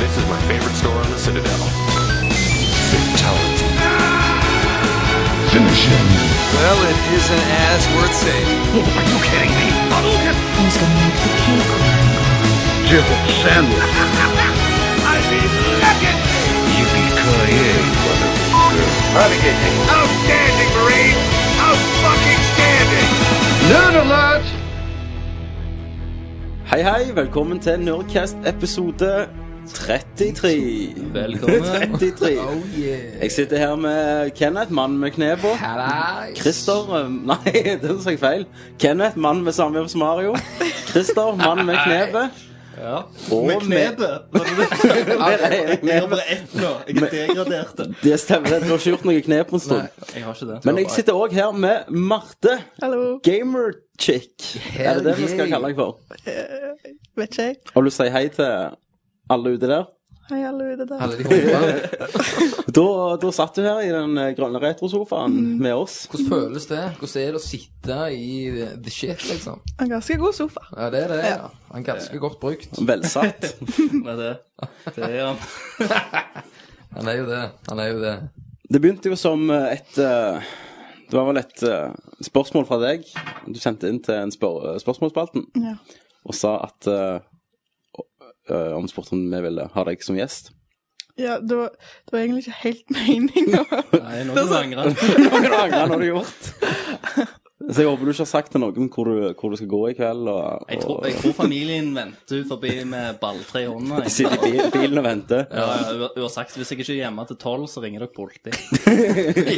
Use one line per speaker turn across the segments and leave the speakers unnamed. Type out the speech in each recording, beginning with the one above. This is my favorite store on the Citadel.
Well, it isn't as worth saying.
Oh, Outstanding, Marine! Out fucking standing!
Hei, hei. Velkommen til Nerdcast episode 33.
Velkommen. Oh,
33. Jeg sitter her med Kenneth, mann med kne på. Christer eh, Nei, det sa jeg feil. Kenneth, mann med samvær som Mario. Christer, mann med knebet.
Ja.
Og
Med knebet? Var det det? Jeg har
knebet.
bare ett nå. Jeg er degradert. den.
Det stemmer, det. du har ikke gjort noe knep på en stund.
Jeg har ikke det.
Men jeg sitter òg her med Marte.
Hallo.
Gamerchick. Er det det vi skal kalle deg for?
Vet ikke jeg.
Og du sier hei til alle ute der?
Hei, alle ute der.
Alle de håndene.
Da, da satt du her i den eh, grønne retrosofaen med oss.
Hvordan føles det? Hvordan er det å sitte i the shit, liksom?
En ganske god sofa.
Ja, det er det. ja. Han er ganske godt brukt.
Velsatt.
Nei, det, det er han.
Han er jo det. Han er jo det.
Det begynte jo som eh, et eh, Det var vel et eh, spørsmål fra deg. Du sendte inn til en spør eh, spørsmålsspalten
Ja.
og sa at eh, eh, Om spurte om vi ville ha deg som gjest.
ja det, var, det var egentlig ikke helt meninga.
Nei, nå må du angre.
Hva angrer du har gjort? Så jeg håper du ikke har sagt til noen hvor du, hvor du skal gå i kveld. Og,
Jeg tror,
og
jeg tror familien venter ut forbi med balltre i hånda. jeg.
sitter i bil, bilen og venter.
Ja, ja, hun- hun har sagt hvis jeg ikke er hjemme til tolv, så ringer dere politi.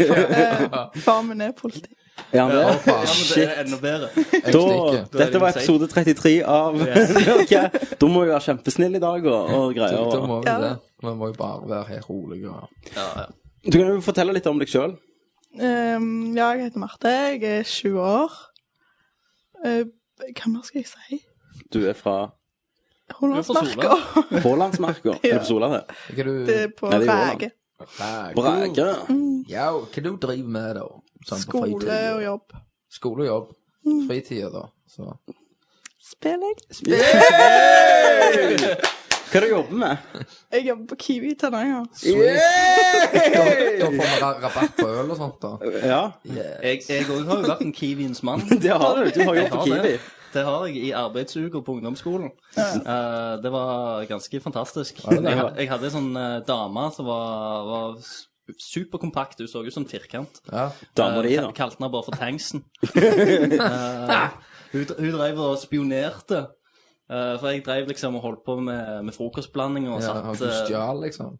Far min er politi.
Er han det?
Ja, men det er enda bedre.
Jeg
Da,
stikker.
dette var episode 33 av Ok, Da må vi være kjempesnill i dag og, og greier.
Da
Og,
må vi
Ja.
det. Vi må jo bare være helt rolige. og-
Ja, ja.
du kan jo fortelle litt om deg sjøl.
Ehm, ja, jeg heter Marte. Jeg er 20 år. Eh, hva mer skal jeg si?
Du er fra
Hollandsmarka.
Pålandsmarka. Er det på Sola, det?
Hva er du
Det er på
Nei, det er i Åland.
Ræge.
Bra.
Brage.
Ja, hva er det du driver med, da? Sånn på
Skole
fritiden?
og jobb.
Skole og jobb. Fritida, da. Så.
Spiller jeg?
Hva er det du jobber med?
Jeg jobber på Kiwi i Tananger.
Da, da får vi ra- rabatt på øl og sånt, da.
Ja,
Jeg, jeg også har jo vært en Kiwiens mann.
det har du. Du har
Jeg
jobb på
har
Kiwi.
det. Det har jeg i arbeidsuker på ungdomsskolen. Eh, det var ganske fantastisk. Jeg, ha- jeg hadde en sånn eh, dame som var, var s- superkompakt. Hun så ut som firkant.
Ja.
Dama di,
Eh,
da.
kal- Kalte henne bare for Tanksen. Eh, hun, hun drev og spionerte. Eh, for jeg drev liksom og holdt på med, med frokostblandinger og
ja har
satt
du
eh,
stjal, liksom?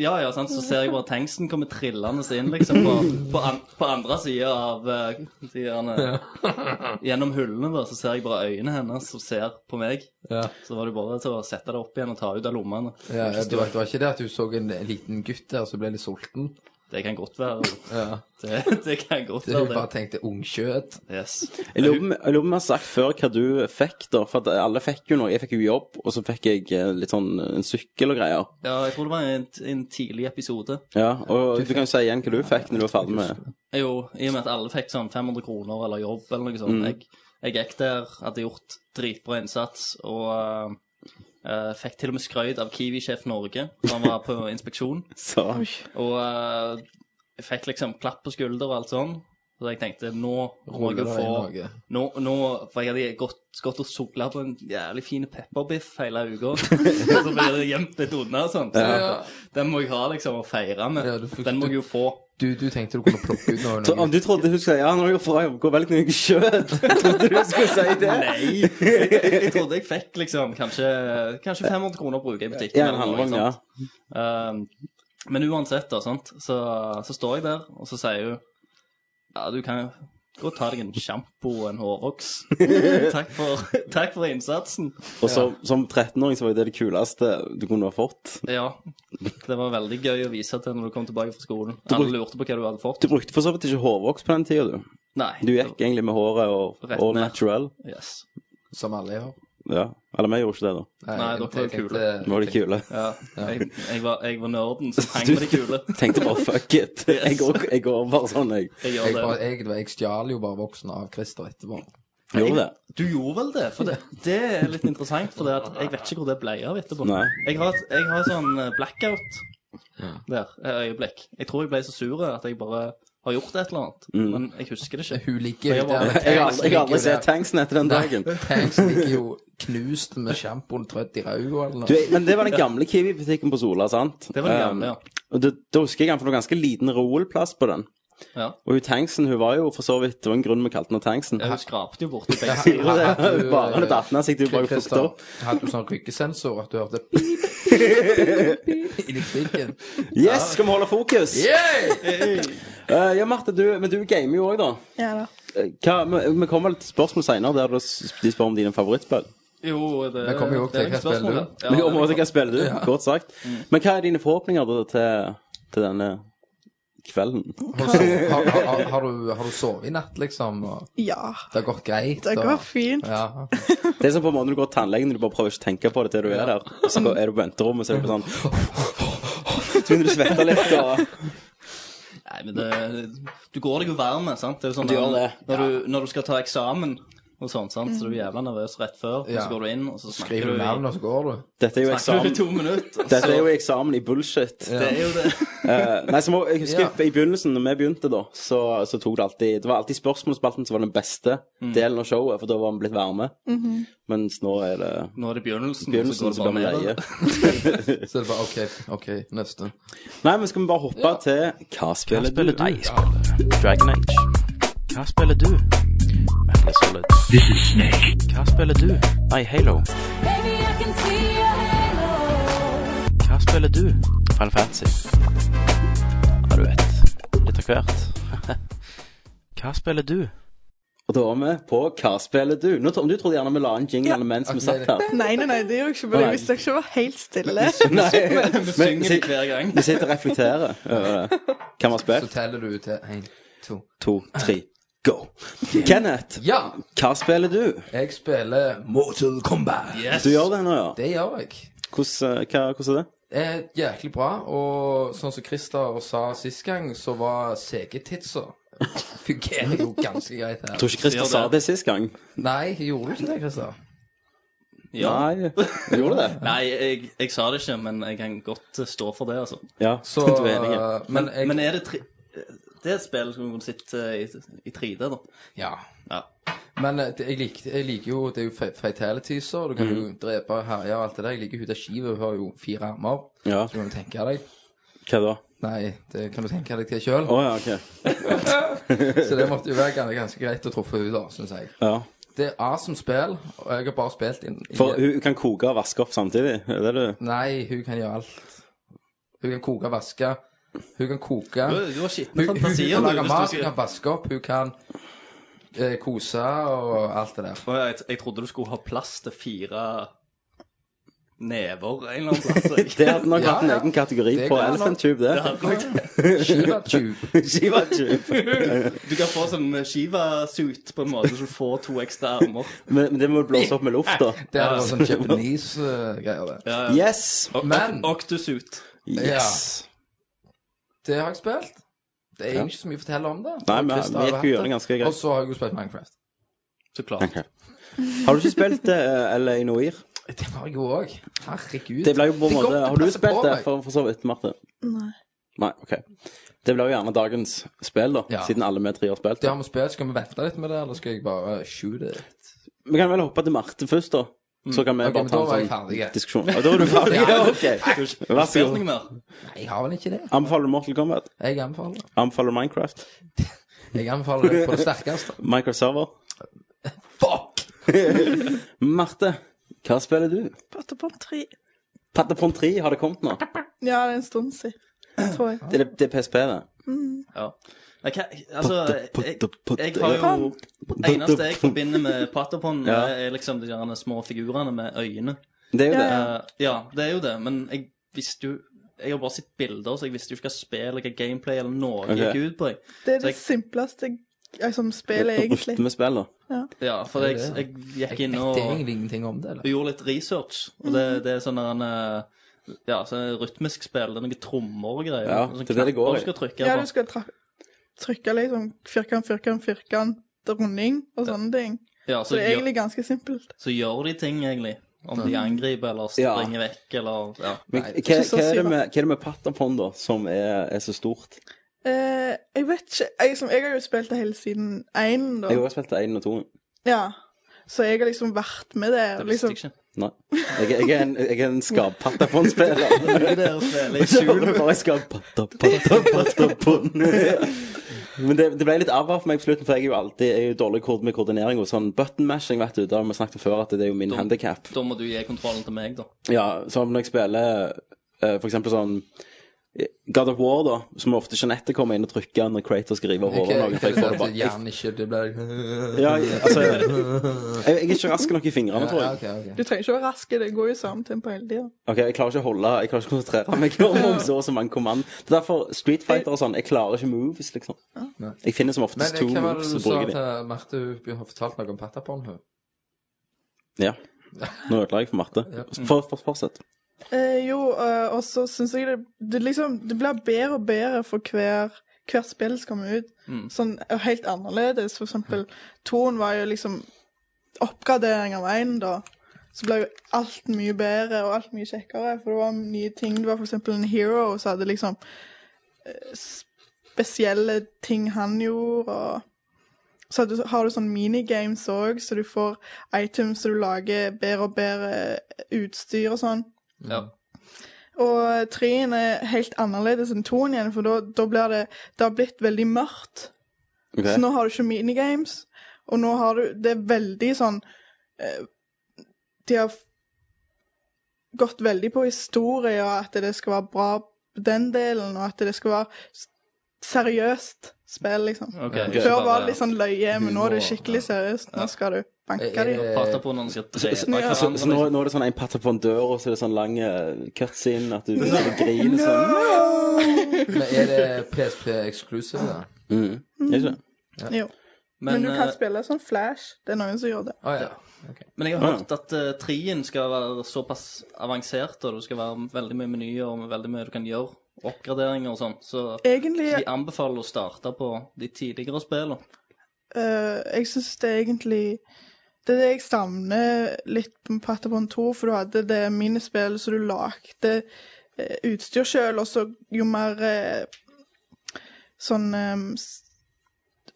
ja, ja, sant? Så ser jeg bare tanksen komme trillende inn liksom, på, på, an på andre sida av eh, de gjerne- Gjennom hullene da, så ser jeg bare øynene hennes som ser på meg.
Ja.
Så var det bare til å sette det opp igjen og ta ut av lommene.
Ja, ja, det, var, det var ikke det at du så en liten gutt der som ble litt sulten?
Det kan godt være.
Ja.
Det, det kan godt
Det hun
være
bare
det.
tenkte ungkjøtt.
Yes.
Jeg lurer på om- jeg lurer på om jeg har sagt før hva du fikk, da. For at alle fikk jo noe. Jeg fikk jo jobb, og så fikk jeg eh, litt sånn en sykkel og greier.
Ja, jeg tror det var en, en tidlig episode.
Ja, Og du kan jo si igjen hva du fikk når du var ferdig med
Jo, i og med at alle fikk sånn 500 kroner eller jobb eller noe
Mm.
sånt. Jeg, jeg gikk der, hadde gjort dritbra innsats og eh, eh, fikk til og med skrøyt av Kiwi-sjef Norge da han var på inspeksjon.
Så
Og eh, jeg fikk liksom klapp på skulder og alt sånn. Så jeg tenkte nå må
Ruller
jeg jo
det i
få
Norge.
nå, nå, For jeg hadde gått, gått og sugla på en jævlig fin pepperbiff hele uka. og så ble det gjemt litt unna og sånn. Så Den må jeg ha liksom å feire med.
Ja, du fikk-
den må jeg jo få.
Du, du tenkte du kunne plukke ut noe?
Så Om
noe.
du trodde hun skulle si ja, nå er jeg fra jobb, gå velg noe kjøtt Trodde du skulle si det?
Nei, jeg, jeg, jeg trodde jeg fikk liksom kanskje, kanskje 500 kroner å bruke i butikken.
Ja, en
eller noe,
halvvogn,
ikke
ja.
sant? Um, men uansett, da, sant? Så, så står jeg der, og så sier hun Ja, du kan gå og ta deg en sjampo og en hårvoks. takk, for, takk for innsatsen.
Og så, som 13-åring så var jo det det kuleste du kunne ha fått.
Ja. Det var veldig gøy å vise til når du kom tilbake fra skolen. Alle lurte på hva du hadde fått.
Du brukte for så vidt ikke hårvoks på den tida, du.
Nei.
Du gikk egentlig med håret og
Rett
all
ned.
natural.
Yes.
Som alle gjør.
Ja. Eller vi gjorde ikke det, da.
Nei,
jeg
dere var
tenkte-
kule.
Vi var de kule.
Ja. Jeg, jeg, var, jeg var nerden som hang med de kule.
Tenkte bare fuck it. Jeg går, jeg går bare sånn, jeg.
Jeg,
Jeg gjør det.
bare- jeg, jeg stjal jo bare voksen av Christer etterpå.
Gjorde det?
Du gjorde vel det? For det, det er litt interessant, for det at jeg vet ikke hvor det ble av etterpå.
Nei.
Jeg har, et- jeg har sånn eh, blackout der et øyeblikk. Jeg tror jeg ble så sur at jeg bare har gjort et eller annet.
Mm.
Men jeg husker det ikke.
Hun ligger jo
Jeg var-
der.
Jeg har aldri, jeg har aldri sett tanksen etter den dagen.
Nei, Tanks ligger jo knust med sjampoen trødd i øynene eller
Du,
noe.
men det var den gamle Kiwi-butikken på Sola, sant?
Det var den gamle,
Um,
ja.
Og det, da husker jeg han, for det var ganske liten reolplass på den.
ja.
Og hun tanksen, hun var jo for så vidt Det var en grunn vi kalte henne tanksen.
Hun skrapte jo borti begge
Hun
sider.
hadde-
hadde du-
Bare det datt ned, så gikk du bare og plukket
Christer,
opp.
hadde du sånn rykkesensor at du hørte pip, pip, pip inni kvikken?
Yes, skal vi holde fokus?
Yeah!
Eh, ja, Marte, du, men du gamer jo òg, da.
Ja da.
Eh, Hva, vi, vi kommer vel til spørsmål senere der du s- de spør om dine favorittspill.
Jo, det,
Vi kommer jo også
det er
til
et
hva spiller
spørsmål.
du?
Ja,
Men om
det
hva spiller du, kort sagt.
Mm.
Men hva er dine forhåpninger da, til, til denne kvelden?
Har, du sov- har, har, har, du, har du sovet i natt, liksom? Og
Ja.
det har gått greit?
Det går fint.
Ja.
Det er som på en måte når du går til tannlegen, du bare prøver ikke å tenke på det til du er der. Og så er du på venterommet, så er du på sånn Så begynner du å svette litt og
Nei, men det, du går deg jo varm, sant? Det er jo sånn
Du
når-
gjør det.
Når, du, når du skal ta eksamen og sånn, sant? så du er jævla nervøs rett før, og
Mm. Ja.
så går du inn, og så snakker
Skriver
du
du
i-
navn, og så går du?
Dette er jo
snakker du i
eksamen.
to minutter. og
Dette
så-
er jo eksamen i bullshit.
Det er jo det.
Eh, nei, så må, jeg husker
Ja.
I begynnelsen, når vi begynte, da, så, så tok det alltid Det var alltid spørsmålsspalten som var den beste
Mm.
delen av showet, for da var vi blitt varme. Mens nå er det
Nå er det begynnelsen,
begynnelsen, så
går
blir vi
det bare
leie.
nedover.
Så det er bare OK, ok, neste.
Nei, men skal vi bare hoppe til Hva spiller du? Nei,
Dragon Age. Hva spiller du? Metal Solid. This is Snake. Hva spiller du? Nei, Halo.
Baby, I can see your halo.
Hva spiller du? Final Fantasy. Ja, du vet. Litt av hvert. Hva spiller du?
og da er vi på Hva spiller du? Nå, Tom, du trodde gjerne vi la en jingle mens vi
Ok,
satt
det-
her.
Nei, nei, nei, det gjorde jeg ikke. Men jeg visste ikke jeg var helt stille.
Nei,
Vi
men,
synger det hver gang.
vi sitter og reflekterer over det. Hvem har
Så
spilt?
teller du til én, to
To, tre, go. Kenneth,
Ja!
hva spiller du?
Jeg spiller Mortal Kombat.
Yes.
Du gjør det nå, ja.
Det gjør jeg.
Hvordan, eh, hva, hvordan er det?
er jæklig bra, og sånn som Christer sa sist gang, så var CG-titsa Fungerer jo ganske greit
Jeg
her.
tror ikke Christer
Gjør det.
sa det sist gang.
Nei, gjorde du ikke det, Christer?
Ja.
Nei, du gjorde det?
Nei, jeg, jeg sa det ikke, men jeg kan godt eh, stå for det, altså.
Ja,
Så, eh,
du er enig. ja.
men jeg
Men er det tre... Det er et spill som kunne sitte i, i 3D, da.
Ja.
Ja.
Men eh, det, jeg, likte, jeg liker jo Det er jo fa- fatalities, og du kan jo
Mm.
drepe og herje og alt det der. Jeg liker hun der skiva, hun har jo fire armer.
Ja,
Så kan du tenke deg
hva da?
Nei, det kan du tenke deg til sjøl.
Å ja, ok.
Så det måtte jo være gans- ganske greit å truffe henne, da, syns jeg.
Ja.
Det er awesome spill, og jeg har bare spilt inn i-
For hun hun kan koke og vaske opp samtidig? Er det du?
Nei, hun kan gjøre alt. Hun kan koke og vaske. Hun kan koke.
Du,
Hun,
du har skitne
hun, hun
fantasier,
kan
du.
lage mat,
Hvis du
hun
skal...
kan vaske opp, hun kan eh, kose og alt det der.
Å, jeg, jeg trodde du skulle ha plass til fire never en eller annen plass. jeg.
Det hadde nok
Ja,
vært en
ja.
egen kategori
Det
på
kan nok-
Elephant Tube, det.
Skiva tube.
Shiva Tube.
Du kan få sånn Shiva-suit på en måte, så du får to ekstra armer.
Men men det må du blåse opp med luft, da.
Det hadde vært sånn Japanese-greier, det.
Ja, ja.
Yes!
Og-
Men-
og- Octosuit.
Yes!
Det har jeg spilt. Det er ikke så mye å fortelle om det.
Nei, men vi
Christer har
gikk
hatt
jo gjennom ganske greit.
Og så har jeg jo spilt Minecraft.
Så klart.
Har du ikke spilt uh, LA Noir?
Eh, Det har jeg jo òg. Herregud.
Det ble jo på en
er godt
måte
å
Har du
passe på
spilt det,
meg.
for, for så vidt, Marte?
Nei.
Nei, OK. Det ble jo gjerne dagens spill, da,
Ja.
siden alle vi tre har spilt.
Det
det.
har vi spilt. Skal vi vente litt med det, eller skal jeg bare shoot it?
Vi kan vel hoppe til Marte først, da. Så kan vi
Mm. Ok, men
bare ta
da var jeg
en sånn
ferdig.
diskusjon. Og da er du ferdig? ja, OK. Vær så
Spilte noe
god.
mer?
Nei, jeg har vel ikke det.
Anbefaler du Mortal Kombat?
Jeg anbefaler det.
Anbefaler du Minecraft?
Jeg anbefaler det på det sterkeste.
Minecraft Server?
Fuck!
Marte, hva spiller du?
Patapon 3.
Patapon 3, har det kommet nå?
Ja, det er en stund siden, tror jeg.
Det er, det er PSP, det.
Ja. Nei, hva- altså, jeg, jeg har jo Eneste jeg forbinder med Patapon,
Ja.
er liksom de der små figurene med øyne.
Det er jo det.
Ja,
Eh, ja, det er jo det, men jeg visste jo Jeg har bare sett bilder, så jeg visste jo ikke hva spill, hva gameplay eller noe
Ok.
gikk ut på. Jeg.
Det er
Så
det simpleste liksom, spillet, egentlig.
Rytmespill, da.
Ja, for
Det er
jeg, jeg gikk
Jeg
inn
vet
og
egentlig ingenting om det. eller?
og gjorde litt research, og det, det er sånn der en eh, ja, sånn rytmisk spill, det er noen trommer og greier.
Ja,
Sånn
det er det det går
knapper
i.
du skal trykke
Ja,
på.
du skal tra trykke liksom firkant, firkant, firkant, runding og sånne ting.
Ja,
Så
så,
det er
gjør,
egentlig ganske simpelt.
så gjør de ting, egentlig. Om de angriper eller
Ja.
springer vekk eller ja.
Men hva,
ikke så
hva er det
syv,
med, hva er det med Patapon, da, som er, er så stort?
Eh, jeg vet ikke jeg, som, jeg har jo spilt det hele siden én, da.
Jeg har også spilt 1 og 2.
Ja. Så jeg har liksom vært med der.
Det visste jeg
Liksom.
ikke.
Nei. Jeg, jeg er en, jeg er en skappattapon-spiller.
Det der å spille i skjul.
Bare skappattapon. Men det, det ble litt avhør for meg på slutten, for jeg er jo alltid jeg er jo dårlig ko- med koordinering og sånn button-mashing, vet du. Det har vi snakket om før, at det er jo min handicap
Da må du gi kontrollen til meg, da.
Ja, som når jeg spiller eh, for eksempel sånn God of War, da, så må ofte Jeanette komme inn og trykke når Kratos skal rive av hodet av noen. For jeg får det bare jeg,
Gjerne ikke. Det blir
ja, jeg- altså, jeg, jeg er ikke rask nok i fingrene, tror
Ja,
jeg.
ok, ok.
Du trenger ikke være rask, det går jo i samme tempo hele tida.
Ok, Jeg klarer ikke å holde, jeg klarer ikke å konsentrere meg om, om så og så mange kommand. Det er derfor Street Fighter og sånn Jeg klarer ikke moves, liksom. Jeg finner som
Men eh,
oftest to
hva var det
moves
du
og
sa
bruker de.
til Marte? Hun begynte- har fortalt noe om Patapon, hun.
Ja. Nå ødela jeg for Marte. For, for, fortsett.
Eh, jo, eh, og så syns jeg det, det liksom Det blir bedre og bedre for hver, hvert spill som kommer ut. Sånn og helt annerledes. For eksempel Toen var jo liksom oppgradering av én, da. Så ble jo alt mye bedre og alt mye kjekkere, for det var nye ting. Det var for eksempel en hero som hadde liksom eh, spesielle ting han gjorde, og så har du, har du sånn minigames òg, så du får items så du lager bedre og bedre utstyr og sånn.
Ja.
Og treen er helt annerledes enn toen igjen, for da, da blir det Det har blitt veldig mørkt.
Ok.
Så nå har du ikke minigames, og nå har du Det er veldig sånn eh, De har f- gått veldig på historie, og at det skal være bra på den delen, og at det skal være s- seriøst spill, liksom.
Ok.
Før var
liksom-
det litt sånn løye, men nå er det skikkelig seriøst. Nå skal du
Eh,
banke dem.
Pata på når han skal drepe
Ja.
Så, så nå,
hverandre.
nå er det sånn en patter på en dør, og så er det sånn lang eh, cutscene at du sitter og griner sånn.
Men er det PSP Exclusive? da?
Mm. Er det ikke det?
Jo. Men,
Men,
du
eh,
kan spille sånn flash. Det er noen som gjør det.
Å Ah, ja. ok.
men jeg har hørt at uh, trien skal være såpass avansert, og det skal være veldig mye menyer og veldig mye du kan gjøre. Oppgraderinger og sånn. Så
Egentlig
de anbefaler å starte på de tidligere spillene.
Eh, jeg syns det er egentlig Det er det jeg savner litt på Patapon 2, for du hadde det minispillet som du lagde eh, utstyr sjøl, og så jo mer eh, sånn eh, s-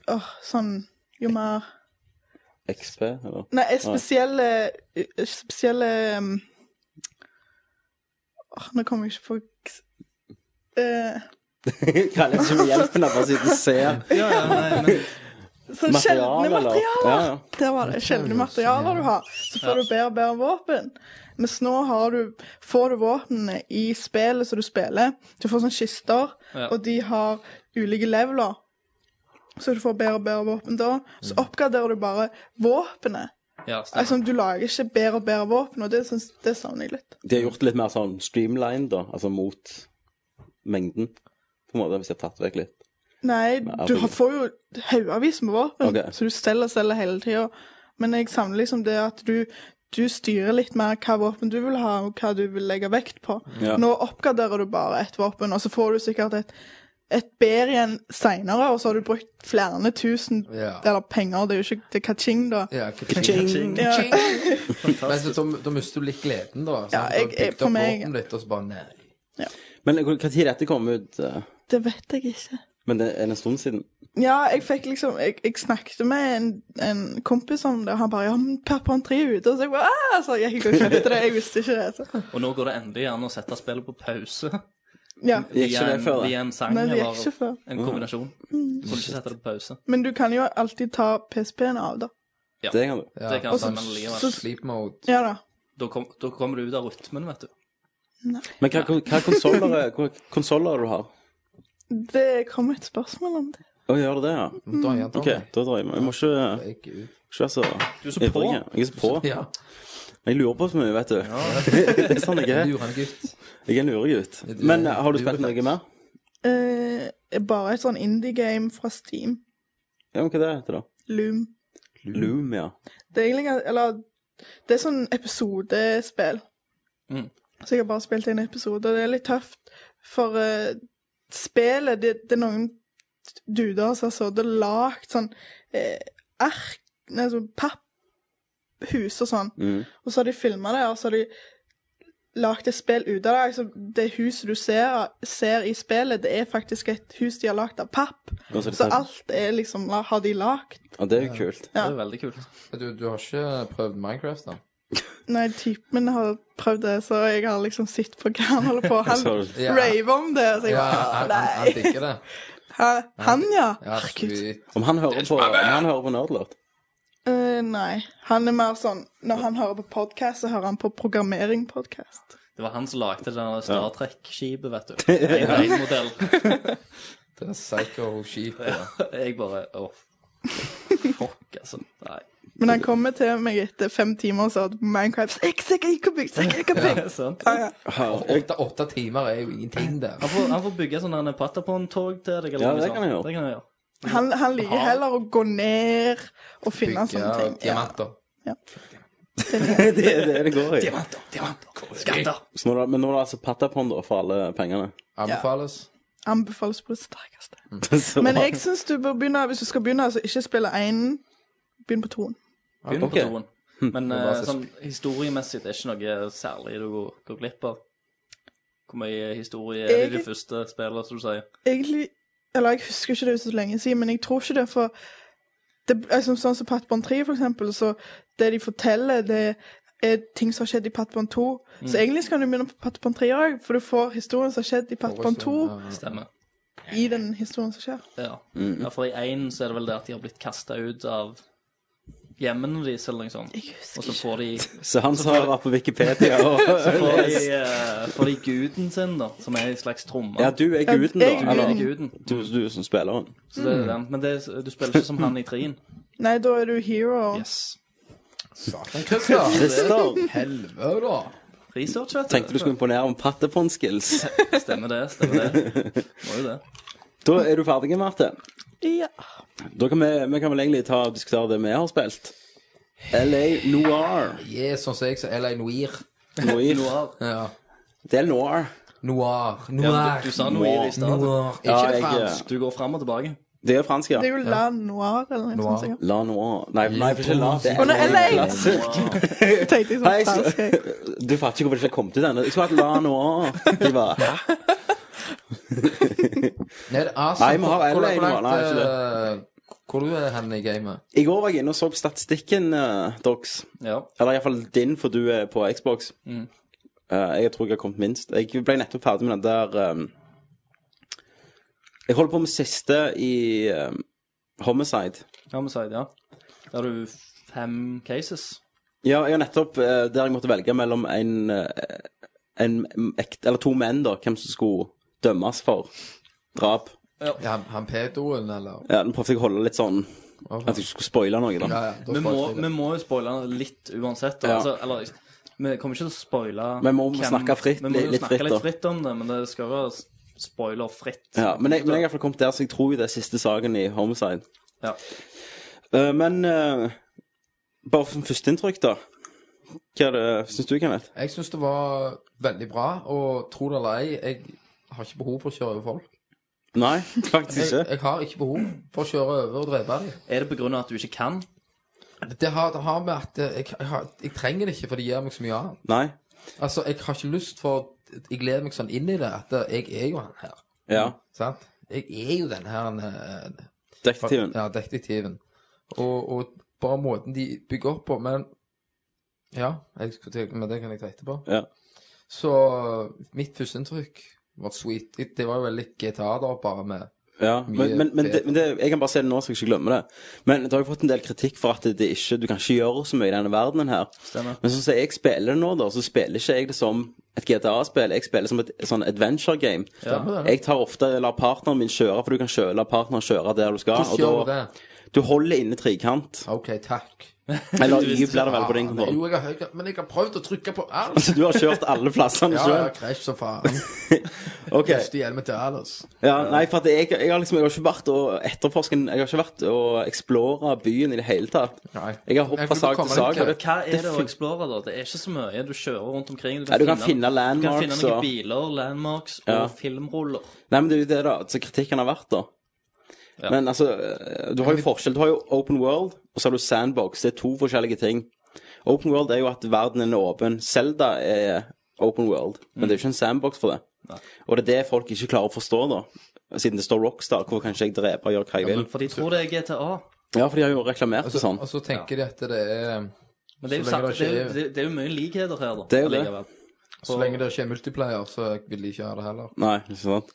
Åh, sånn Jo mer
XP, eller?
Nei, eh, spesielle eh, Spesielle um, åh, Nå kommer jeg ikke på eh,
Kaller det ikke med hjelpen av å sitte og se
Ja, ja, nei, men
Sånn
materiale,
sjeldne
eller?
materialer!
Ja, ja.
Der var det sjeldne materialer du har. Så får du bedre og bedre våpen. Mens nå har du, får du våpnene i spillet som du spiller. Du får sånne kister,
Ja.
og de har ulike leveler. Så du får bedre og bedre våpen da. Så oppgraderer du bare våpenet.
ja, stemmer.
Altså, du lager ikke bedre og bedre våpen, og det, syns- det savner jeg litt.
De har gjort det litt mer sånn streamlined, da. Altså mot mengden, på en måte, hvis jeg har tatt vekk litt.
Nei,
Nei,
du
altså-
har, får jo haugavis med våpen,
Ok.
så du selger og selger hele tida. Men jeg savner liksom det at du, du styrer litt mer hva våpen du vil ha, og hva du vil legge vekt på.
Ja.
Nå oppgraderer du bare ett våpen, og så får du sikkert et, et bedre igjen seinere, og så har du brukt flere tusen
Ja.
eller penger, det er jo ikke det er kaching, da.
Ja,
Ching.
Ja.
Men så, da, da mister du litt gleden, da. sant? Du
Ja,
har
jeg- jeg-
bygd
for
opp
meg-
våpenet ditt, og så bare nei.
Men hvor- hva tid dette kom ut? eh,
Det vet jeg ikke.
Men det er en stund siden.
Ja, jeg fikk liksom Jeg, jeg snakket med en, en kompis om det, og han bare Ja, men Perpon 3 er ute. Og så jeg bare «Ah!» Så jeg gikk og kjøpte det. Jeg visste ikke det. Så.
Og nå går det endelig an å sette spillet på pause.
Ja.
Gikk ikke det
en,
før, da?
via en sang
Nei, det gikk ikke
eller
før. Mm.
en kombinasjon. Du kan ikke sette det på pause.
Men du kan jo alltid ta PSP-en av, da.
Det kan du.
Ja,
Det kan
og så-
man likevel.
så- Sleep mode.
Ja da.
Da, kom, da kommer du ut av rytmen, vet du.
Men hva, hva konsoller, er- hva konsoller er det du har?
Det kom et spørsmål om det.
Å, gjør det det, ja?
Da er
Mm.
jeg
OK, da drar jeg meg. Jeg må ikke,
ikke ut.
ikke være så
Du er så på.
ivrig. Jeg er så på.
Ja,
Jeg lurer på så mye, vet du. Det er sånn jeg er.
lurende gutt.
Jeg er en luregutt.
Du er
Men eh, har du spilt
luregutt.
noe mer?
Eh, bare et sånn indie-game fra Steam.
Ja, men hva det heter det?
Loom.
Loom, ja.
Det er egentlig Eller det er sånn episodespill.
Mm.
Så jeg har bare spilt en episode, og det er litt tøft. For eh, spillet det, det er noen duder som har sittet og lagd sånn eh, ark Nei, sånn papp hus og sånn.
Mm.
Og så har de filma det, og så har de lagd et spill ut av det. Altså, det huset du ser, ser i spillet, det er faktisk et hus de har lagd av papp.
Og så er det
Så
sant.
alt er liksom har de lagd.
Og det er jo kult.
Det
Ja.
er veldig kult.
Du, du har ikke prøvd Minecraft, da?
Nei, typen min har prøvd det, så jeg har liksom sett på hva han holder på Han
Så-
Ja.
raver om det, så jeg
Ja,
bare
han, han, han
«Å, liksom. Nei.
digger det.
Han, han ja.
Ja,
Herregud.
sweet.
Om han hører på, om han hører på Nerdlord
Eh, nei. Han er mer sånn Når han hører på podkast, så hører han på programmering-podkast.
Det var han som lagde det der Star Trek-skipet, vet du. En ren modell.
Det er psycho-skipet.
Jeg bare Åh. Fuck, altså. Nei.
Men han kommer til meg etter fem timer og sa at Minecraft Jeg ser ikke hvor bygd, jeg ser ikke hvor bygd.
Sant?
Ja, ja.
Åtte, åtte timer er jo ingenting der.
Han får, han får bygge sånne Patapon-tog til deg. eller
Ja,
noe
det
sånt.
kan han gjøre.
Det kan han gjøre.
Han, han liker heller å gå ned og finne
Bygge
sånne ting. Ja.
diamanter.
Det er det det går i.
Skatter!
Så nå er det- Men nå er det altså Patapon da, for alle pengene.
Anbefales.
Anbefales på det sterkeste.
Så-
Men jeg syns du bør begynne, hvis du skal begynne, altså ikke spille én, begynn på toen.
Begynn
Ok. Hm.
på toen. Men
Det er
eh,
basis.
sånn, historiemessig det er ikke noe særlig du går, går glipp av. Hvor mye historie er det i det
Egentlig-
første spillet, som du sier?
Egentlig Eller jeg husker ikke det så lenge siden, men jeg tror ikke det, for det, altså, Sånn som Pattbånd 3, for eksempel, så det de forteller, det er ting som har skjedd i Pattbånd 2. Så
Mm.
egentlig skal du begynne på Pattbånd 3 òg, for du får historien som har skjedd i Pattbånd 2,
Stemmer.
i den historien som skjer.
Ja.
Mm.
ja, for i én så er det vel det at de har blitt kasta ut av hjemmene deres, eller noe sånt.
Jeg
liksom. Og så
husker ikke.
får de
Så han som har vært på Wikipedia og
får de, eh, får de guden sin, da, som er en slags tromme.
Ja, du er guden,
Ja, jeg
da.
er
Eller
Eller
guden.
du, du som spilleren.
Så det
Mm.
er den. Men det, er- du spiller ikke som han i trien.
Nei, da er du hero.
Yes.
Satan, Christer.
Christer,
Helvete, da.
Research, vet du.
tenkte du skulle imponere om Patapon-skills.
Stemmer det, stemmer det. Må jo det.
Da er du ferdig, Marte.
Ja.
Da kan vi, vi kan vel egentlig ta og diskutere det vi har spilt. LA Noir.
Yeah, sånn som jeg sa. Eller noir.
Noir.
Noir.
Ja.
Det er noir.
Noir.
Ja,
Noir.
du, du sa noir i stad.
Noir.
Ja,
Ikke
jeg-
fransk.
Du går fram og tilbake.
Det er fransk, ja.
Det er jo La Noir, eller noe
Noir.
sånt. sikkert.
La noir. Nei, nei for ikke la. Det
Å, nei,
er
LA.
klassisk.
Tenkte jeg
Nei,
sånn fransk. jeg.
så- Du fatter ikke hvorfor det ikke kom til denne. Jeg skulle hatt la noir. De bare, hæ?
Nei, det er altså,
Nei, vi har
hvor- hvor-
LA
hvor
nå.
langt,
Nei, ikke
eh, Hvor du er hen i gamet?
I går var jeg inne og så på statistikken, uh, Dox.
Ja.
Eller iallfall din, for du er på Xbox. Eh, jeg tror jeg har kommet minst. Jeg ble nettopp ferdig med den der um, Jeg holder på med siste i um, Homicide.
Homicide, ja. Da har du fem cases.
Ja, jeg har nettopp eh, der jeg måtte velge mellom en, eh, en ekte Eller to menn, da. Hvem som skulle dømmes for drap.
Ja, han- han pedoen, eller?
Ja, Nå prøvde jeg å holde litt sånn at jeg ikke skulle spoile noe, da.
Ja, ja, da
Vi må,
spoiler
vi
jeg det.
må jo spoile den litt uansett. Da.
Ja.
Altså, eller, vi kommer ikke til å spoile
Vi må snakke fritt,
Vi må jo
litt
snakke
fritt, da.
litt fritt om det, men det skal jo være spoiler-fritt.
Ja, men jeg, men jeg har i hvert fall kommet der, så jeg tror jo det er siste saken i Homicide.
Ja.
Eh, men eh, bare som førsteinntrykk, da. Hva er det, syns du, Kenneth?
Jeg syns det var veldig bra, og tro det eller ei, jeg har ikke behov for å kjøre over folk.
Nei, faktisk
Jeg,
ikke.
jeg har ikke behov for å kjøre over og drepe dem.
Er det på grunn av at du ikke kan?
Det har, det har med at eh, jeg, jeg, har, jeg trenger det ikke, for det gir meg så mye annet.
Nei.
Altså, jeg har ikke lyst for Jeg gleder meg sånn inn i det at eh, jeg er jo han her.
Ja.
Sant? Jeg er jo den her eh,
Detektiven.
Ja, detektiven. Og, og bare måten de bygger opp på. Men ja, jeg skulle til, men det kan jeg ta etterpå.
Ja.
Så eh, mitt førsteinntrykk var sweet. Det- Det var jo veldig GTA da, bare med
Ja. Men, men, men,
Mye
det, men det, jeg kan bare se det nå, så jeg ikke glemmer det. Men det har jo fått en del kritikk for at det ikke, du kan ikke gjøre så mye i denne verdenen her.
Stemmer.
Men sånn som jeg spiller det nå, da, så spiller ikke jeg det som et GTA-spill. Jeg spiller som et sånn adventure game.
Stemmer det.
Jeg tar ofte lar partneren min kjøre, for du kan kjøre, la partneren kjøre der du skal.
Hvordan gjør
og
du
da,
det?
Du holder inne trikant.
OK, takk.
Eller Y blir det vel på din
Ah,
kontroll.
Jo, jeg har, jeg, men jeg har prøvd å trykke på R.
Så Altså, du har kjørt alle plassene
Ja,
sjøl?
jeg krasj som faen.
Ok.
Beste hjelmen til Alice.
Ja, nei, for at jeg, jeg, har liksom, jeg har ikke vært og etterforske Jeg har ikke vært og explore byen i det hele tatt.
Nei.
Jeg har hoppet fra
Jeg tror du
sak til
kommer
sak.
litt
Og det,
Hva er det,
det
å
fun-
explore, da? Det er ikke så mye. Du kjører rundt omkring.
Nei, du kan finne
Du kan
landmarks
finne noen
og-
biler, landmarks
Ja.
og filmruller.
nei, men det er jo det, da. Så kritikken har vært, da. Men altså, du har jo forskjell. Du har jo open world, og så har du sandbox. Det er to forskjellige ting. Open world er jo at verdenen er åpen. Zelda er open world, men det er jo ikke en sandbox for det. Og det er det folk ikke klarer å forstå, da. Siden det står Rockstar, hvor kan ikke jeg drepe og gjøre hva jeg vil?
For de tror det er GTA.
Ja, for de har jo reklamert
Og så-
det sånn.
Og så tenker de at det er
Men det er jo,
Så
sagt,
lenge
det, er,
det ikke
jo-
er-
det, det er jo mye likheter her, da.
Det er jo det.
allikevel.
Så lenge det ikke er multiplayer, så vil de ikke ha det heller.
Nei, ikke sant.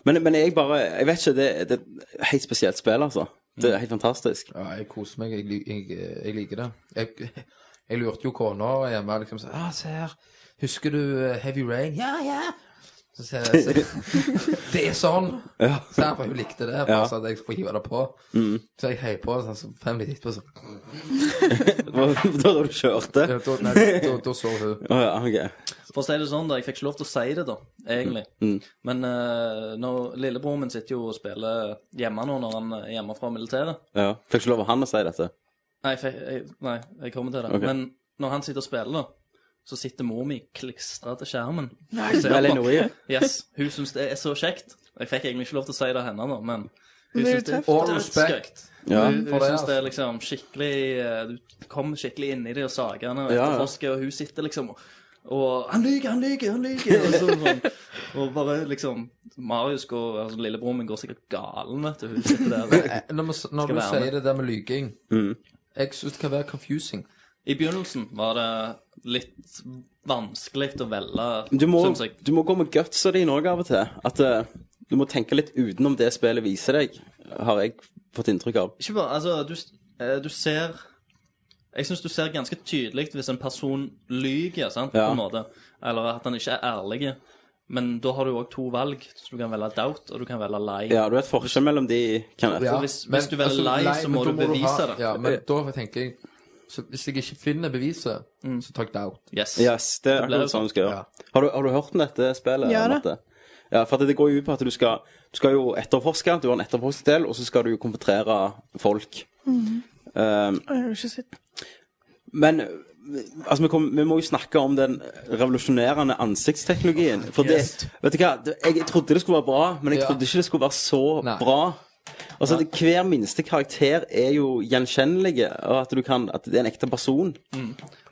Men, men jeg bare Jeg vet ikke, det, det er et helt spesielt spill, altså. Det er helt fantastisk.
Ja, jeg koser meg. Jeg, lik- jeg, jeg liker det. Jeg, jeg lurte jo kona hjemme liksom sånn ah, 'Se her, husker du eh, Heavy Rain?' 'Ja, ja.' Så sier jeg så, 'Det er sånn!'
Ja.
Så jeg, for hun likte det. Bare
Ja.
så at jeg får hive det på. Så jeg heier på det sånn, så fem minutter etterpå, så
Da da du kjørte?
Da- da- nei, Da da sov hun.
Å ja, OK.
For å si det sånn, da. Jeg fikk ikke lov til å si det, da, egentlig.
Mm.
Men eh, når lillebroren min sitter jo og spiller hjemme nå når han er hjemme fra militæret.
Ja. Fikk ikke lov av han å si dette?
Nei, jeg, fikk- jeg, nei, jeg kommer til det.
Ok.
Men når han sitter og spiller, da, så sitter mor mi klistra til skjermen. Nei,
Elinor,
Yes, Hun syns det er så kjekt. Jeg fikk egentlig ikke lov til å si det henne, da, men
Men
hun
det er jo
syns det
tøft,
er
All respect.
Ja.
Hun,
for
hun
det,
syns det er
altså.
liksom skikkelig eh, Du kommer skikkelig inn i det og sager henne og
Ja, ja.
etterforsker, og hun sitter liksom og, og Han lyver, han lyver, han lyver! Og, så, sånn, og bare liksom Marius går, altså lillebroren min går sikkert galen, vet du. Hun sitter der.
Eh, Når, vi- når du
være med.
sier det der med Mm. lyging Jeg syns det kan være confusing.
I begynnelsen var det litt vanskelig å velge,
Du må,
syns jeg.
du må gå med gutsa dine òg av og til. At eh, du må tenke litt utenom det spillet viser deg, har jeg fått inntrykk av.
Ikke bare, altså, du, eh, du ser Jeg syns du ser ganske tydelig hvis en person lyver, sant, på
Ja.
en måte. Eller at han ikke er ærlig. Men da har du òg to valg. Så du kan velge doubt, og du kan velge lie.
Ja, du vet forskjell mellom de, Kenneth.
Ja,
Altså, hvis- hvis du velger lei,
nei,
så
men
må
da
du bevise
ha,
det.
Ja, men da tenker jeg så Hvis jeg ikke finner beviset,
Mm.
så tar jeg det out.
Yes.
Yes, det er
ble
akkurat
jo
sånn du skal gjøre. Har, du, har du hørt om dette spillet?
Ja da.
Marte? Ja, for at det går jo ut på at du skal, du skal jo etterforske, du har en etterforskningsdel, og så skal du jo konfrontere folk. Um,
Jeg har ikke sett
men altså, vi, kom, vi må jo snakke om den revolusjonerende ansiktsteknologien. For det,
Yes.
vet du hva, det, jeg trodde det skulle være bra, men jeg
Ja.
trodde ikke det skulle være så
Nei.
bra. Altså, det, Hver minste karakter er jo gjenkjennelig, og at, du kan, at det er en ekte person.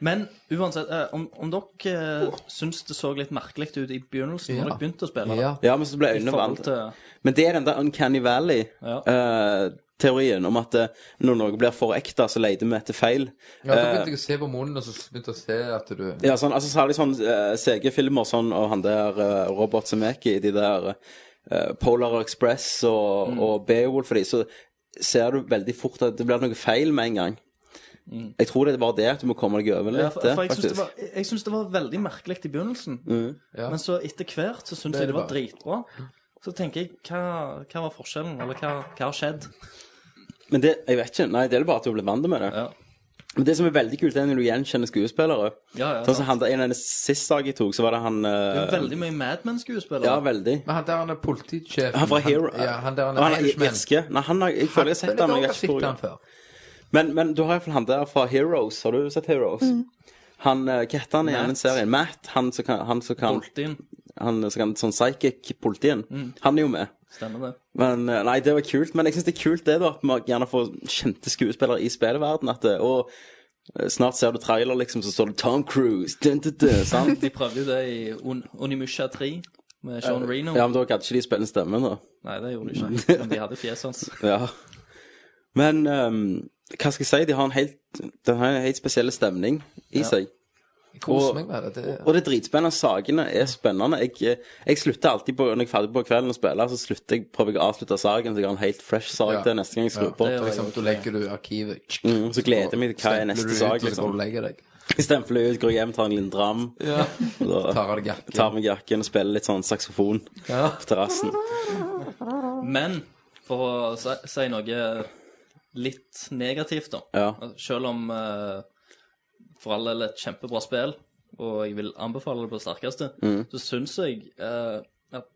Men uansett, eh, om, om dere eh, syns det så litt merkelig ut i begynnelsen, når
Ja.
dere begynte å spille
Ja.
Ja, men så ble øynene
forhold
valgt.
til-
Men det er den der Uncanny
Ja.
Valley-teorien om at eh, når noe blir for ekte, så leter vi etter feil.
Ja, Da begynte jeg å se på munnen, og så begynte jeg å se at du
Ja, sånn, altså Særlig sånn eh, CG-filmer sånn, og han der eh, Robert Zemeki, de der eh, Polar Express og,
Mm.
og Beowulf og de, så ser du veldig fort at det blir noe feil med en gang. Jeg tror det er bare det at du må komme deg over litt.
Mm.
eh,
Ja, for, for jeg syns
faktisk.
det,
Mm.
var- jeg syns det var veldig merkelig i begynnelsen.
Ja.
Men så etter hvert så syns
Det er
jeg det
det
var
bare.
dritbra. Så tenker jeg, hva, hva var forskjellen? Eller hva, hva har skjedd?
Men det, jeg vet ikke, nei, det er bare at du blir vant med det.
Ja.
Men det som er veldig kult, er når du gjenkjenner skuespillere.
Ja, ja,
sånn som han der, En av de siste dagen jeg tok, så var det han
Det er
eh,
veldig mye Mad Men-skuespillere.
Ja, veldig.
Men han der han er politisjef
Han fra Hero
Ja, han der han
Og
er
han er
Irishman.
irske. Nei, han har, jeg føler jeg har sett ham, men jeg har ikke
sett
hvor-
han før.
Men, men du har iallfall han der fra Heroes. Har du sett Heroes? Han, eh, Hva heter han igjen i den
Matt.
serien? Matt. Han som kan, han som kan,
Boltin.
han, som kan sånn psychic-politien. Han er jo med.
Stemmer det.
Men, eh, nei, det var kult. Men jeg syns det er kult det da, at vi gjerne får kjente skuespillere i spillverden. At, det- og eh, snart ser du trailer, liksom, så står det Tom Cruise. Dun, dun, dun, sant?
De prøvde jo det i Un Unimusha 3 med Sean Reno.
Eh, Ja, men da gadd ikke de spille stemmen, da.
Nei, det gjorde de ikke. Men de hadde fjeset hans.
Ja. Men ehm, hva skal jeg si? De har en helt, de har en helt spesiell stemning i seg.
Jeg koser meg med det. det
Og det er dritspennende. Sakene er spennende. Jeg, eh, jeg slutter alltid på, når jeg er ferdig på kvelden å spille, så slutter jeg, prøver jeg å avslutte saken, så jeg har en helt fresh sak
Ja.
til neste gang jeg skrur på.
det
for eksempel, da legger du arkivet
liksom. Mm, så gleder jeg meg til hva er neste
Stempler du ut,
sak,
og så
liksom.
går du og legger deg.
Jeg stempler ut, går hjem, tar en liten dram, og da
Tar av deg jakken.
tar meg jakken og spiller litt sånn saksofon
Ja.
på terrassen.
Men for å si, si noe litt negativt, da.
Ja.
Selv om eh, for all del et kjempebra spill, og jeg vil anbefale det på det sterkeste,
Mm.
så syns jeg eh, at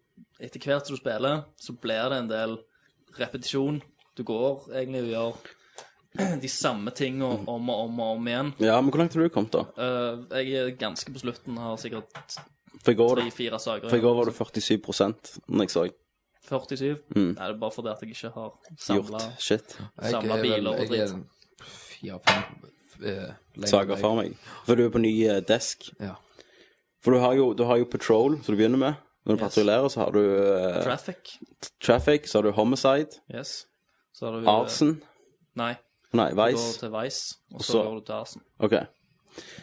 etter hvert som du spiller, så blir det en del repetisjon. Du går egentlig og gjør de samme tinga
Mm.
om og om og om igjen.
ja, men hvor langt har du kommet, da?
Eh, jeg er ganske på slutten, har sikkert
For i går,
tre-fire saker.
for i går
altså.
var det 47 når jeg så
47? Nei, det er bare fordi at jeg ikke har
Mm. gjort
samla
shit.
Jeg
Samla
er vel-
biler og
jeg er
dritt.
fire, fem, eh, lenge
saker
vei.
for meg. For du er på ny eh, desk.
Ja.
For du har jo, du har jo patrol, som du begynner med. Når du
Yes.
patruljerer, så har du eh,
Traffic.
traffic, så har du homicide,
Yes. Så har du eh,
artsen
Nei.
Nei,
Du går
vice.
til Vice, og så
så-
går du til Arsen.
OK.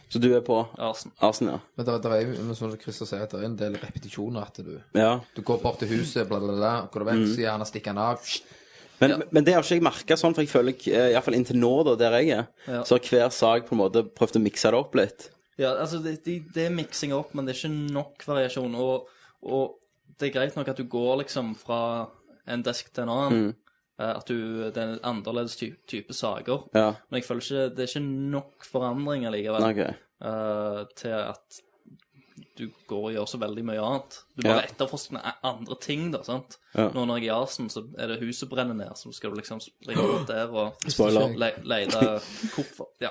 Så du er på
Arsen.
artsen, ja.
Men det, er jo, men som Christer sier, det er en del repetisjoner at du
ja.
Du går bort til huset, bla, bla, bla, går du vekk,
Mhm.
så gjerne stikker han av.
Men, men det har ikke jeg merka sånn, for jeg føler iallfall inntil nå, da, der jeg er,
Ja.
så har hver sak på en måte prøvd å mikse det opp litt.
Ja, altså, det, det, det er miksing opp, men det er ikke nok variasjon. Og, og det er greit nok at du går liksom fra en desk til en
Mm.
annen. eh, At du, det er en annerledes type, type saker.
Ja.
Men jeg føler ikke, det er ikke nok forandring allikevel
OK.
eh, til at du går og gjør så veldig mye annet. Du bare
Ja.
etterforsker a- andre ting, da. sant?
Ja.
Nå når jeg er i Arsen, så er det huset brenner ned, så skal du liksom springe rundt der og
Spoiler.
le lete hvorfor Ja.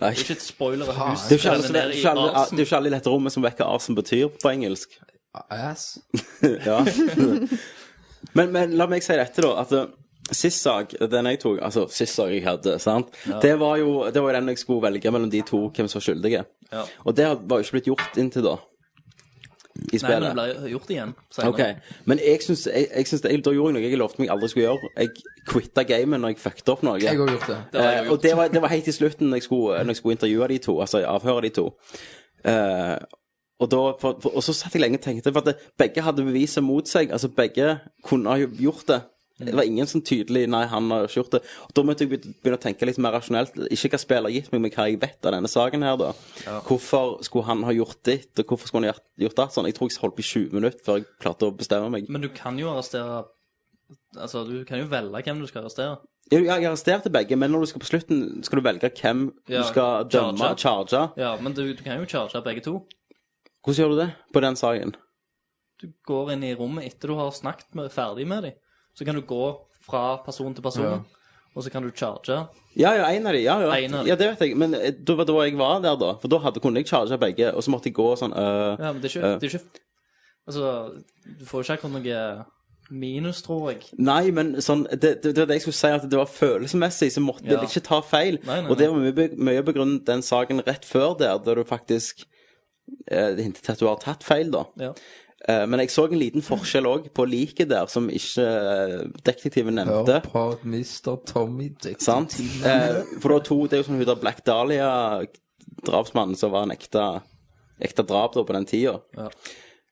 Nei.
Det er ikke et spoiler at huset
Det er jo ikke alle
brenner
som- det er
ned
jo
i
ikke alle- det
Arsen.
er jo ikke alle i dette rommet som vet hva arsen betyr på engelsk.
ah, Ass.
Ja. men, men la meg si dette, da. At eh, sist sak, den jeg tok Altså, sist sak jeg hadde, sant. Det, var jo, det var jo den jeg skulle velge mellom de to, hvem som var skyldige.
Ja.
Og det var jo ikke blitt gjort inntil da. I
Nei, men det
spillet.
ble jo gjort igjen
Ok,
senere.
Men jeg syns jeg, jeg syns det, jeg, da gjorde jeg noe jeg lovte meg aldri skulle gjøre. Jeg quitta gamet når jeg fucket opp noe.
Jeg har gjort det.
Det har
Eh,
jeg gjort.
og det var, det var helt til slutten når jeg skulle, når jeg skulle intervjue de to, altså avhøre de to. Eh, og, da, for, for, og så satt jeg lenge og tenkte, for at det, begge hadde beviset mot seg. Altså begge kunne ha gjort det.
Mm.
Det var ingen som tydelig Nei, han har ikke gjort det. Og Da måtte jeg begynne begynne å tenke litt mer rasjonelt. Ikke hva spillet har gitt meg, men hva jeg vet av denne saken her, da. Hvorfor skulle han ha gjort ditt, og hvorfor skulle han ha gjort, gjort det? Sånn, jeg tror jeg holdt på i 20 minutter før jeg klarte å bestemme meg.
Men du kan jo arrestere Altså, du kan jo velge hvem du skal arrestere.
Jeg, jeg arresterte begge, men når du skal på slutten, skal du velge hvem
Ja,
du skal dømme,
charge.
charge.
Ja, men du, du kan jo charge begge to.
Hvordan gjør du det på den saken?
Du går inn i rommet etter du har snakket med, ferdig med dem. Så kan du gå fra person til person, og så kan du charge.
Ja, ja, en av de. Ja, ja.
En av de.
ja det vet jeg. Men eh, det var da jeg var der, da. For da hadde, kunne jeg charge begge, og så måtte jeg gå sånn øh,
Ja, men det er ikke, det er ikke Altså, du får jo ikke akkurat noe minus, tror jeg.
Nei, men sånn det, det, det var det jeg skulle si, at det var følelsesmessig, så måtte
Ja.
jeg ikke ta feil.
Nei, nei,
og det var mye, be- mye begrunnet den saken rett før der, der du faktisk eh, Det hintet til at du har tatt feil, da.
Ja.
Eh, men jeg så en liten forskjell òg på liket der, som ikke eh, detektiven nevnte.
Hør på Mr. Tommy Dick.
Sant? Eh, for det, var to, det er jo sånn hun der Black Dahlia-drapsmannen som var en ekte, ekte drap da på den tida.
Ja.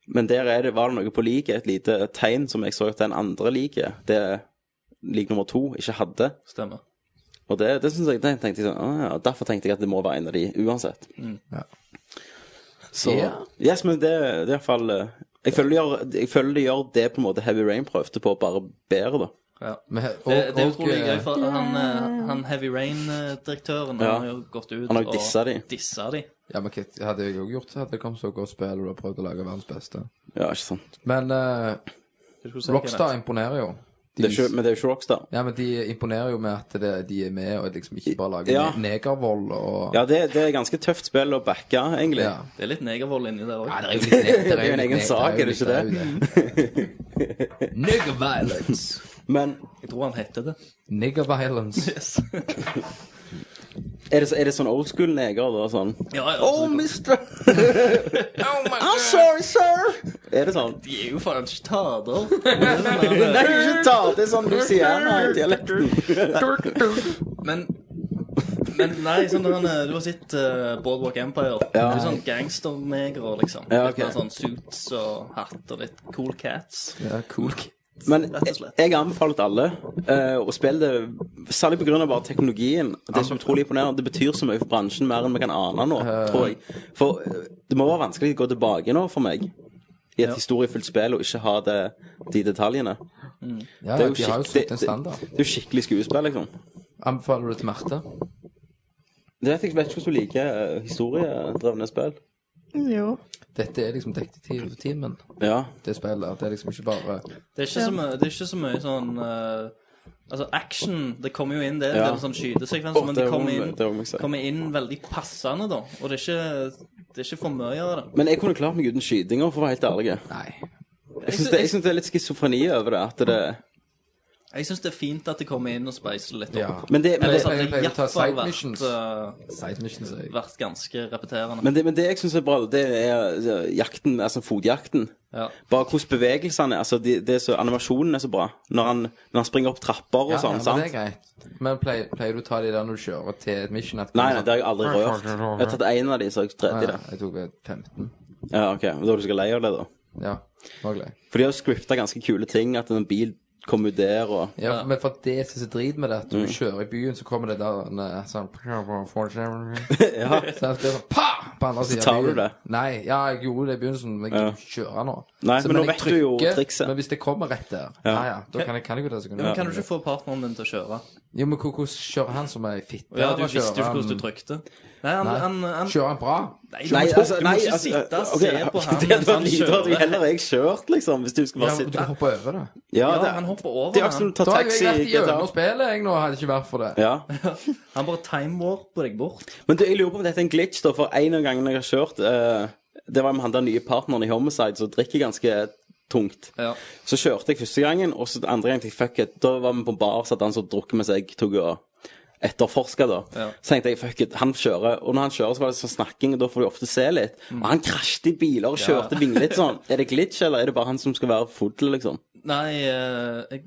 Men der er det, var det noe på liket, et lite tegn som jeg så at den andre liket, det lik nummer to, ikke hadde.
Stemmer.
Og det, det synes jeg, det tenkte jeg sånn, «Å ja, derfor tenkte jeg at det må være en av de, uansett.
Ja.
Så,
Ja.
yes, men det, det er i hvert fall, eh, jeg føler, de gjør, jeg føler de gjør det på en måte Heavy Rain prøvde på, bare bedre da.
Ja.
Men, og,
Det, det er
og,
utrolig gøy,
eh,
for han, eh, han Heavy Rain-direktøren
Ja.
har jo gått ut
Han har jo dissa de.
og dissa de.
Ja, men Kit, hadde jeg jo gjort det, hadde det kommet så godt spill, og du har prøvd å lage verdens beste.
Ja, ikke sant.
Men eh, Rockstar imponerer jo. De,
Det er ikke, men det er jo ikke Rockstar.
Ja, men de imponerer jo med at det, de er med, og liksom ikke bare lager
Ja.
ne- negervold og
Ja, det, det er ganske tøft spill å backe, egentlig.
Ja.
Det er litt negervold inni der òg.
det er jo litt neg-
Det er jo en egen
neg-
sak, er det ikke det?
Nigger violence.
Men
Jeg tror han heter det.
Nigger violence.
er det, er det sånn old school neger, da? Sånn
Ja, ja,
Oh,
altså,
mister! I'm sorry, sir! Er det sånn?
de er jo faen ikke tater.
Nei, ikke ta det sånn Louisiana-dialekten.
Men Men nei, sånn når han, eh, du har sett eh, Boardwalk Empire. Det er jo sånn gangsternegere, liksom.
Ja, ok.
Litt mer sånn suits og hatt og litt cool cats.
Ja, cool.
Men
Rett og slett.
jeg anbefaler alle eh, å spille det, særlig pga. bare teknologien. Det er så utrolig imponerende. Det betyr så mye for bransjen, mer enn vi kan ane nå, tror jeg. For eh, det må være vanskelig å gå tilbake nå for meg. I et historiefullt spill og ikke ha det, de detaljene.
Ja,
Det er jo
de har jo
skikkelig-
satt en standard.
Det er jo skikkelig skuespill, liksom.
Anbefaler du det til Marte?
Det vet jeg, jeg vet ikke hvordan du liker eh, historiedrevne spill.
Jo.
Dette er liksom detektivtimen,
Ja.
det spillet. Det er liksom ikke bare
Det er ikke, så, mye, det er ikke så mye sånn eh, Altså, action Det kommer jo inn der.
Ja.
Det er en sånn skytesekvens,
Å,
men
det
det
må-
kommer inn,
det må jeg si.
kommer inn veldig passende, da. Og det er ikke, det er ikke for mye av det.
Men jeg kunne klart meg uten skytinger, for å være helt ærlig.
Nei.
Jeg syns det, jeg synes det er litt schizofreni over det. At det
Jeg syns det er fint at de kommer inn og speiser litt
Ja.
opp.
Men det, men
Ellers
det,
pleier-
hadde det
pleier å ta
iallfall
side missions.
vært, eh,
Side mission, sier jeg.
vært ganske repeterende.
men det, men det jeg syns er bra, det er eh, jakten, altså fotjakten.
ja.
Bare hvordan bevegelsene altså de, det er så, Animasjonen er så bra. Når han, når han springer opp trapper og
Ja,
sånn.
ja, men det er
sant?
greit. Men pleier, pleier du å ta de der når du kjører til et mission? At
Nei, nei, det har jeg aldri rørt. Jeg har tatt én av de, så har jeg
Nei,
tredje i det.
nei, jeg tok vel 15.
Ja, ok, men Da er du sikkert lei av det, da.
Ja, var glad.
For de har jo scripta ganske kule ting. At en bil kommer ut der og
Ja, men for det jeg synes er drit med det, at
Mm.
du kjører i byen, så kommer det der en, eh, sånn
Ja,
Så at det er sånn, pa! På andre siden
tar
av
du
byen.
det?
Nei, ja, jeg gjorde det i begynnelsen, men jeg kjører nå.
Nei, men nå
jeg
vet du jo
trykker,
trikset.
Men hvis det kommer rett der, ja, ja, da kan jeg, kan jeg jo det. så kan
Men
jeg-
kan du ikke få partneren din til å kjøre?
Jo, men hvor- hvordan kjører han som er fitt?
Ja, Du visste jo ikke
um,
hvordan du trykte. Nei, han, han, han,
Kjører han bra?
nei, du,
Nei,
må-
altså,
du
nei,
må ikke
altså,
sitte og
ok,
se på han
Det
mens
hadde
han
vært lite at jeg
kjører.
heller jeg kjørt, liksom, hvis du skulle
Ja,
bare
men du
sitte
kan hoppe over det.
Ja,
Ja,
det,
han hopper
det er
over
akkurat som
han.
å ta
Da har jeg
taxi
vært
i
gjennom
GTA.
spillet, jeg nå, hadde det ikke vært for det.
Ja.
Han bare time-warper deg bort.
Men du, jeg lurer på om dette er en glitch, da, for en av gangene jeg har kjørt eh, Det var med han der nye partneren i Homicide som drikker ganske tungt.
Ja.
Så kjørte jeg første gangen, og så andre gangen tenkte jeg fuck it. Da var vi på en bar, så at han som drukket mens jeg tok og etterforska, da.
Ja.
Så tenkte jeg fuck it, han kjører. Og når han kjører, så var det sånn snakking, og da får du ofte se litt.
Mm.
Og han krasjet i biler og kjørte vinglete sånn. Er det glitch, eller er det bare han som skal være full, liksom?
Nei, eh, jeg,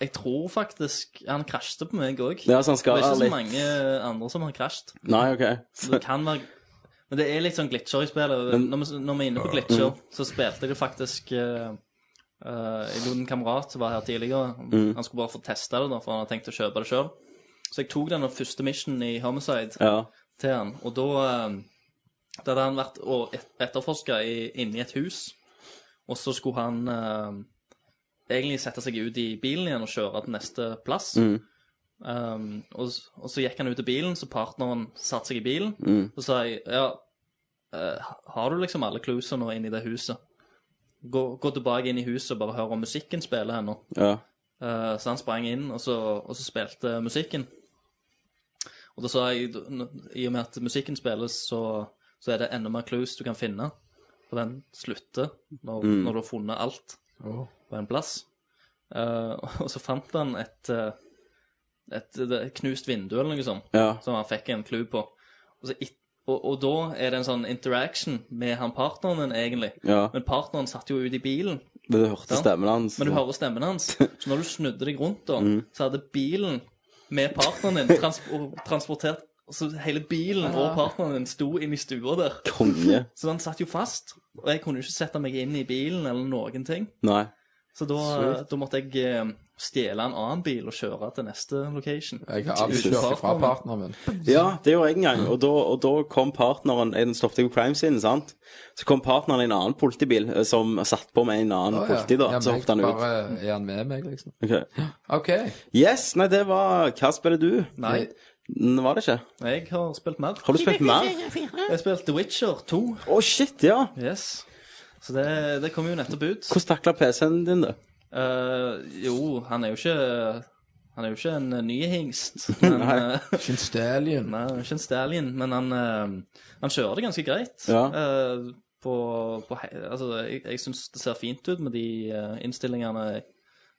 jeg tror faktisk Han krasjte på meg òg.
Ja, så han
det
skal
er ikke så
litt
mange eh, andre som har krasjet.
Nei, OK.
Så Det kan være Men det er litt sånn glitcher i spillet. Når vi, når vi er inne på glitcher,
Mm.
så spilte jeg det faktisk uh, Jeg lot en kamerat som var her tidligere,
Mm.
han skulle bare få testa det, da, for han hadde tenkt å kjøpe det sjøl. Så jeg tok den første missionen i Homicide
Ja.
til han, og da eh, Da hadde han vært og et- etterforska i- inni et hus, og så skulle han eh, egentlig sette seg ut i bilen igjen og kjøre til neste plass.
Mm.
Um, og, s- og så gikk han ut av bilen, så partneren satte seg i bilen.
mm,
Og sa jeg, ja, eh, har du liksom alle clousa nå inne i det huset? Gå, gå tilbake inn i huset og bare hør om musikken spiller ennå.
ja.
Eh, så han sprang inn, og så, og så spilte musikken. Og da sa jeg, n- i og med at musikken spilles, så, så er det enda mer clues du kan finne. For den slutter når, når du har funnet alt på en plass. Eh, og så fant han et, eh, et, et knust vindu eller noe sånt,
Ja.
som han fikk en clue på. Og, så, et- og, og da er det en sånn interaction med han partneren din, egentlig.
Ja.
Men partneren satt jo ute i bilen.
Men du hørte
Ja.
stemmen hans.
Men du hører stemmen hans. Så når du snudde deg rundt, da, så hadde bilen med partneren din trans og transportert så Hele bilen og partneren din sto inne i stua der.
Konge.
Så han satt jo fast. Og jeg kunne jo ikke sette meg inn i bilen eller noen ting.
Nei.
Så da, da måtte jeg eh, stjele en annen bil og kjøre til neste location.
Jeg har aldri
Jesus.
kjørt fra partneren min.
Ja, det gjorde jeg en gang. Og da, og da kom partneren Jeg stoppet jo crime scene, sant? Så kom partneren i en annen politibil eh, som satt på med en annen
Å, ja.
politi, da.
Ja,
så
men
hoppet han
jeg
ut.
Bare er han med meg, liksom.
Ok.
OK.
Yes, nei, det var Hva spiller du?
Nei,
N- Var det ikke?
jeg har spilt mer.
Har du spilt mer?
Jeg har spilt The Witcher 2.
Å, shit, ja.
Yes. Så det, det kom jo nettopp ut.
Hvordan takla PC-en din det?
Eh, jo, han er jo ikke Han er jo ikke en eh, ny hingst. Men, eh,
Shin Stallion.
nei, han er ikke en stallion, men han, eh, han kjører det ganske greit.
Ja.
Eh, på, på, he- altså, jeg jeg syns det ser fint ut med de eh, innstillingene jeg,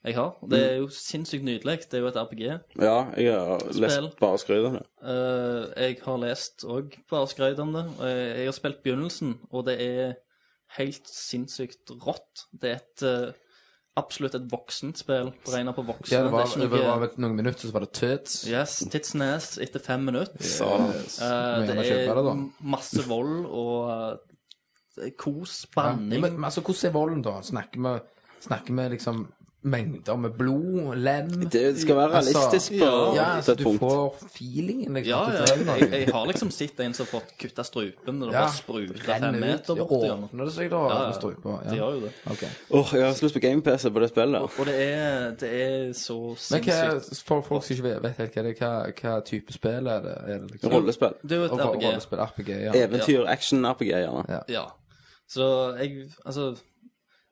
jeg har. Det
Mm.
er jo sinnssykt nydelig. Det er jo et RPG.
Ja, jeg har
Spill.
lest bare skryt av det.
Eh, jeg har lest òg bare skrøyt om det. og Jeg, jeg har spilt begynnelsen, og det er helt sinnssykt rått. Det er et eh, absolutt et voksent spill, beregna på voksne.
Ja, det var,
er
det
ikke noe-
var vel noen minutter, så var det tøts.
Yes, tits and ass etter fem minutter.
Yes.
Eh,
Må
det
gjerne
er
kjøpe det, da.
masse vold og eh, kos,
Ja,
banning
men, men altså, hvordan er volden, da? Snakker vi, snakker vi liksom mengder med blod, lem
Det skal være
Altså,
realistisk på
Ja, altså,
et
du
punkt.
får feelingen, liksom.
Ja,
at du
ja.
trenger noe.
Jeg, jeg har liksom sett en som har fått kutta strupen, og det bare spruta fem
renner ut.
meter
Det
borti den.
Åpner det seg, da?
Ja, ja.
med strupa.
Det
Ja.
gjør jo det.
Ok.
Åh, jeg har så lyst på game-PC på det spillet.
Og det er, det er så
Men hva,
sinnssykt.
for folk som ikke vet, vet helt hva det er, hva, hva type spill er det? Er det liksom?
Rollespill.
Det er jo et
Og- og
RPG.
Rollespill, RPG, ja.
Eventyr, action-RPG, gjerne.
Ja.
Ja. Så jeg Altså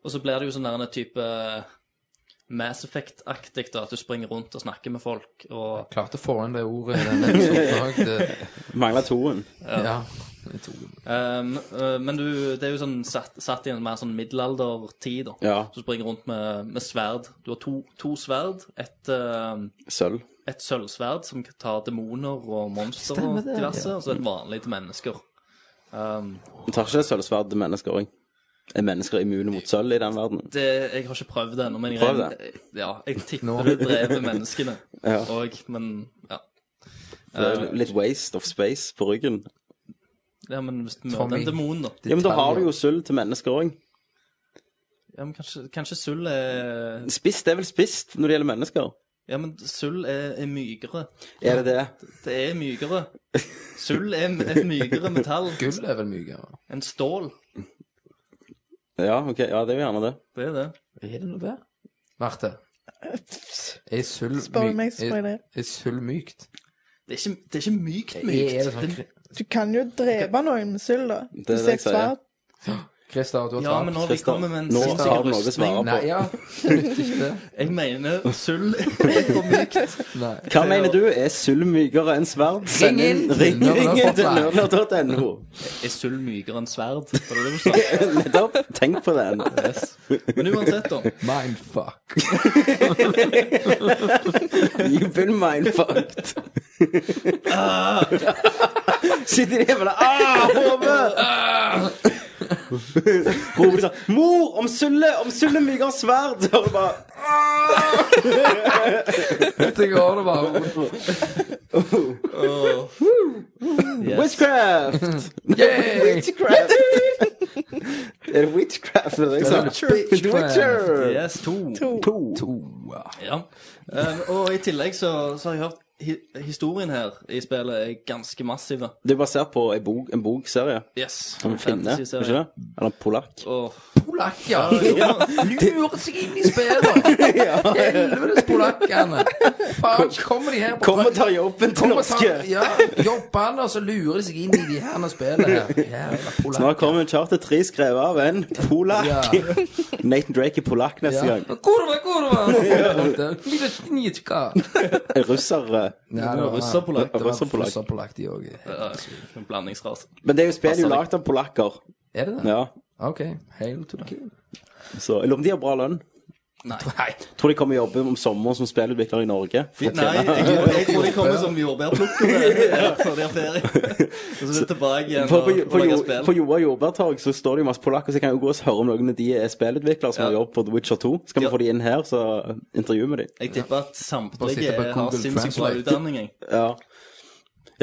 Og så blir det jo sånn der en type Mass Effect-aktig, da. At du springer rundt og snakker med folk og
Klarte å få inn det ordet i den episoden. Det-
Mangler toen.
Ja.
Um, uh, men du, det er jo sånn satt, satt i en mer sånn middelaldertid, da.
Ja.
Så du springer rundt med, med sverd. Du har to, to sverd. Et, um,
Sølv.
et sølvsverd som tar demoner og monstre og
Stemmer det,
diverse, og så et vanlig til mennesker. Um,
Du tar ikke sølvsverd til mennesker òg? Er mennesker immune mot sølv i den verdenen?
det, jeg har ikke prøvd det ennå, men jeg,
Prøv
regner- ja, jeg tipper det dreper menneskene òg, men ja. Eh,
Det er jo litt waste of space på ryggen.
ja. Men hvis du møter
Tommy.
en demon, da
Ja, Men da har du jo sølv til mennesker òg.
ja, men kanskje, kanskje sull er
Spist er vel spist når det gjelder mennesker?
Ja, men sull er, er mykere.
Er det det?
Det er mykere. Sull er m- et mykere metall
Gull er vel mykere?
enn stål.
Ja, ok, ja, det er jo gjerne det.
Det er det.
Er det noe der? Marte, er sølv
Spør
myk-
meg, så spør jeg det.
er- Er sølv mykt?
Det er ikke, det er ikke mykt
Er det
mykt.
sånn
Du kan jo drepe noen med sølv, da.
er det
Hvis det er
jeg
et
sier.
sverd.
Christer, du har
Ja, men
tapt.
når vi kommer med en
Nå
sinnssyk
har du noe å
rustning-
svare
Nei,
på.
ja, det nytter ikke det.
Jeg mener sølv er for mykt.
Nei.
Hva mener du? Er sølv mykere enn sverd? Send inn ring
Ring inn!
ringen til nørner.no.
Er sølv mykere enn sverd? Var det det du sa?
Nettopp. Tenk på den.
Yes. Men uansett, da.
Mindfuck.
You've been mindfucked. Sitter de hjemme der ah, Hodet! Roper sånn 'Mor, om Sulle! Om Sulle myker sverd!' Og du bare
Det går det bare rundt.
Yes.
Witchcraft!
Yay!
Witchcraft! er det witchcraft? Det er det jeg sa.
Witchcraft.
The Witcher!
yes, to.
To.
Ja. Um, og i tillegg så, så har jeg hørt hi historien her i spillet er ganske massive.
Det er basert på en, bok, en bokserie.
Yes.
Som en finne, er
Fantasy-serie.
ikke det? Eller en polakk.
Åh,
Polakker. Lurer seg inn i spillet. Helvetes polakkene. Faen, kommer de her på
Kom og ta jobben til
Kom og ta-
norske!
Ja, jobbene, og så lurer de seg inn i de her spillene her. Jævla polakker.
Snart kommer en charter 3 skrevet av en polakk.
Ja.
Nathan Drake er polakk neste gang.
Kurva, kurva! Miroshnichka.
Russere.
Ja,
det var russerpolakk.
Det var
Russerpolakk.
russerpolakk, de òg.
ja, en blandingsras.
Men det er jo spill
Passer
jo
deg.
lagd av polakker.
Er det det?
Ja.
OK. Hail to the king.
Så jeg lurer om de har bra lønn.
Nei.
Tror de kommer jobbe om sommeren som spillutvikler i Norge. For å
Nei,
tjene.
jeg, tror- jeg tror de kommer som jordbærplukkere før de har ferie. Og så er de tilbake igjen
På, på,
og
på,
og lager
Jo- på
spill.
Joa Jordbærtorg så står det jo masse polakker, så jeg kan jo gå og høre om noen av de er spillutviklere som
Ja.
har jobb på The Witcher 2. Så kan vi
Ja.
få de inn her, så intervjuer vi de.
Jeg tipper at
Bare
samtlige
sitte på
har
Google
sinnssykt bra
Translate.
utdanning. jeg.
Ja.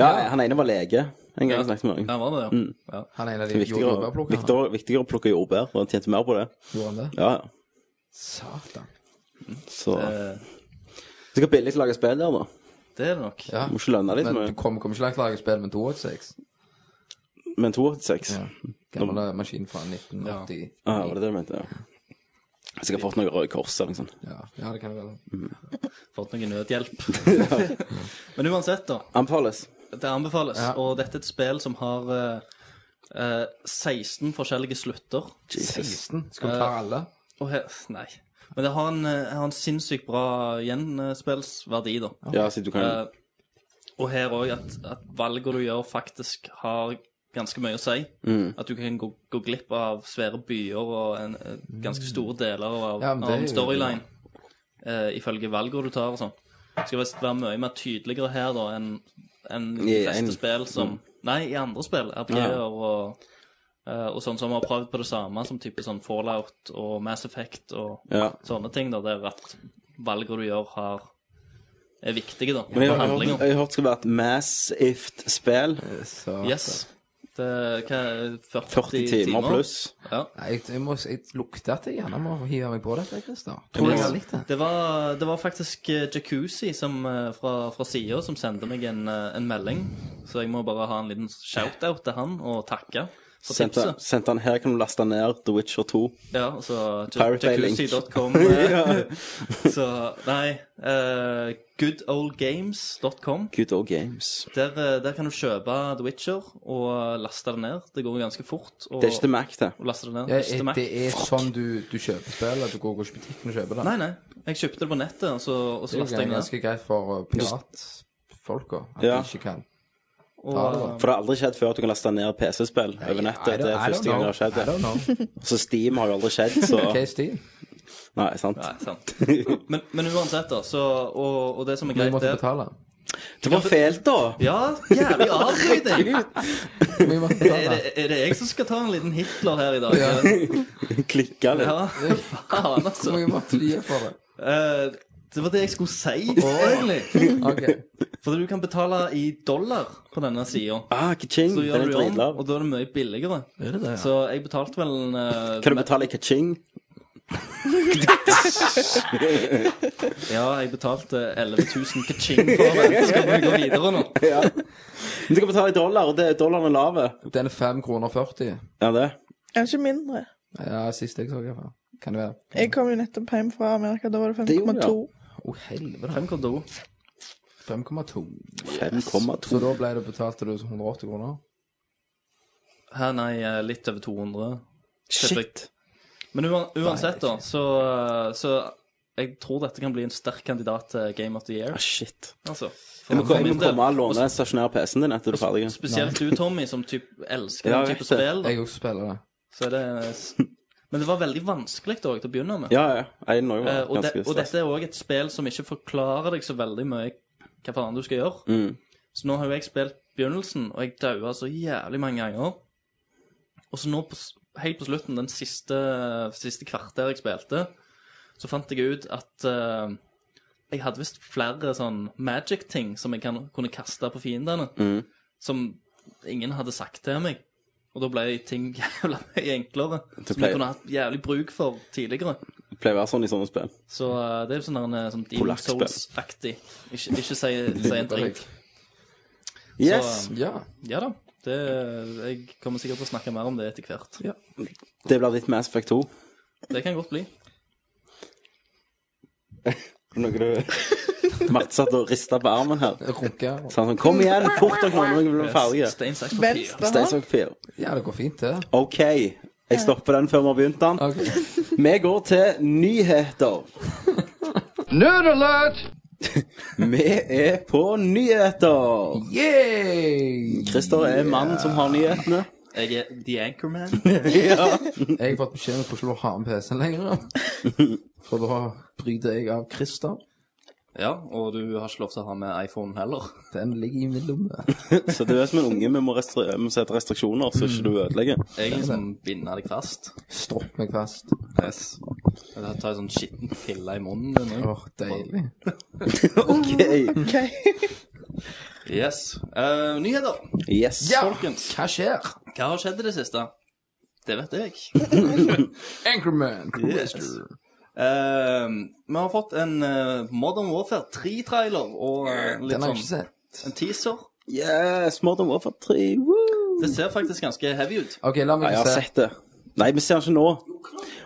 ja, han ene var lege en gang jeg snakket med
Ja,
noen.
var det det?
Mm.
Ja.
Han er en av de
Viktigere,
jordbærplukkerne.
viktigere, viktigere å plukke jordbær, for han tjente mer på det.
Gjorde han det?
Ja, ja.
Satan.
Så
Eh,
Så skal billig lage spill der, da.
Det er det nok.
Ja.
Må ikke lønne litt
Men du
med,
kom, kom ikke langt lage spill med 286?
med 286.
Ja.
Ja.
Gamle maskin fra 1980.
Ah, var det det du mente? Ja. Sikkert fått noe Røde Kors eller noe sånt.
Ja, ja det kan det være.
Fått noe nødhjelp. Men uansett, da.
Anbefales.
Det anbefales.
Ja.
Og dette er et spill som har eh, eh, 16 forskjellige slutter.
16? Skal vi klare alle?
Og he nei. Men det har en, eh, har en sinnssykt bra gjenspillsverdi, da.
Ja, så du kan
Eh, og her òg at, at valgene du gjør, faktisk har ganske mye å si.
Mm.
At du kan gå, gå glipp av svære byer og en, eh, ganske store deler av,
Ja, men det
av en
er jo-
storyline eh, ifølge valgene du tar og sånn. Det skal visst være mye mer tydeligere her da enn enn de
I en- Mm.
fleste spill som Nei, i andre spill. RPG-er og, eh, og sånn som har prøvd på det samme, som type sånn Fallout og Mass Effect og
Ja.
sånne ting, da, der at valgene du gjør, har er viktige, da.
Men jeg,
for
har hørt-
handlingen.
jeg har hørt det skal være et massivt-spill.
Så,
Yes. Det er hva, er det, 40,
40 timer pluss.
Ja.
Nei, jeg, jeg, må, jeg lukter at jeg gjerne må hive meg på dette, Christer.
Det,
Tror du jeg har likt det?
det, var, det var faktisk eh, Jacuzzi som, eh, fra, fra sida som sendte meg en, eh, en melding, så jeg må bare ha en liten shout-out til han og takke for
Sendte
tipset.
sendte han her, kan du laste ned The Witcher 2.
Ja, altså
Pirate Bay Link.
jacuzzi.com.
Ja.
eh, Så nei, eh, goodoldgames.com.
Good old games.
Der, eh, der kan du kjøpe The Witcher og laste det ned. Det går ganske fort. Og,
Det er ikke til Mac, det.
å laste det ned.
Ja,
Det er ikke til Mac.
det er sånn du, du kjøper spill, at du går, går ikke i butikken og kjøper det?
Nei, nei. Jeg kjøpte det på nettet, og så, og
det
så
er jo
lastet jeg ned.
ganske greit for uh, piratfolka at
Ja.
de ikke kan
Og,
Ja, det var-
For det har aldri skjedd før at du kan laste ned PC-spill over nettet. Det er første gang det har skjedd.
I don't know.
Så Steam har jo aldri skjedd, så
Hva er Steam?
Nei, sant.
Nei, sant. Men, men uansett, da, så og, og det som er
Vi
greit,
måtte
er
betale.
Det var fælt, da!
Ja, jævlig avbryting!
Vi måtte
Er
betale.
det, er det jeg som skal ta en liten Hitler her i dag?
Ja.
Klikka litt.
Ja, faen, altså.
Hvor mye måtte du gi for det?
Eh, det var det jeg skulle si, egentlig.
Ok.
For du kan betale i dollar på denne sida.
Ah, ka-ching!
Så
Den
gjør
er
du om,
dritlav.
og da er det mye billigere.
Er det det?
Så jeg betalte vel en eh,
Kan du betale i ka-ching?
Ja, jeg betalte 11 000 kaching for det. Så skal vi gå videre nå.
Ja. Men du kan betale i dollar, og det, dollaren er lave.
Den er 5 kroner 40.
Ja, det.
Er ikke mindre.
Ja, sist jeg så, i hvert fall. Kan det være?
Jeg kom jo nettopp hjem fra Amerika. Da var det
Det gjorde
5,2.
Å, helvete.
5 kodo.
5,2.
5,2.
Så da ble det betalte du 180 kroner?
Her, nei, eh, litt over 200. Kjøper
Shit.
jeg. Men uan- uansett, da, så, så jeg tror dette kan bli en sterk kandidat til Game of the Year.
Ah, shit.
Altså. For,
Jeg må
for
komme
min del.
og låne den stasjonære PC-en din etter du er ferdig.
Spesielt du, Tommy, som typ elsker
Ja,
den
jeg
type
vet det.
spill. da.
Jeg også spiller det.
Så er det Men det var veldig vanskelig da, til å begynne med.
Ja, ja. Jeg er nå jo
Eh, og,
ganske
det- og
stress.
dette er òg et spill som ikke forklarer deg så veldig mye hva faen du skal gjøre.
Mm.
Så nå har jo jeg spilt begynnelsen, og jeg daua så jævlig mange ganger. Og så nå, på, s- helt på slutten, den siste, siste kvarter jeg spilte, så fant jeg ut at eh, jeg hadde visst flere sånn magic-ting som jeg kan, kunne kaste på fiendene,
mm.
som ingen hadde sagt til meg. Og da ble ting jævla mye enklere,
Det
som jeg
ble-
kunne hatt jævlig bruk for tidligere.
Det pleier å være sånn i sånne spill.
Så eh, det er jo sånn der, eh, sånn Demon
Polakkspill.
Souls-aktig. Ikke, ikke si, si en dritt.
Yes!
Så, eh,
Ja.
ja da. Det, jeg kommer sikkert til å snakke mer om det etter hvert.
Det blir ditt Mass Effect 2.
Det kan godt bli.
Noe du Mats satt og rista på armen her.
Runke.
Så han sånn Kom igjen, fort dere nå, nå blir vi ferdige.
Stein, saks, papir.
Venstre
Stein,
hånd.
saks, papir.
Ja, det går fint, det.
OK. Jeg stopper den før vi har begynt den.
Ok.
Vi går til nyheter.
Nerd alert!
Vi er på nyheter.
Yay!
Christer er mannen som har nyhetene.
Jeg er The Anchorman.
ja.
Jeg har fått beskjed om at jeg får ikke lov å ha med PC-en lenger. For da bryter jeg av Christer.
Ja, og du har ikke lov til å ha med iPhone heller.
Den ligger i min lomme.
Så du er som en unge, vi må, restri vi må sette restriksjoner så ikke du ødelegger.
Jeg liksom
sånn.
binder deg fast.
Stropp meg fast.
Yes. Jeg tar en sånn skitten pille i munnen din
Åh,
nå.
deilig.
OK.
OK.
Yes. Eh, nyheter,
Yes.
folkens.
Hva skjer?
Hva har skjedd i det siste? Det vet jeg.
Anchorman!
Yes. Eh, vi har fått en eh, Modern Warfare 3-trailer og eh, litt
Den har jeg ikke
sånn
sett.
en teaser.
Yes, Modern Warfare 3. Woo!
Det ser faktisk ganske heavy ut.
Ok, la
Nei,
meg
jeg har
se.
sett det. Nei, vi ser den ikke nå.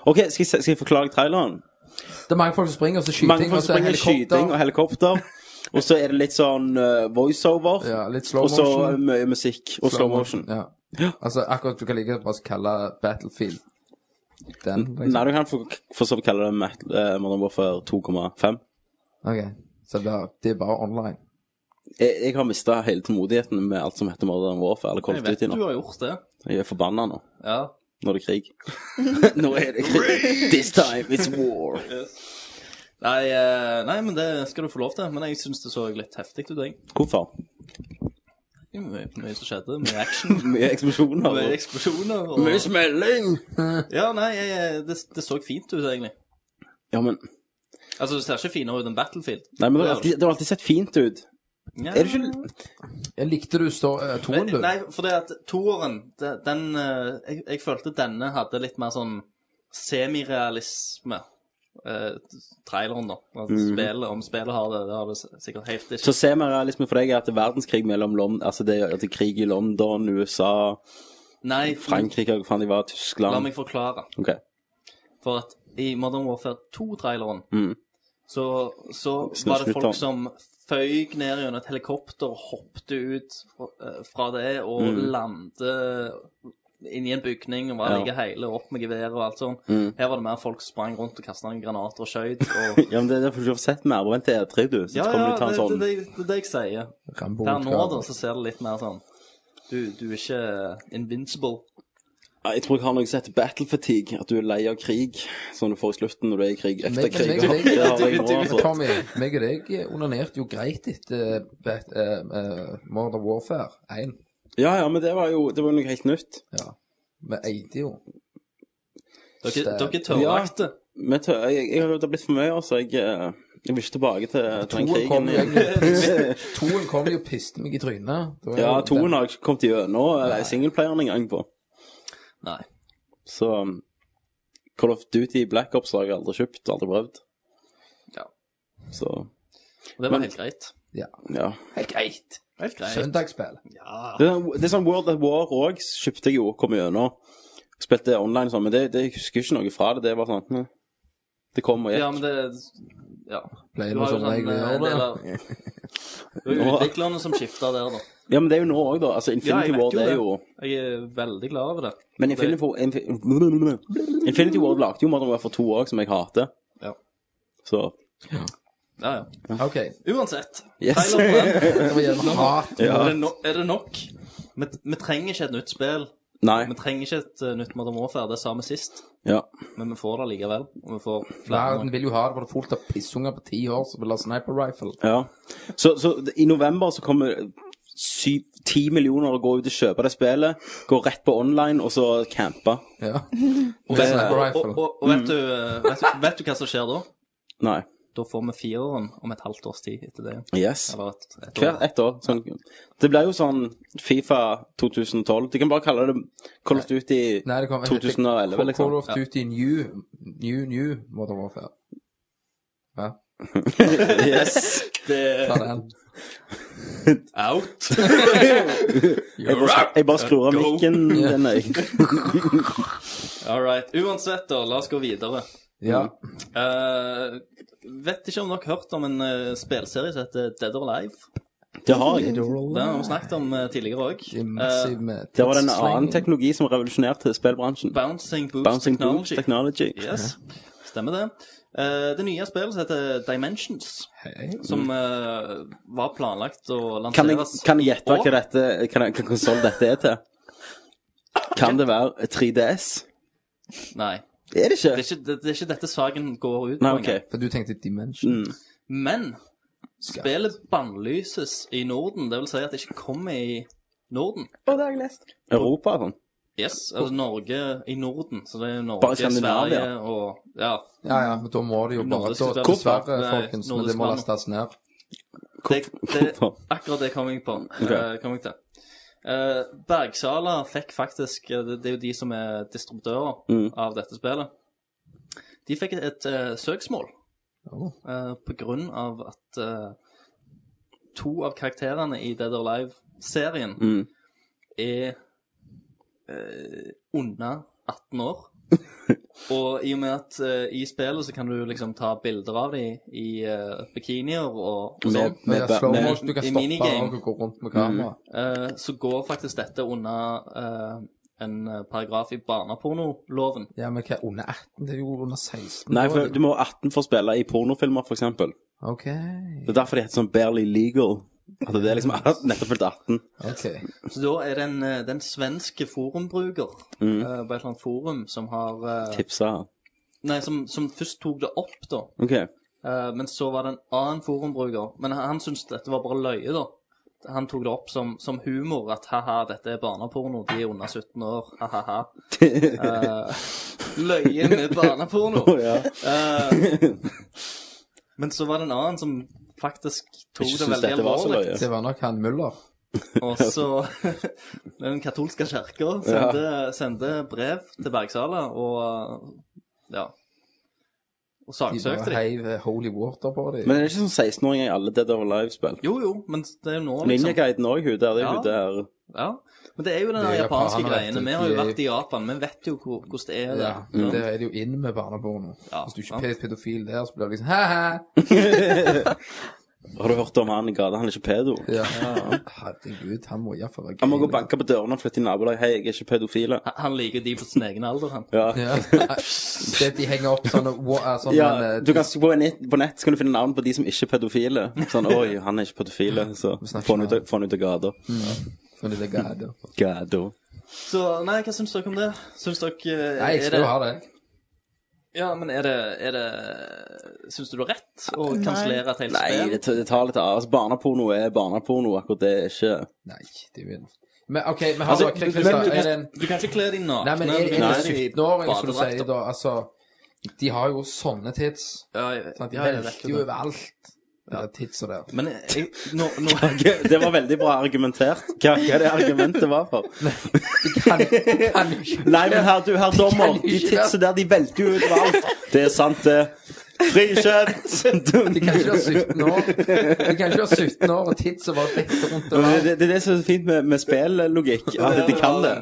OK, skal jeg, se- skal jeg forklare traileren?
Det er mange folk som springer, og så
Mange
skyting, og
folk
så
springer skyting og helikopter.
helikopter.
Og så er det litt sånn eh, voiceover.
Ja, litt slow
og så
motion.
mye musikk. Og slow motion.
Ja. Altså, akkurat du kan like bare kalle Battlefield den.
Nei,
Liksom.
du kan for, for så vidt kalle det Met- eh, Modern Warfare 2,5.
Ok, så det er, det er bare online.
Jeg, jeg har mista hele tålmodigheten med alt som heter Modern Warfare. Eller Call
Jeg
of
vet
Duty
du
nå.
har gjort det.
Jeg er forbanna nå.
Ja.
Nå er det krig. nå er det krig. This time it's war.
Nei, eh, nei, men det skal du få lov til. Men jeg syns det så litt heftig ut, jeg.
Hvorfor?
Det var Mye, mye som skjedde. Mye action.
Mye eksplosjoner.
Mye
og-
eksplosjoner. Og...
smelling.
Ja, nei, jeg, eh, det, det så fint ut, egentlig.
Ja, men
Altså, det ser ikke finere ut enn Battlefield.
Nei, men det har alltid, det har alltid sett fint ut.
Ja.
Er det ikke
Jeg likte du står uh, toen, du.
Nei, for det at toeren, det- den eh, jeg, jeg følte denne hadde litt mer sånn semirealisme. Eh, traileren, da. At spillet, om spillet har det, det har det s- sikkert helt ikke.
Mhm. Så ser vi realisme for deg er at det er verdenskrig mellom London Altså det er, at det er krig i London, USA,
Nei,
Frankrike, hva faen de var,
la
Tyskland
meg forklare.
Ok.
For at i Modern Warfare 2-traileren
Mm.
så, så
Snus
var det
litt, da.
folk som føyk ned gjennom et helikopter, hoppte ut fra- eh, fra det og landet inni en bygning og var
Mm. Ja.
like hele opp med gevær og alt sånt.
mm.
Her var det mer folk som sprang rundt og kastet noen granater og skjøt. Og...
Ja, men det er derfor du ikke får sett mer. Bare vent til E3, du. Så
Ja,
kommer
ja,
du ta en
det,
sånn.
det, det, det er det jeg sier.
Rambo
Per nå
skal-
da, så ser det litt mer sånn Du, du er ikke invincible.
Ja, Jeg tror jeg har noe som heter battle fatigue. At du er lei av krig, som du får i slutten når du er i krig. Ekte
Meg-
krig.
meg- meg-
Det har jeg nå, altså.
Tommy, meg og deg onanerte jo greit etter Bat- eh, eh, Modern Warfare 1.
Ja, ja, men det var jo det var jo noe helt nytt.
Ja. Vi eide jo.
Dere,
Stæ-
dere tørrakte.
Men tø- jeg, jeg, det har blitt for mye, altså. Jeg, eh, jeg vil ikke tilbake til, til den
Toen kom
krigen.
jo egentlig Toen kom jo og piste meg i trynet. Det var jo-
Ja, toen har jeg ikke kommet gjennom eh, singleplayeren engang på.
Nei.
Så um, Call of Duty Black Ops har jeg aldri kjøpt, aldri prøvd.
Ja.
Så
Og det var helt greit.
ja.
Helt greit.
Helt
eh,
greit.
Søndagsspill.
Ja.
Det er, sånn- det er sånn World at War òg kjøpte jeg jo og kom gjennom. Spilte online og sånn, men det, det jeg husker ikke noe fra det. Det var sånn hm. Det kom og gikk.
ja, men det Ja.
Ble
Du
det
har jo
sånn
sånn
regel
eh, en
å
del
gjøre
av
det?
Det er jo utviklerne som skifter der, da.
det er jo nå òg, da. Altså, Infinity
vet
War
jo
det er
det.
jo
Jeg er veldig glad over det.
Men Infinity, War- Infi- Infinity War lagde jo Modern Warfare for to år, som jeg hater.
Ja.
Så
Ja, ja.
OK.
Uansett.
Yes.
Trailer på den.
Det var jævla hat.
Er,
ja.
det no er det nok? Vi, vi trenger ikke et nytt spill.
Nei.
Vi trenger ikke et eh, nytt Modern Warfare. Det sa vi sist,
Ja.
men vi får det likevel. Og vi får flere.
Verden vil jo ha det, for det er fullt av pissunger på ti år som vil ha sniper rifle.
ja. Så, så i november så kommer syv, ti millioner og går ut og kjøper det spillet, går rett på online og så camper.
Ja. Og
Det-
sniper
Og,
rifle. Mm.
og, og vet, du, eh, vet, du- vet du hva som skjer da?
Nei.
Da får vi fireren om et halvt års tid etter det.
Yes.
Eller et, et
Hvert
år.
ett år. Sånn. Det blir jo sånn Fifa 2012. De kan bare kalle det Call of Duty
Nei, det kom
2011,
Call-
liksom.
Call of Duty New, New, New Modern Warfare. Ja,
Yes.
ta
Mm.
den.
Out!
Jeg bare, jeg bare skrur av mikken. Den er
All right. Uansett, da, la oss gå videre.
Ja.
Mm.
Eh, vet ikke om dere har hørt om en uh, spillserie som heter Dead or Alive.
Det har jeg.
Den har vi snakket om eh, tidligere òg.
Det er massiv med
Det var en
tidsslenging.
annen teknologi som revolusjonerte spillbransjen.
Bouncing Boost
Bouncing Boot
Technology.
Technology.
Yes, stemmer det. Eh, det nye spillet som heter Dimensions,
Hei.
Mm.
som eh, var planlagt å
Kan jeg,
lanseres
kan jeg gjette hva
Og-
dette Hva hva konsoll dette er til? Kan det være 3DS?
Nei.
Er det ikke?
Det er, ikke, det, det er ikke dette saken går ut
Nei,
på
OK.
engang.
For du tenkte
Mm.
Dimension.
Men
Skal-
spillet bannlyses i Norden. Det vil si at det ikke kommer i Norden.
Og det har jeg lest.
Europa og sånn.
Yes, altså Norge i Norden. Så det er jo
Bare
Norge,
Skandinavia.
Sverige og Ja.
Ja, ja, men da må det jo bare
Nordisk
da,
verden.
Dessverre,
Nei,
folkens, men det
nordisk
må
verden.
lastes ned.
Det, det,
hvorfor?
akkurat det kom jeg på. eh, kom jeg til. Eh, Bergsala fikk faktisk eh, Det det er jo de som er distributører
Mm.
av dette spillet. De fikk et, et eh, søksmål
Oh.
eh, på grunn av at eh, to av karakterene i Dead or Alive-serien
Mm.
er eh, under 18 år. og i og med at eh, i spillet så kan du liksom ta bilder av dem i eh, bikinier og, og sånn.
Med,
Men
med,
ja, slow
med, Mm.
motion, du kan
i
stoppe
minigame.
og gå rundt med kamera.
Eh, så går faktisk dette under eh, en eh, paragraf i barnepornoloven.
Ja, men hva, under 18? Det er jo under 16.
Nei,
da,
for
det-
du må være 18 for å spille i pornofilmer, for eksempel.
OK.
Det er derfor det heter sånn barely legal. At det er liksom nettopp fylt 18.
ok.
Så da er det en, eh, det er en svenske forumbruker eh, på et eller annet forum som har eh,
Tipsa.
Nei, som, som først tok det opp, da.
OK.
Eh, men så var det en annen forumbruker. Men han, han syntes dette var bare løye, da. Han tok det opp som, som humor at ha-ha, dette er barneporno, de er under 17 år, ha-ha-ha. Eh, løye med barneporno.
ja.
Eh, men så var det en annen som faktisk tok
Ikke
det
syns
veldig
dette var så
alvorlig.
løye.
Det var nok han Muller.
Og så Den katolske kirka sendte, sendte brev til Bergsala og ja. Og
De
saksøkte
bare
dem.
heiv eh, holy water på dem.
Men det er ikke sånn 16-åringer i alle Dead or Alive-spill.
Jo, jo, men det er jo nå, liksom.
Linjeguiden òg, hun der. Det er
Ja.
hun der
Ja. Men det er jo den
Det
der
er
japanske
japanere, vet
greiene.
du.
Vi har jo
De er-
vært i Japan, vi vet jo hvor- hvordan det er
Ja,
der.
men Der er det jo inn med barneporno.
Ja,
Hvis du ikke
sant.
er pedofil der, så blir det liksom hæ-hæ.
Har du hørt om han i gata? Han er ikke pedo.
Ja. Herregud, han må iallfall være
Han må gå og banke på dørene og flytte i nabolaget. Hei, jeg er ikke pedofile.
Han- Han liker de på sin egen alder, han.
Ja.
liksom. Ja. Det at de henger opp sånne, wa- eh, sånne
Ja,
eh,
du kan, på, nett, på nett så kan du finne navn på de som ikke er pedofile. Sånn, oi, han er ikke pedofile, så
snakker
få han
med
ut, av- få han ut av gata.
sånne lille guider.
Gata.
Så nei, hva syns dere om det? Syns dere eh,
Nei, jeg
er
skal jo
det,
ha det.
Ja, men er det, er det Syns du du har rett å kansellere et helt
Nei,
spill?
det, det tar litt av. Altså, barneporno er barneporno. Akkurat det er ikke
Nei, det er jo en Men OK, men har
Altså,
dere
du,
Christer,
men-
er det en
du kan ikke kle deg nakne.
Nei, men er,
du
er
kan
det
ikke kle deg i
17-åringer som du
badedrakter.
sier da? Altså, de har jo sånne tits.
Ja, jeg vet-
Sant? Sånn De
ja, jeg vet
velter jo
jo det.
overalt. Ja, tits og der.
Men jeg, nå, nå
Det var veldig bra argumentert. Hva, hva det argumentet var for?
Kan, kan jo ikke
Nei, men herr du, herr dommer, de titsene der, de velter jo ut alt. Det er sant, det. Frikjent!
De kan ikke være 17 år De kan ikke være 17 år og tits og bare fette rundt
Men
overalt.
Det, det er det som er så fint med, med spillogikk, at de kan det.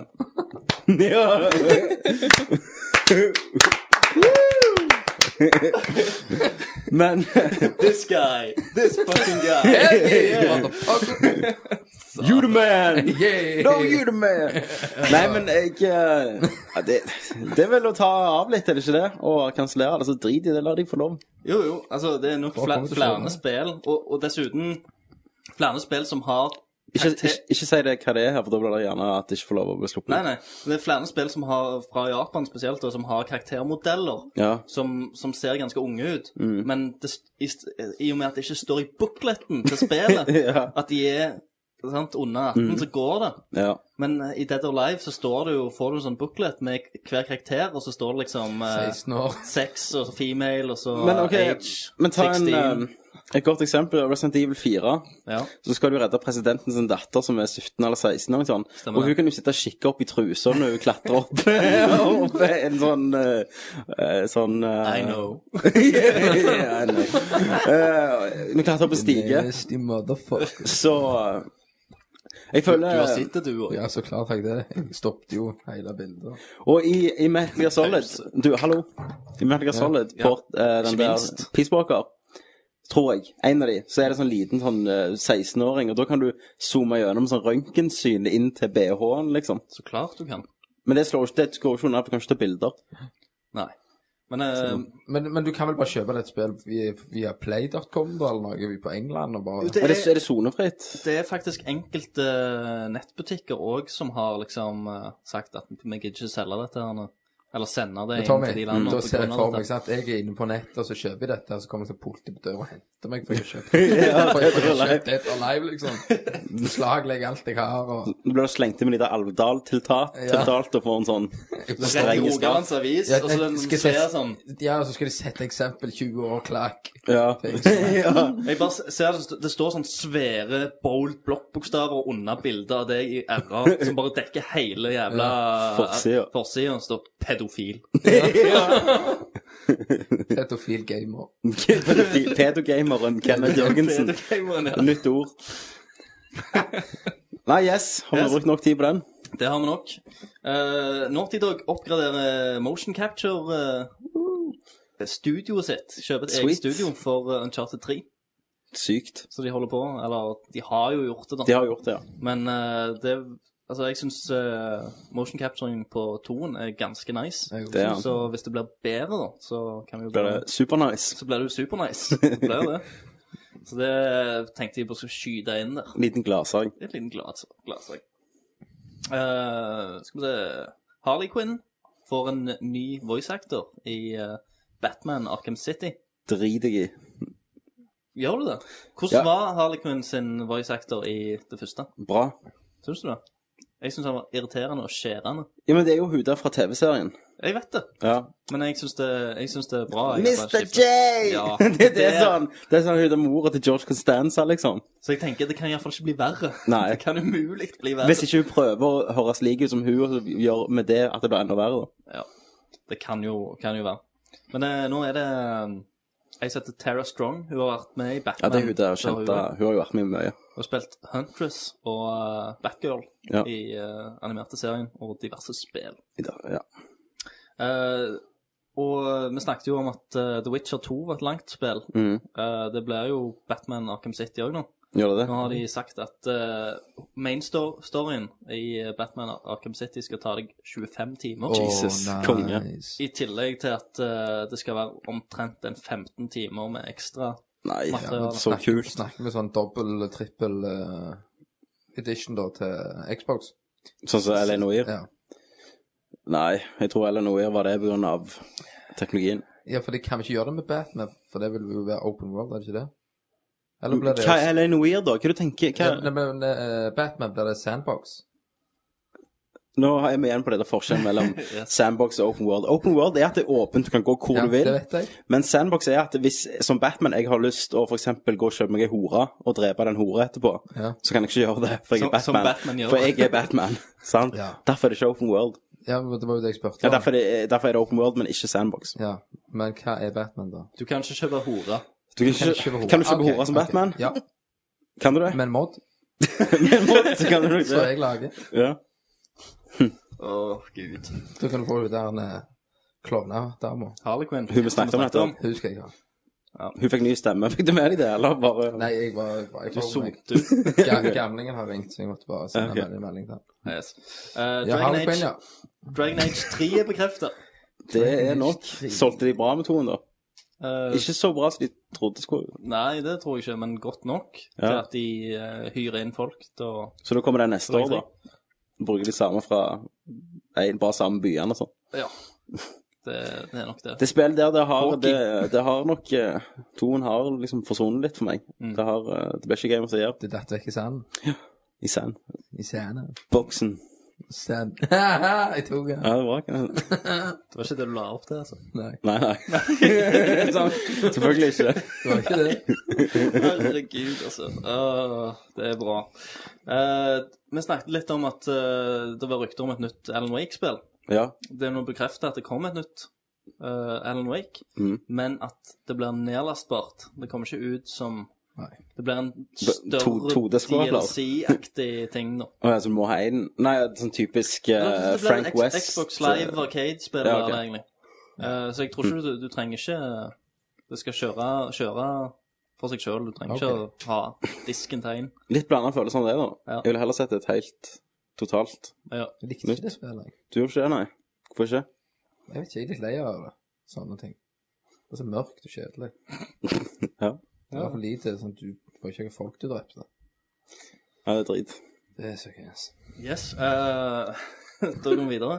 Ja. Men
This guy. This fucking guy.
You the man!
Yeah.
No, you the man! Nei, men jeg eh, ja, det, det er vel å ta av litt, er det ikke det? Og kansellere det. Så drit i det, la de få lov.
Jo, jo. Altså, det er nok fla,
kommer til
flere
sånn.
spill, og, og dessuten flere spill som har
Ikke, ikke, ikke si det hva det er her, for da blir det gjerne at det ikke får lov å bli sluppet.
Nei, nei. Det er flere spill som har, fra Japan spesielt, da, som har karaktermodeller
Ja.
som, som ser ganske unge ut.
Mm.
Men det, st- i, st- i og med at det ikke står i bukletten til spillet
Ja. Mm.
at de er sant, under 18, så går det.
ja.
Men eh, i Dead or Live så står det jo, får du en sånn buklet med hver karakter, og så står det liksom eh,
16 år.
sex og så female og så
Men ok,
age
men ta en, eh,
16.
et godt eksempel. Resident Evil 4.
ja.
Så skal du redde presidenten sin datter som er 17 eller 16 eller noe sånt.
Stemmer
og hun
det.
kan jo sitte og kikke opp i trusa når hun klatrer opp opp en sånn eh, eh, Sånn eh,
I know.
yeah, I know. Eh, Når hun klatrer opp en stige,
Nasty motherfucker.
så eh, Jeg
Du har
føler
sett det, du òg.
Ja, så klart har jeg det. Jeg stoppet jo hele bildet.
Og i, i Metal Gear Solid Du, hallo. I Metal Gear Solid,
Ja.
Port, eh, den
Ikke
der
minst.
Peace Walker tror jeg. En av de. Så er det sånn liten sånn eh, 16-åring, og da kan du zoome gjennom sånn røntgensyn inn til BH-en, liksom.
Så klart du kan.
Men det slår jo ikke, det går jo ikke unna, for du kan ikke ta bilder.
Nei. Men eh,
Men, men du kan vel bare kjøpe det et spill via, via play.com da, eller noe på England og bare
Er det, er det sonefritt?
Det er faktisk enkelte eh, nettbutikker òg som har liksom eh, sagt at vi gidder ikke selge dette her nå. Eller sende det
Men
inn
Tommy,
til de
da
landene. på
ser jeg
grunn
for
av
meg
dette.
sant? jeg er inne på nettet, og så kjøper jeg dette, og så kommer det politiet på døra og henter meg. For jeg har kjøpt det. For jeg har kjøpt det live, liksom. Beslag legger alt jeg har, og
Nå blir du slengt inn med de der Alvdal-tiltalt
Ja.
og får en sånn
Rett i
strenge straff.
Rogalands avis,
Ja,
og så den
jeg skal
ser
sette-
sånn
Ja, og så skal de sette eksempel 20 år klakk.
Ja. sånn- ja.
Jeg bare s- ser det, st- det står sånn svære bold blokkbokstaver under bildet av deg i RR som bare dekker hele jævla
forsida.
Forsida står 'pedofil'.
Tetofil gamer.
Pedofi- Pedogameren Kenneth Jørgensen.
Pedofilmeren, ja.
Nytt ord. Nei, yes. Har vi
Yes.
brukt nok tid på den?
Det har vi nok. Uh, Naughty Dog oppgraderer motion capture eh, studioet sitt. Kjøper et eget
Sweet.
studio for eh, Uncharted 3.
Sykt.
Så de holder på. Eller de har jo gjort det, da.
De har gjort det, ja.
Men eh, det Altså, jeg syns motion capturing på toen er ganske nice.
Det er jo-
Det er han.
Så hvis det blir bedre, da, så kan vi jo
Blir
bare
det supernice.
Så blir det jo supernice. Det blir jo det. Så det tenkte jeg bare skulle skyte inn der.
Liten gladsang.
Et liten glas- glassak. Eh, skal vi se Harley Quinn får en ny voice actor i eh, Batman Arkham City.
Driter jeg i.
Gjør du det? Hvordan
Ja.
var Harley Quinn sin voice actor i det første?
Bra.
Syns du det? Jeg syns han var irriterende og skjærende.
Ja, men det er jo hun der fra TV-serien.
Jeg vet det,
Ja.
men jeg syns det, jeg synes det er bra. Jeg har
Mr.
bare
J!
skiftet- Ja,
det, det er sånn Det er sånn hun er mora til George Constanza, liksom.
Så jeg tenker det kan iallfall ikke bli verre.
Nei.
Det kan umulig bli verre.
Hvis ikke hun prøver å høres lik ut som hun, og så gjør med det at det blir enda verre. da.
Ja, det kan jo, kan jo være. Men eh, nå er det eh, Jeg setter Tara Strong. Hun har vært med i
Ja,
Batman.
det er hun der
Så har
kjente Hun har jo vært med mye.
Hun har spilt Huntress og eh, Batgirl
Ja.
i eh, animerte serien og diverse spill.
I dag, ja.
Eh, Og vi snakket jo om at eh, The Witcher 2 var et langt spill.
Mhm.
Eh, det blir jo Batman Arkham City òg nå.
Gjør det
Nå
det?
har de sagt at uh, mainstoryen i Batman Arkham City skal ta deg 25 timer.
Jesus,
Å,
konge.
I tillegg til at eh, det skal være omtrent en 15 timer med ekstra.
Nei,
Materiale.
så
Snakker-
kult.
Snakker med sånn dobbel, trippel eh, edition da til Xbox.
Sånn som Eleanor.
Ja.
Nei, jeg tror Eleanor var det pga. teknologien.
ja, for de kan ikke gjøre det med Batman, for det vil jo være open world, er det ikke det? Eller blir det
Mm, Hva er Eleanor, da? Hva du tenker
Nei,
hva?
men, eh, Batman blir det sandbox.
Nå er vi igjen på dette forskjellen mellom sandbox og open world. Open world er at det er åpent, du kan gå hvor
Ja,
du vil.
det vet jeg.
Men sandbox er at hvis, som Batman, jeg har lyst å for eksempel gå og kjøpe meg ei hore og drepe den hora etterpå,
Ja.
så kan jeg ikke gjøre det, for jeg er
Som- som
Batman.
Batman gjør.
for jeg er Batman, sant?
Ja.
Derfor er det ikke open world.
Ja, men det var jo det jeg spurte
Ja,
om.
derfor, er det, derfor er det open world, men ikke sandbox.
Ja, men hva er Batman, da?
Du kan ikke kjøpe hore.
Du kan, ikke,
Kjøpe hore.
kan du kjøpe
Ok,
hore som
ok.
Batman?
Ja,
Kan du det?
men mod,
Men må- så kan du nok
så
det.
jeg lager.
Ja.
Å, gud.
Da kan du få ut den eh, klovnedama.
Harley Quinn.
Hun vi snakket om
Som vi
nettopp.
Hun skal jeg ha.
Hun fikk ny stemme. Fikk du med deg det, eller bare
Nei, jeg var jeg var- jeg
Du
var-
solgte ut.
Ga- Gamlingen har ringt, så jeg måtte bare sende
Ja, ok.
en melding til han.
Yes. Eh,
Ja,
Dragon,
Harley Quinn,
Age,
ja.
Dragon Age 3 er bekreftet.
Det er nok. Solgte de bra med toen, da?
Eh,
Ikke så bra som de trodde det skulle.
Nei, det tror jeg ikke, men godt nok
Ja.
til at de eh, hyrer inn folk til å
Så da kommer det neste år, da. Bruker de samme fra Nei, bare samme byene og sånn.
Ja. Det, det er nok det.
Det spillet der, det har,
Hockey.
det, det har nok eh, Toen har liksom forsvunnet litt for meg. Det, har, eh, det blir ikke Game of the Year
Det datt vekk i sanden.
i sandboksen.
I scenen. Sand. jeg tok den.
Ja, det var ikke det.
Det var ikke det du la opp til, altså.
Nei,
Nei, nei. Sånn, Selvfølgelig ikke.
det var ikke det.
Herregud, altså. Åh, det er bra. Eh, vi snakket litt om at eh, det var rykter om et nytt Alan Wake-spill.
Ja.
Det er nå bekreftet at det kom et nytt eh, Alan Wake,
Mhm.
men at det blir nedlastbart. Det kommer ikke ut som
Nei.
Det blir en
to-
større
2D-skvadler.
DLC-aktig ting nå.
Og jeg som må ha en Nei, sånn typisk eh,
Det blir
Frank
en X-
West eh,
Xbox Live Arcade-spill,
Ja, ok.
ja,
Mm.
egentlig. Eh, så jeg tror ikke du, du trenger ikke Du skal kjøre, kjøre for seg sjøl. Du trenger ikke å ha disken tegn.
Litt blanda følelse om det, da.
Ja.
Jeg ville heller sett et helt totalt
Ja.
Jeg likte ikke det spillet. jeg.
Du gjorde ikke det, nei? Hvorfor ikke?
Jeg vet ikke, jeg er litt lei av det. Sånne ting. Det er så mørkt og kjedelig.
Ja.
Det var for lite sånn at du det var ikke noen folk du drepte.
Ja, det er drit.
Det er så gøyest.
Yes. eh, da går vi videre.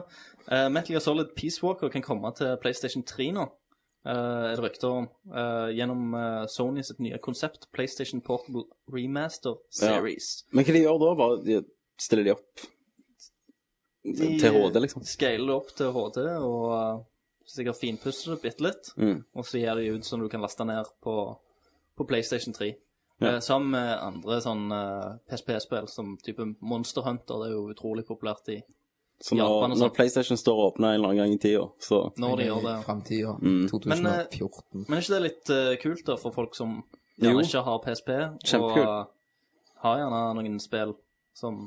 Eh, Metal Gear Solid Peace Walker kan komme til PlayStation 3 nå. eh, er det rykter om. eh, gjennom eh, Sony sitt nye konsept, PlayStation Portable Remaster Series.
Men hva de gjør da? Bare de stiller de opp til HD, liksom?
Scaler det opp til HD og eh, sikkert finpusser det bitte litt.
Mm.
Og så gir de ut som du kan laste ned på, på PlayStation 3.
Ja.
Eh, sammen med andre sånn eh, PSP-spill som type Monster Hunter. Det er jo utrolig populært i
Så
Japan
når,
og
når
sånn.
PlayStation står og åpner en eller annen gang i tida, så
når de gjør det. eh,
Framtida.
Mm.
2014.
Men er ikke det litt eh, kult da for folk som gjerne
Jo.
ikke har PSP, og
Kjempekult.
eh, har gjerne noen spill som,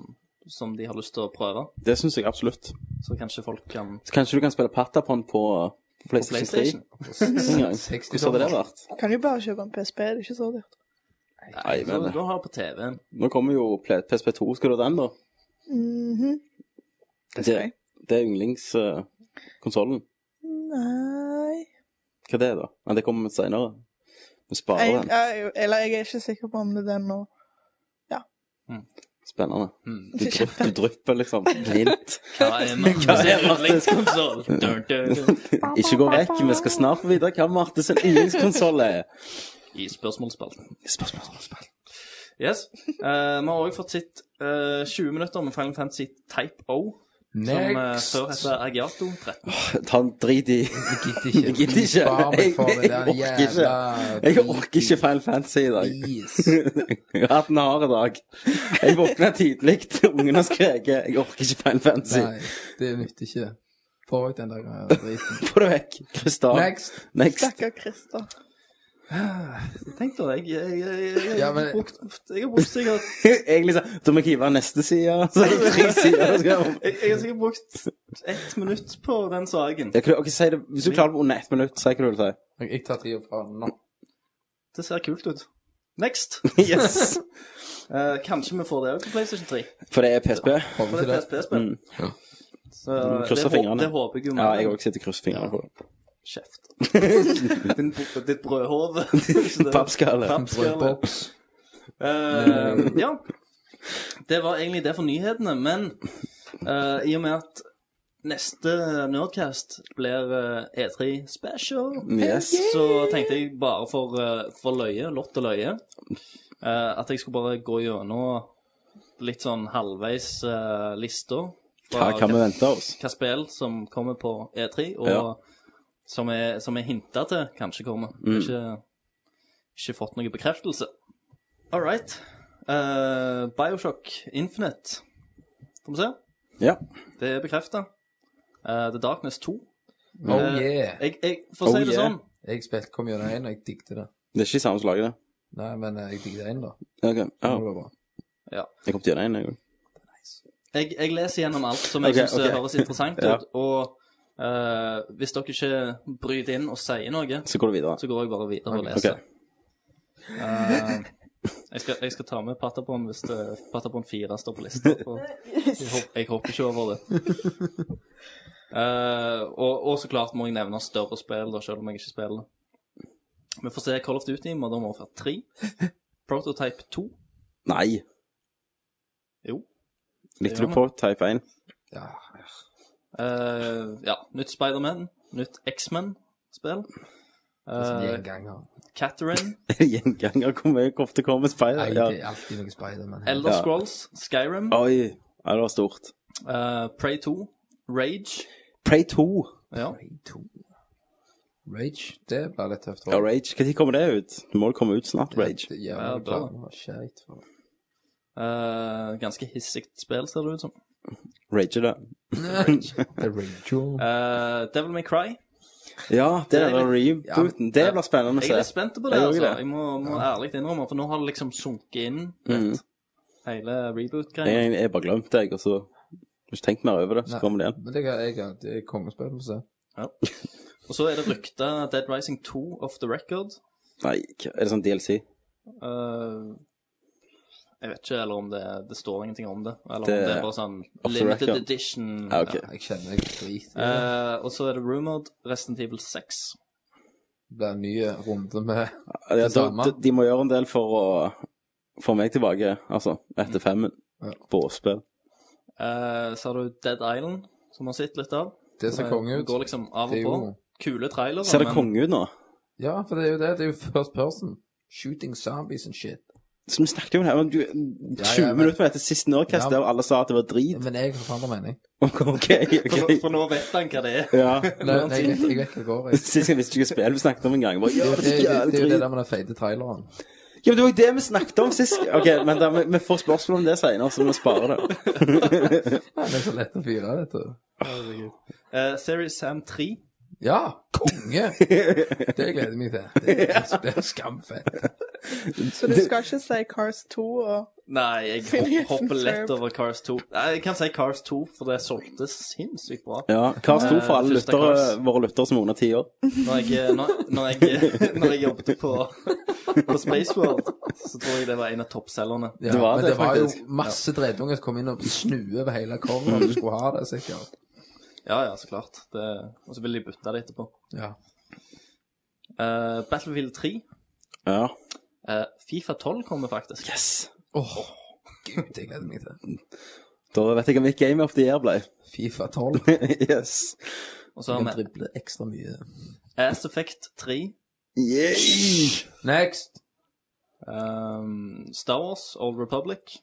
som de har lyst til å prøve?
Det syns jeg absolutt.
Så kanskje folk kan
Så kanskje du kan spille Patapon på uh, på
på
PlayStation 3
PlayStation?
en gang?
60
Hvordan hadde det vært?
Kan jo bare kjøpe en PSP, det er ikke så dyrt.
Nei,
Nei, men-
så du har på TV-en.
Nå kommer jo Play- PSP2. Skal du ha den, da?
Mhm. Det skal jeg.
Det er uh, yndlingskonsollen.
Nei
Hva er det, da? Ja, det kommer seinere. Vi sparer
jeg,
den.
jeg, Eller jeg er ikke sikker på om det er den nå.
Spennende.
Mm.
Du, drypp, du drypper, liksom. Hint.
Hva er Markus
er Markus?
yndlingskonsol? Dun, dun, dun.
Ikke gå vekk, vi skal snart få vite hva Martes yndlingskonsoll er.
I spørsmålsspalten.
Spørsmål.
Yes. Eh, vi har også fått sett eh, 20 minutter med Final Fantasy Type O, som eh,
Next!
før heter Agiato 13.
Ta en drit i
Jeg
Jeg gidder ikke.
gidder ikke. Spar meg for det
Jeg-
der
jeg orker ikke.
jævla
Jeg orker ikke Final Fantasy i dag.
Please.
Jeg har hatt en hard dag. Jeg våkna tidlig, ungen har skreket. Jeg orker ikke Final Fantasy.
Nei, det nytter ikke. Få ut den der eh, driten.
Få det vekk. Krystall.
Next!
Next.
Stakkar Christer.
Tenk da, jeg, jeg, jeg, jeg, jeg,
Ja, men-
har brukt, jeg har brukt sikkert
Egentlig så Da må jeg hive neste side. Så er det tre sider. så skal jeg opp.
Jeg jeg har sikkert brukt ett minutt på den saken.
Jeg kan, ok, si det, hvis du klarer det på under ett minutt, si hva du vil si.
Jeg, jeg tar tida fra nå.
Det ser kult ut. Next!
Yes!
Eh, kanskje vi får det også på PlayStation 3.
For det er PSP.
For
Kommer
det
til
er
det. Mm.
PSP-spill. Så eh,
Mm, krysser
det, hå-
fingrene.
det håper jeg jo.
Mm. Ja, jeg òg sitter og krysser fingrene på det.
Kjeft. Din, br- ditt brødhove. Så det-
Pappskalle.
Pappskalle.
Brødboks.
Eh, ja. Det var egentlig det for nyhetene, men eh, i og med at neste Nerdcast blir eh, E3 Special,
Yes.
så tenkte jeg bare for, eh, for løye, lott og løye, eh, at jeg skulle bare gå gjennom litt sånn halvveis uh, lista.
Hva kan vi vente oss?
hva spill som kommer på E3, og
Ja. Mm.
som, er, som er hinta til kanskje kommer. Ikke, ikke fått noe bekreftelse. All right. Eh, Bioshock Infinite. Får vi se.
Ja.
Det er bekrefta. The Darkness 2.
Oh
Eh,
yeah.
Jeg, jeg, for
Oh,
å si det
yeah.
sånn
Jeg spilte kom gjennom én, og jeg digget det.
Det er ikke i samme slaget, det.
Nei, men eh, jeg digget én, da.
Ok, ja.
Det var bra.
Jeg kom til å gjøre det en gang.
jeg, jeg leser gjennom alt som jeg
Ok,
synes syns
ok.
høres interessant
Ja.
ut. Og eh, hvis dere ikke bryter inn og sier noe,
Så går du videre.
så går jeg bare videre og
Ok.
leser. Eh, jeg, skal, jeg skal ta med Patapon hvis det, Patapon 4 står på lista. for Jeg, hop- jeg hopper ikke over det. Eh, og, og så klart må jeg nevne større spill, da, selv om jeg ikke spiller. Vi får se Call of Duty, Modern Warfare 3, Prototype 2
Nei.
Jo.
Likte du
Det gjør
på type 1?
Ja.
Eh, ja, nytt Spiderman, nytt X-Men-spill.
Det er sånn
Uh,
gjenganger.
Catherine,
Gjenganger hvor mye ofte kommer Spider?
Nei,
Ja.
det er alltid noe Spiderman her.
Elder
Ja.
Scrolls, Skyrim,
Oi. Ja, det var stort.
eh, Prey 2, Rage
Prey 2.
ja.
Rage 2. Rage, det blir litt tøft.
Ja, Rage. Når kommer det ut? Det må det komme ut snart, Rage.
Ja,
Ja,
det
bra.
var Shit. for-
Eh, ganske hissigt spill, ser det ut som.
Rage er det.
Det er Rage jo.
Eh, Devil May Cry.
Ja, det er
Det er
den rebooten. Det blir spennende
Jeg er
å
litt
se.
spent på det,
Jeg er også
altså.
det.
Jeg må, må ærlig innrømme, for nå har det liksom sunket inn
Mhm.
hele
Jeg
reboot-greia.
jeg- jeg bare glemte det, jeg, og så har ikke tenkt mer over det. Så
Nei.
kommer det igjen.
Men det er, jeg, det er kongespill, får vi se.
Og så er det rykta Dead Rising 2 off the record.
Nei, hva- er det sånn DLC?
Eh, jeg vet ikke eller om det, det står ingenting om det. Eller
Det
om det
er
er bare sånn
off the
limited
record.
edition.
Ja, ok.
Jeg kjenner jeg drit. i det.
Eh, og så er det rumored Resident Evil 6.
Det blir en ny runde med
Ja,
Det
da,
samme.
de, de må gjøre en del for å få meg tilbake, altså, etter femmen
Ja.
på spill.
Eh, så har du Dead Island, som vi har sett litt av.
Det ser konge
Det
ut.
Går liksom av
Det er
og
jo-
på. Kule trailere.
Ser det
sånn,
men-
konge ut nå?
Ja, for det er jo det. Det er jo first person. Shooting zombies and shit.
Som vi snakket om her, men du, 20
ja, men-
minutter med dette siste Nordcast,
Ja.
der alle sa at det var drit.
Men jeg har forandret mening.
Ok, ok.
For, nå- for nå vet han hva det er.
Ja.
Nei, nei, jeg, jeg vet hva det går i.
Sist jeg visste ikke hva spill vi snakket om en gang. Bare,
Det,
ja,
det,
det er
det,
jævlig
det er jo det
drit.
der med den feite traileren.
Ja, men det var jo det vi snakket om sist. Ok, men da, vi, vi får spørsmål om det senere, så vi sparer det.
Den er så lett å fyre, vet du.
Eh, Series Sam 3.
Ja, konge! Det gleder jeg meg til. Det er, det er skamfett.
Så du skal ikke si Cars 2 og
Nei, jeg
Phineas
hop- hopper
and
lett
Ferb.
over Cars 2. Nei, jeg kan si Cars 2, for det solgte sinnssykt bra.
Ja, Cars 2 for alle
Eh, første
lyttere,
Cars.
våre lyttere som er under 10 år.
Når jeg, eh, når, når jeg, når jeg jobbet på, på Spaceworld, så tror jeg det var en av toppselgerne.
Ja,
Det var
men
det,
det var jo
faktisk.
masse drittunger som kom inn og snue over hele coveret. Du skulle ha det, sikkert.
Ja, ja, så klart. Det, og så ville de bytte det etterpå.
Ja.
Eh, Battlefield 3.
Ja.
eh, Fifa 12 kommer faktisk.
Yes.
Åh, gud, jeg gleder meg til.
Da vet jeg hva mitt game of the year ble.
Fifa 12.
yes.
Og så
Jeg
har
kan
vi
drible ekstra mye.
Ass Effect 3.
Yeah.
Next!
Um, Star Wars, Old Republic.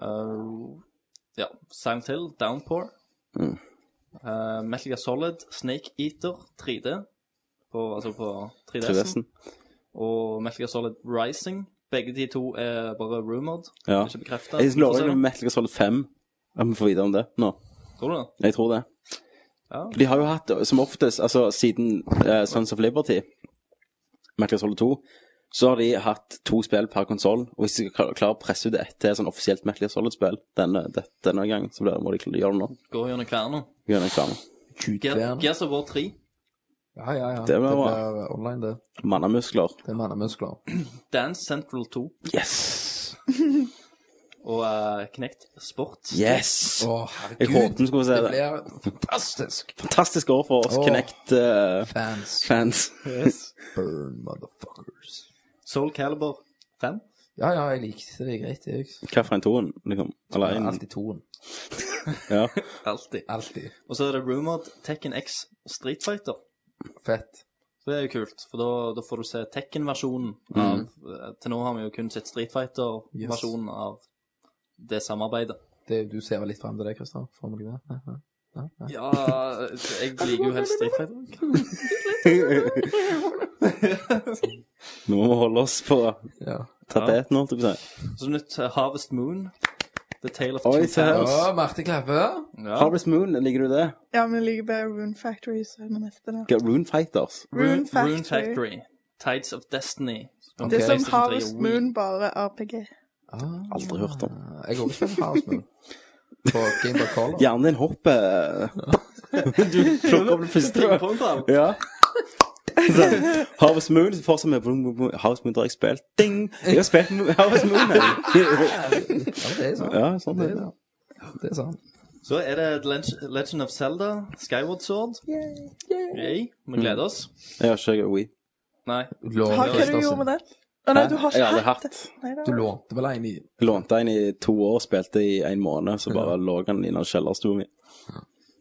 Uh, ja, Silent Hill, Downpour.
Mm.
Uh, Metal Gear Solid, Snake Eater 3D. På, altså på 3DS-en.
sånn.
Trivesten.
Og Metal Gear Solid Rising. Begge de to er bare rumored.
Ja.
Ikke bekrefta.
Jeg lover deg med Metal Gear Solid 5. Ja, Vi får vite om det nå.
Tror du det?
Jeg tror det.
Ja.
De har jo hatt, som oftest, altså siden eh, Sons of Liberty, Metal Gear Solid 2, Så har de hatt to spill per konsoll, og hvis de klar- klarer å presse ut ett til sånn offisielt Metal Gear Solid-spill denne, det- denne gangen, så blir det- må de klare å gjøre det nå.
Gå gjennom kverna.
Gjør en reklame.
Gears- Gears of War 3.
Ja, ja, ja.
Det var bra.
blir eh, online, det.
Mannemuskler.
Det er mannemuskler.
Dance Central 2
Yes!
og uh, Knekt Sport.
Yes!
Å,
Jeg
herregud.
håpet vi skulle se
Det
det.
blir fantastisk.
Fantastisk år for oss eh,
Åh.
Connect-fans.
Fans. Burn, motherfuckers.
Soul Calibur 5.
Ja, ja, jeg likte det greit, jeg.
Hva for en toen, liksom? Eller
Ja,
en
Alltid toen.
Ja.
Alltid.
Alltid.
Og så er det rumored Tekken X Street Fighter.
Fett.
Så det er jo kult, for da, da får du se Tekken-versjonen av eh, Til nå har vi jo kun sett Street Fighter-versjonen av det samarbeidet.
Det, du ser vel litt frem til det, Kristian? Får vi det? Nei, nei. Nei, nei.
Ja, jeg liker jo helst Street Fighter.
Nå må vi holde oss på
Ja.
tapeten, holdt jeg på å si.
Så nytt eh, Harvest Moon. The Tale of
Oi,
Two
se her.
Towns.
Å, Marte Klappe.
Ja.
Harvest Moon, liker du det?
Ja, men jeg liker bare Rune Factory, så er det neste der.
Hva- Rune Fighters.
Rune
Rune Factory.
Factory.
Tides of Destiny.
Ok.
Det er som
PlayStation 3 og
Harvest
Wii.
Moon, bare RPG.
Ah,
Aldri hørt om.
Jeg går ikke på House Moon. På Game Boy Color.
Hjernen din hopper. Du plukker opp det første.
Pingpongball.
Ja. Så, Harvest Moon så fortsatt med boom, boom, boom. Harvest Moon har jeg spilt. Ding! Jeg har spilt Mo- Harvest Moon. jeg.
Ja, det er sant.
Ja, sånn
Det
er
er
det.
sant. Det er sånn. sant.
Så er det The Leg- Legend of Zelda, Skyward Sword. Yay. Vi gleder oss.
Jeg har ikke Wii.
Nei.
Lå-
Har hva du gjorde med den? Å nei,
Hæ?
du har
Jeg
ikke
har aldri
hatt
hatt.
det. Nei, det
Du
har-
lånte vel en i
Lånte en i to år, spilte i en måned, så bare lå han i den kjellerstua mi.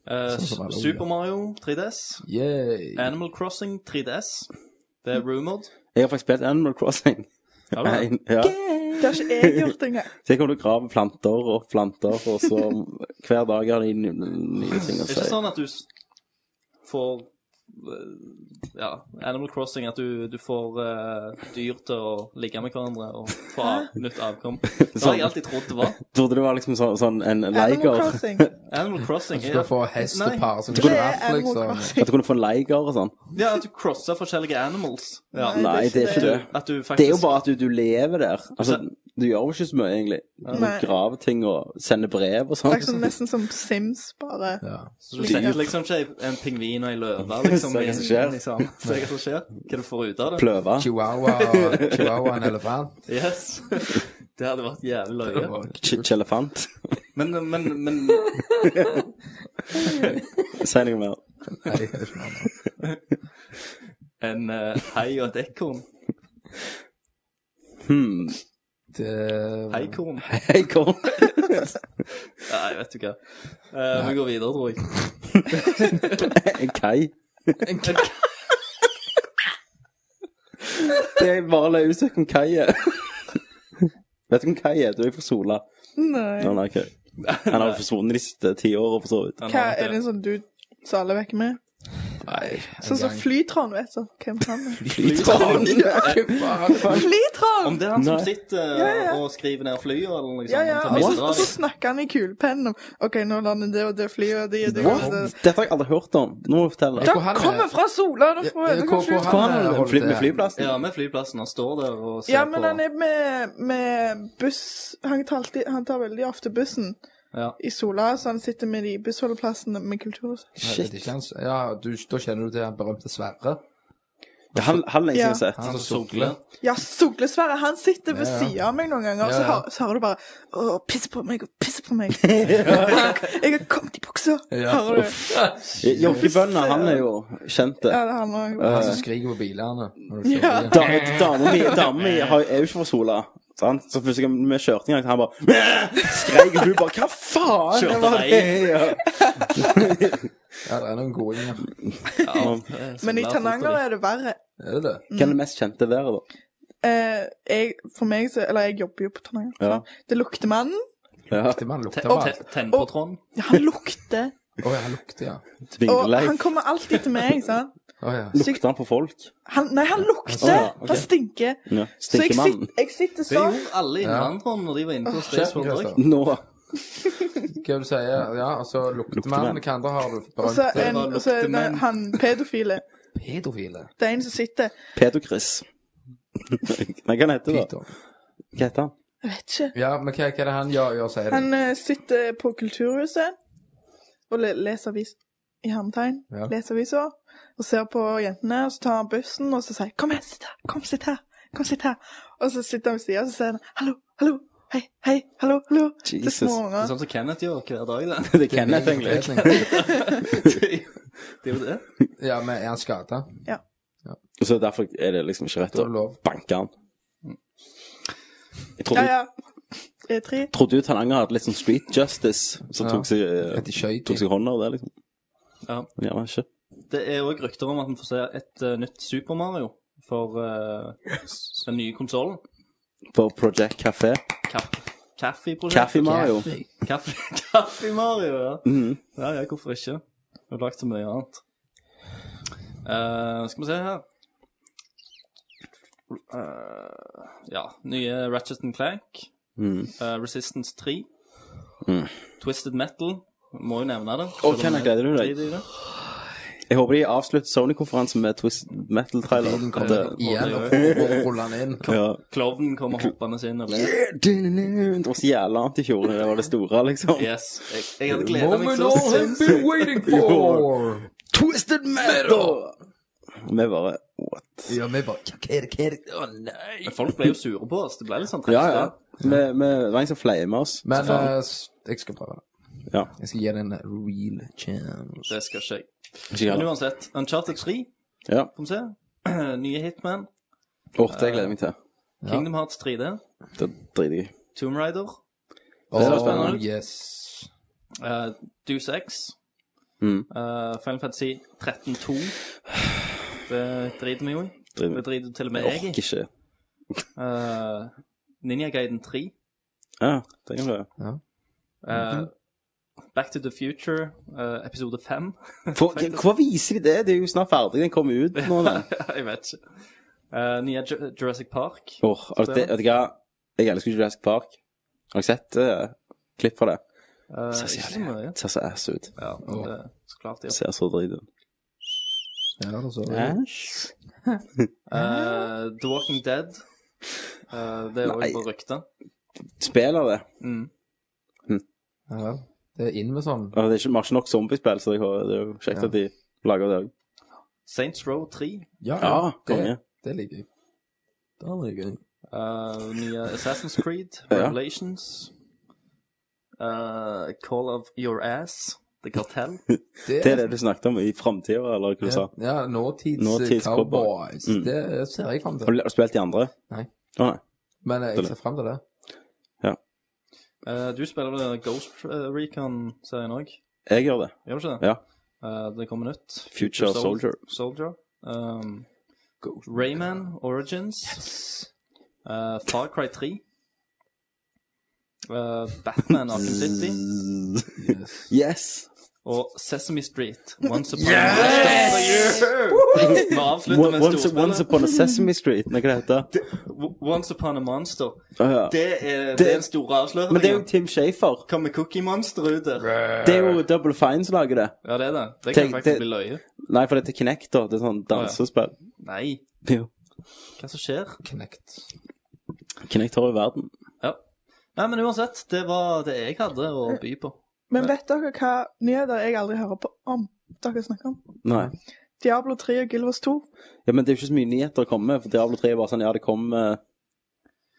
Eh,
Sånn som alle
S- Super Mario 3DS.
Yeah.
Animal Crossing 3DS. Det er rumored.
Jeg har faktisk spilt Animal Crossing.
Har du det?
En, ja.
Det har ikke jeg gjort engang.
Så jeg kommer til å grave planter og planter, og så hver dag har de nye, nye ting å
Det er
si.
ikke sånn at du s- får eh, ja, Animal Crossing, at du, du får eh, dyr til å ligge med hverandre og få av, nytt avkom. Det har jeg alltid trodd det var.
Trodde det var liksom sånn, sånn en
Animal
leiger.
Crossing.
Animal Crossing
Så
er
da får hest og
Nei.
pare som
Det er
giraff,
Animal
liksom.
Crossing.
At du kunne få en leiger og sånn.
Ja, at du crosser forskjellige animals. Ja.
Nei, det er ikke det.
At du faktisk
Det er jo bare at du, du lever der. Altså,
Altså-
du gjør jo ikke så mye, egentlig. Du
Nei.
graver ting og sender brev og
Det er sånn,
sånn.
nesten som Sims, bare.
Ja.
Så du setter liksom ikke en pingvin og en løve
Se
liksom,
hva
i-
som skjer.
i sammen. Se hva som skjer. Hva du får ut av det.
Pløve.
Chihuahua, chihuahua en elefant.
Yes. Det hadde vært jævlig løye.
Ch- Kjelefant.
Men, men, men
Si noe mer.
Nei, jeg vet ikke hva det er.
en eh, hai og et ekorn
Hmm.
Det-
Heikorn?
Hei, kom.
Nei, vet du hva. Eh, vi går videre, tror jeg.
En kai. Det er bare å la ut hvem kai er. Vet du hvem kai er? Du er fra Sola.
Nei.
Nei, nei, ok. Han har jo forsvunnet de siste ti årene, for så vidt.
Han
Hva
har
er det
det.
som du saler vekk med?
Nei.
Sånn som Flytron, vet du. Hvem han er.
Flytråd.
Flytron!
Om det er han som
Nei.
sitter eh,
Ja, ja.
og skriver ned flyet eller noe sånt?
Ja, ja.
tar
Og
bilder
så,
av
og så
det.
snakker han i kulepennen om OK, nå lander det og det flyet og de og de og
What?
det.
Dette har jeg aldri hørt om. Nå må du fortelle.
Ja,
Det
Hvor han er-
kommer fra sola! Da får jeg
Ja,
det
hvor-
kanskje
hvor
Hva
ut.
er
Han
det
holdt
Fly- med
det.
flyplassen?
Ja, med flyplassen. Han står der og ser
Ja, men
på.
han er med, med buss han tar, alltid, han tar veldig ofte bussen
Ja.
i sola, så han sitter med de bussholdeplassene med kulturhus.
Shit. Ja, du, da kjenner du til den berømte Sverre.
Det er han, han jeg
Ja.
ikke har sett.
Han som
sukler.
sukler.
Ja, Soglesverre, han sitter ved
Ja, ja.
siden av meg noen ganger, og
Ja,
så,
ja.
hører- så hører du bare Å, pisse på meg, og pisse på meg. Jeg har kommet i buksa!
Ja.
Hører du?
Jokkibønna, han er jo kjent det.
Ja, det Altså, er han òg.
Han som skriker på bilene. når du
Ja.
kjører.
Da- Dama mi dama mi har- er jo ikke fra Sola. Sant? Så første gang vi kjørte en gang, så han bare skreik, og du bare Hva faen?
Kjørte
Det var
deg.
det, ja.
Ja, det er noen godinger.
Eh,
Men i Tananger er det verre.
Er det det?
Mm. Hvem er det mest kjente der, da?
Eh, jeg, for meg så, eller jeg jobber jo på Tananger.
Ja.
Det lukter mannen.
Ja.
Det man lukter av alt.
Tennpåtråden.
Ja, han lukter.
Å, ja, lukter, ja.
Og han
Tvingeleif.
kommer alltid til meg. sant?
Å, ja.
Lukter han på folk?
Han, nei, han lukter!
ja, ok.
Han stinker.
Ja.
Så jeg,
Stinkemannen?
sit, jeg sitter
Det
sånn.
gjorde alle innvandrerne når de var inne på
Kjeften,
Staysford òg.
Christer.
Nå
Hva er det du sier? Ja, altså, lukter man.
Luktemann.
Hva andre har du
Og så
berømte?
en, og så er det
lukter menn.
han pedofile.
Pedofile.
Det er en som sitter
Pedokris. Nei, hva heter det? da?
Pyton.
Hva heter han?
Jeg vet ikke.
Ja, men hva, hva er det han gjør, gjør sier du?
Han eh, sitter på Kulturhuset og le leser avis i hermetegn.
Ja.
Leser aviser og ser på jentene. Og så tar han bussen og så sier han, 'Kom her, sitt her! Kom, sitt her! Kom, sitt her!' Og så sitter han ved siden og så sier han 'Hallo, hallo, hei, hei, hallo, hallo' til
Jesus.
små
Det er
unger.
sånn som Kenneth gjør hver dag, det.
Det er Kenneth, egentlig.
Det er jo det.
Ja, men er han skada?
Så derfor er det liksom ikke rett
Da
å
er det lov.
banke han. Jeg
Ja,
trodde,
ja. E E3.
trodde jo Tananger hadde litt sånn street justice, som
Ja.
tok seg, eh,
Etter skøyting.
tok seg hånd av det, liksom.
Ja.
Men gjerne ikke.
Det er òg rykter om at vi får se et eh, nytt Super Mario for eh, den nye konsollen.
På Project Café. Kaffe
Kaffeprosjektet.
Mario. Mhm.
Kaffe, Kaffe Mario, ja. Ja, ja, hvorfor ikke? Vi har lagt så mye annet. Eh, skal vi se her Eh, Ja. Nye Ratchet and Clank.
Mhm.
eh, Resistance 3.
Mhm.
Twisted Metal. Må jo nevne det.
Å, Kenneth, gleder du deg? Jeg håper de avslutter Sony-konferansen med Twist Metal-trailer. At det-
Igjen og ruller han inn.
Ja.
Klovnen kommer hoppende inn og blir
Det var så jævla annet i fjor, det var det store, liksom.
Yes. Jeg, jeg hadde gleda meg
Moment
så
all have
sinnssykt.
been waiting for!
Twisted Metal! Vi bare What?
Ja, vi bare Hva er det, hva er det? Å, nei!
Men Folk ble jo sure på oss. Det ble litt sånn trist.
Ja, ja. Vi, vi, det var en som fleima oss.
Men
Faen.
eh, s- jeg skal prøve det.
Ja.
Jeg skal gi det en real chance.
Det skal ikke jeg.
Ikke
Men
heller.
uansett, Uncharted 3,
Ja.
får vi se. Nye Hitman.
Åh, det gleder jeg meg til.
Kingdom Hearts 3D.
Det driter jeg i.
Tomb Raider.
Åh,
ser spennende ut.
yes.
Uh, Deuce X.
Mm.
eh, Final Fantasy 13-2. Det driter vi jo i.
Driter-
Det driter til og med
Jeg
jeg i.
orker ikke.
Eh, Ninja Gaiden 3.
Ja, det kan vi gjøre.
eh,
Mhm.
Back to the Future, eh, episode 5.
For- Hva viser de det? Det er jo snart ferdig. Den kommer ut nå. da.
jeg vet ikke. Eh, nye Ju- Jurassic Park.
Åh, altså, det, vet du hva? Jeg elsker ikke Jurassic Park. Har dere sett eh, klipp fra det?
Eh,
Det
ikke
ser
så mye.
det ser så ass ut.
Ja, men det er så klart det.
Det ser
gjør.
så drit ut.
Ja, da så vi.
Æsj.
Eh, The Walking Dead. Eh, det er
Nei.
òg på ryktet.
Spiller det?
Mm.
Ja, vel. det er inn med sånn.
Altså, det er ikke, vi har ikke nok zombiespill, så det er jo kjekt at de lager det òg.
Saints Row 3.
Ja,
Ja, konge.
det, det liker jeg. Det liker jeg.
eh, nye Assassin's Creed.
Ja.
Revelations. eh, Call of Your Ass. The Cartel.
Det er det du snakket om i framtida, eller hva du sa?
Ja, nåtids,
Nåtids cowboy.
cowboys.
Mm.
Det ser jeg
Har
fram til.
du, har du spilt de andre?
Nei.
Å nei.
Men eh, jeg ser fram til det.
Eh, du spiller vel Ghost eh, Recon-serien òg,
Jeg gjør det.
gjør du ikke det?
Ja.
Eh, det kommer nytt.
Future
Sol-
Soldier.
Soldier. Um, Rayman Origins. Eh, Far Cry 3. Eh, Batman Arkham City.
Yes!
Og Sesame Street. Once upon a monster. Vi avslutter med
Once,
storspillet.
once Upon a Sesame Street, nei, hva det heter
Once upon a monster.
Å, ja.
Det er det er en stor avsløring.
Men det er jo Tim Shafer.
Kommer Cookie Monster ut der?
Det er jo Double Fine som lager det.
Ja, det er det. Det kan
Tenk-
faktisk
det-
bli løye.
Nei, for det er Kinect, da. Det er sånn dansespill.
Nei,
Jo.
hva som skjer?
Knekt.
Kinect har jo verden.
Ja. Nei, men uansett, det var det jeg hadde å by på.
Men vet dere hva nyheter jeg aldri hører på om? Dere snakker om
Nei.
Diablo 3 og Guild Wars 2.
Ja, Men det er jo ikke så mye nyheter å komme med, for Diablo 3 er bare sånn Ja, det kommer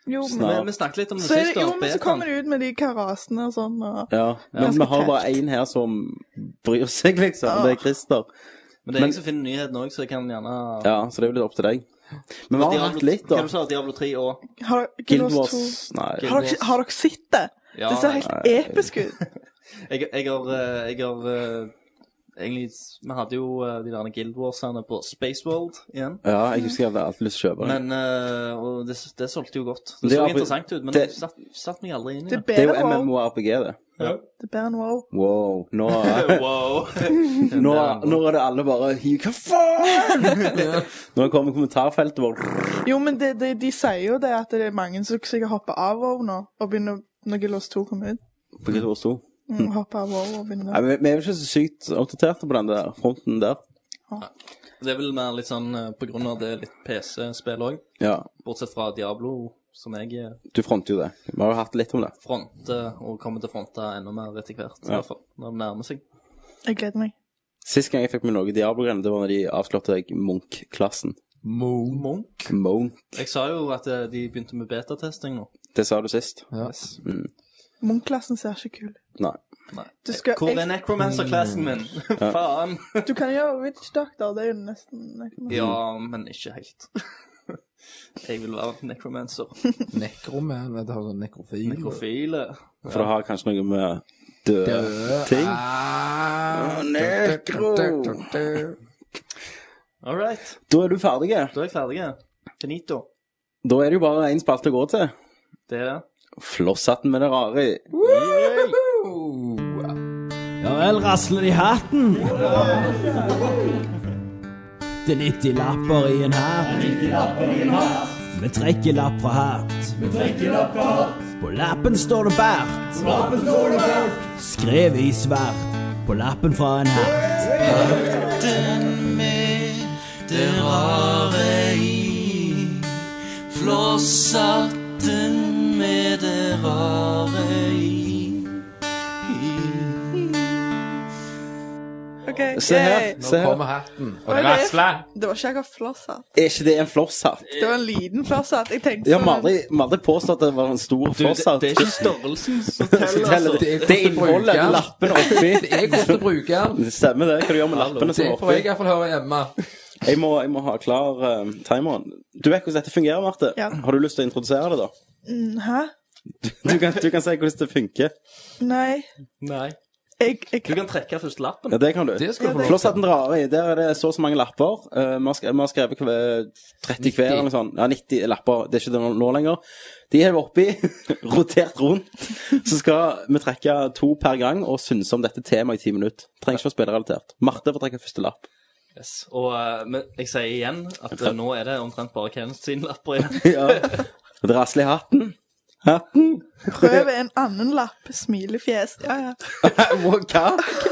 Jo, men-
Vi,
Snart. Ja.
vi snakket litt om det
så er det,
siste.
jo,
om
men
betaen.
så kommer de ut med de karasene og sånn. Og...
Ja. Men
Ganske
vi har bare
tøft.
én her som bryr seg, liksom. Det er Christer.
Men det er
men-
jeg som finner nyheten òg, så jeg kan gjerne
Ja, så det er jo litt opp til deg. Men vi har hatt litt,
Hva
da.
du sa Diablo 3 og
Har, Guild
Guild
Wars 2
Wars Nei.
Har dere, har dere sett det?
Ja,
Det ser
nei,
helt episk ut.
Jeg, jeg har, eh, jeg har eh, Egentlig Vi hadde jo eh, de der Guild Wars-ene på Spaceworld igjen.
Ja, jeg husker jeg hadde alltid lyst til å kjøpe den.
Men eh, og det, det solgte jo godt. Det,
Det
så
er-
interessant ut, men det
det-
satt, satt meg aldri inn i
Det er
det.
Det er jo
bedre enn wow.
MMORPG, det.
Det er bedre enn wow.
Wow. Nå,
Wow.
nå, nå er det alle bare Hva faen?! Nå kommer kommentarfeltet vårt.
Jo, men det, det, de sier jo det at det er mange som sikkert hopper av wow nå, og begynner når Guild Wars 2 kommer ut.
På Guild Wars 2.
Mm, hopper av wow
Nei,
og begynner
men Vi vi er jo ikke så sykt oppdaterte på den der fronten der.
Det er vel mer litt sånn eh, på grunn av det er litt PC-spill òg,
Ja,
bortsett fra Diablo, som jeg eh,
du fronter jo det. Vi har jo hatt litt om det.
fronter og kommer til å fronte enda mer etter hvert, i
Ja.
hvert fall når det nærmer seg.
Jeg gleder meg.
Sist gang jeg fikk med noe Diablo-greier, det var når de avslørte Munch-klassen.
Monk.
Monk.
Jeg sa jo at eh, de begynte med betatesting nå.
Det sa du sist.
Ja.
Munch-klassen ser ikke kul ut.
Nei.
Nei.
Du, skal-
Hvor er
jeg-
necromancer-klassen min? Faen.
du kan gjøre Witch Doctor, det er jo nesten
Ja, men ikke helt. Jeg vil være necromancer.
Nekromen, det har sånn nekrofil.
Nekrofile.
For det har kanskje noe med døde ting.
Ah,
nekro.
All right,
Da er du ferdig.
da er jeg ferdig. Finito.
Da er det jo bare én spalte å gå til.
Det er det.
Flosshatten med det rare.
Ja vel, rasler det i hatten. Det er 90 lapper i en hatt. Vi trekker lapp fra hatt. På lappen står det bart. Skrevet i svart på lappen fra en hatt.
OK.
Se her.
yay.
se
Nå
her.
kommer hatten.
Oi, det-
Rasler.
Det var ikke akkurat flosshatt.
Er ikke det en flosshatt?
Det var en liten flosshatt. Jeg tenkte
Jeg har
sånn-
aldri, vi har aldri påstått at det var en stor
Du, det,
flosshatt.
det er ikke størrelsen som teller. altså.
Det er
Det
hvordan du bruker
innholdet,
den.
lappen oppi.
Det er hvordan du bruker den.
Det stemmer det. Hva du gjør med lappene
Det
som er
får jeg i
oppi.
hvert fall høre hjemme.
Jeg må, jeg må ha klar eh, timeren. Du vet hvordan dette fungerer, Marte.
Ja.
Har du lyst til å introdusere det, da?
Mm, Hæ?
Du kan, du kan si hvordan det funker.
Nei.
Nei.
Jeg, jeg
Du kan trekke først lappen.
Ja, det kan du.
Det skal du få.
Flosshatten drar i. Der er det så og så mange lapper. Eh, Vi har skrevet, vi har skrevet hver- 30 hver eller noe sånt. Ja, 90 lapper. Det er ikke det nå- nå lenger. De hever oppi, rotert rundt. Så skal vi trekke to per gang og synse om dette temaet i ti minutter. Trenger ikke å spille relatert. Marte får trekke første lapp.
Yes. Og eh, men jeg sier igjen at eh, nå er det omtrent bare Kenneth sine lapper igjen.
Ja. Det rasler i hatten. Hatten.
prøver en annen lapp. Smilefjes. Ja, ja.
Hva? Hva?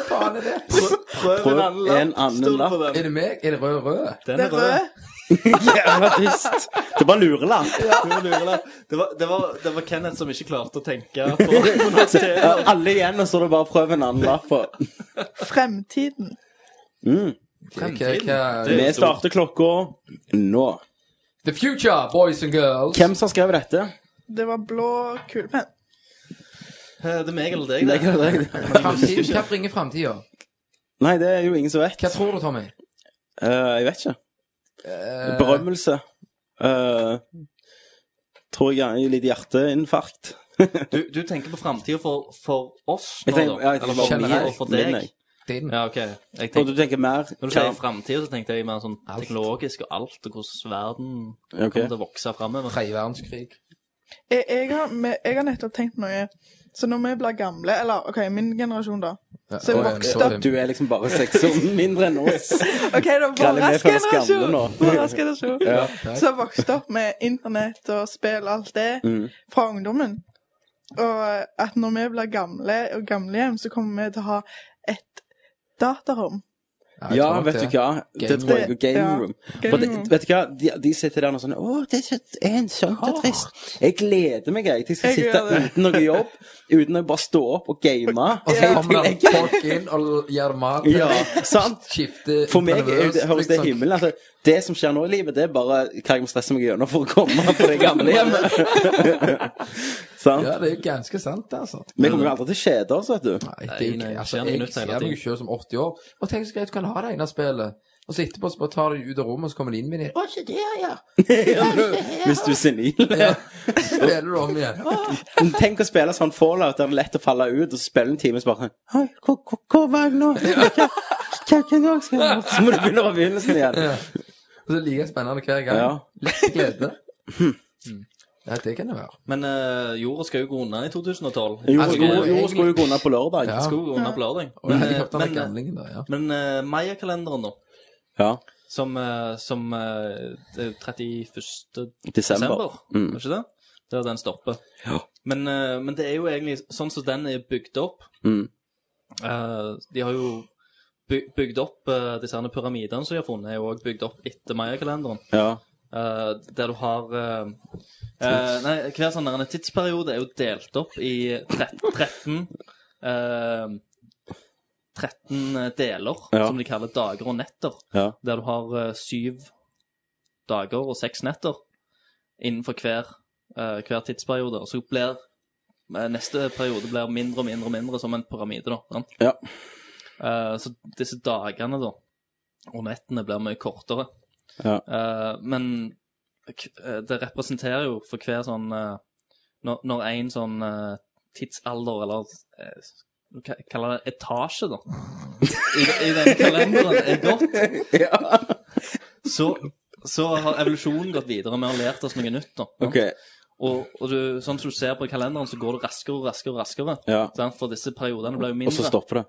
Faen er det?
Prøv, prøv en annen lapp.
en annen
Stol
lapp.
på den.
Er det meg? Er det rød rød?
Den
Det er rød.
Jævla trist. Det var lurelapp.
Det var lurelapp. Det var, det, var, det var Kenneth som ikke klarte å tenke på på noe tema.
Ja, Alle igjen, og så er det bare å prøve en annen lapp. på.
Fremtiden.
Mm.
Hva- hva-
Det er
Vi
jo stort.
starter klokka nå.
The future, boys and girls.
Hvem som har skrevet dette?
Det var blå kulepenn.
Eh, Det er meg eller deg,
Det
det.
kan jeg ikke.
Fremtiden. Hva bringer framtida?
Nei, det er jo ingen som vet.
Hva tror du, Tommy?
Eh, jeg vet ikke.
Eh,
Berømmelse. Eh, tror jeg er litt hjerteinfarkt.
Du, du tenker på framtida for, for oss nå,
Jeg tenker-
da?
ja, jeg tenker
eller for
generelt,
meg og for deg?
mener jeg.
din.
Ja, OK. Jeg
Og du
tenker,
tenker mer
når du
hva-
sier framtida, så tenkte jeg mer sånn
Alt.
teknologisk og alt, og hvordan verden
Ok.
kommer til å vokse framover.
Tredje verdenskrig.
Jeg, jeg, har, me- jeg har nettopp tenkt noe. Så når vi blir gamle, eller OK, min generasjon, da.
Ja,
Så jeg
og en
vokste
sånn-
Du er liksom bare seks år mindre enn oss.
OK, da,
Kalle, vi
vår rask
føler oss gamle
generasjon.
nå.
Vår rask generasjon.
Ja.
Så jeg vokste opp med internett og spill og alt det
Mm.
fra ungdommen. Og at når vi blir gamle og gamlehjem, så kommer vi til å ha et datarom.
jeg
Ja,
tror
vet
det.
du hva. Det
Game
tror jeg.
room.
og Game
Ja.
room.
Game
For det,
room.
vet du hva, de, de sitter der og sånn Å, det er så ensomt og trist. Jeg gleder meg jeg, til jeg skal
Jeg
sitte
gjør det.
uten noe jobb, uten å bare stå opp og game.
Og så
Jeg-
kommer
jeg-
det folk inn og gjør mat.
Ja, sant?
Skifter
For meg er jo det,
nervøst,
høres det
liksom.
himmelen altså, Det som skjer nå i livet, det er bare hva jeg må stresse meg gjennom for å komme på det gamle hjemmet. Sant?
Ja, det er jo ganske sant, altså.
Vi kommer jo aldri til å kjede oss, vet du.
Nei, det er jo
Nei,
ikke,
nei,
altså,
skjermen
jeg
minutt
ser
hele
meg
tiden.
jo selv som 80 år, og tenk så greit du kan ha det ene spillet. Og så etterpå så bare tar du det ut av rommet, og så kommer det inn med det. Å, ikke det, ja.
Hvis du er senil.
Så spiller du om igjen. Å,
Men Tenk å spille sånn fallout der det er lett å falle ut, og så spiller du en time og så bare «Oi, hvor- Hvor hvor var jeg nå? Hva- Hva kan jeg også gjøre? Så må du begynne fra begynnelsen igjen.
ja. Og så er det like spennende hver gang.
Ja.
Lett glede. Mm. Ja, det kan det være.
Men eh, jorda skal jo gå unna i 2012.
Jo,
Altså,
jo, jo
egentlig-
skulle jo gå unna på lørdag.
Ja.
Skal jo gå unna på lørdag.
Og
Men, eh,
helikopteren er
men, eh,
gamlingen der, ja.
men eh, Maya-kalenderen, da,
Ja.
som, eh, som eh, det er 31.
Desember.
desember,
Mm.
var ikke det? Der den stopper.
Ja.
Men, eh, men det er jo egentlig sånn som den er bygd opp.
Mm.
eh, de har jo by- bygd opp eh, disse her pyramidene som de har funnet, er jo også bygd opp etter mayakalenderen.
Ja.
Eh, der du har eh, eh, Nei, hver sånn der tidsperiode er jo delt opp i tret- 13 eh, 13 eh, deler,
Ja.
som de kaller dager og netter.
Ja.
Der du har eh, syv dager og seks netter innenfor hver, eh, hver tidsperiode. Og så blir eh, neste periode blir mindre og mindre og mindre som en pyramide. da, sant?
Ja.
Eh, så disse dagene da, og nettene blir mye kortere.
Ja.
Eh, men k- eh, det representerer jo for hver sånn eh, Når, når en sånn eh, tidsalder, eller eh, hva kan jeg kalle det etasje, da, i, i den kalenderen er gått,
ja.
så, så har evolusjonen gått videre. Vi har lært oss noe nytt. da.
OK.
Og, og du, sånn som du ser på kalenderen, så går det raskere og raskere. og raskere.
Ja.
sant? For disse periodene blir jo
Og så
mindre.
stopper det.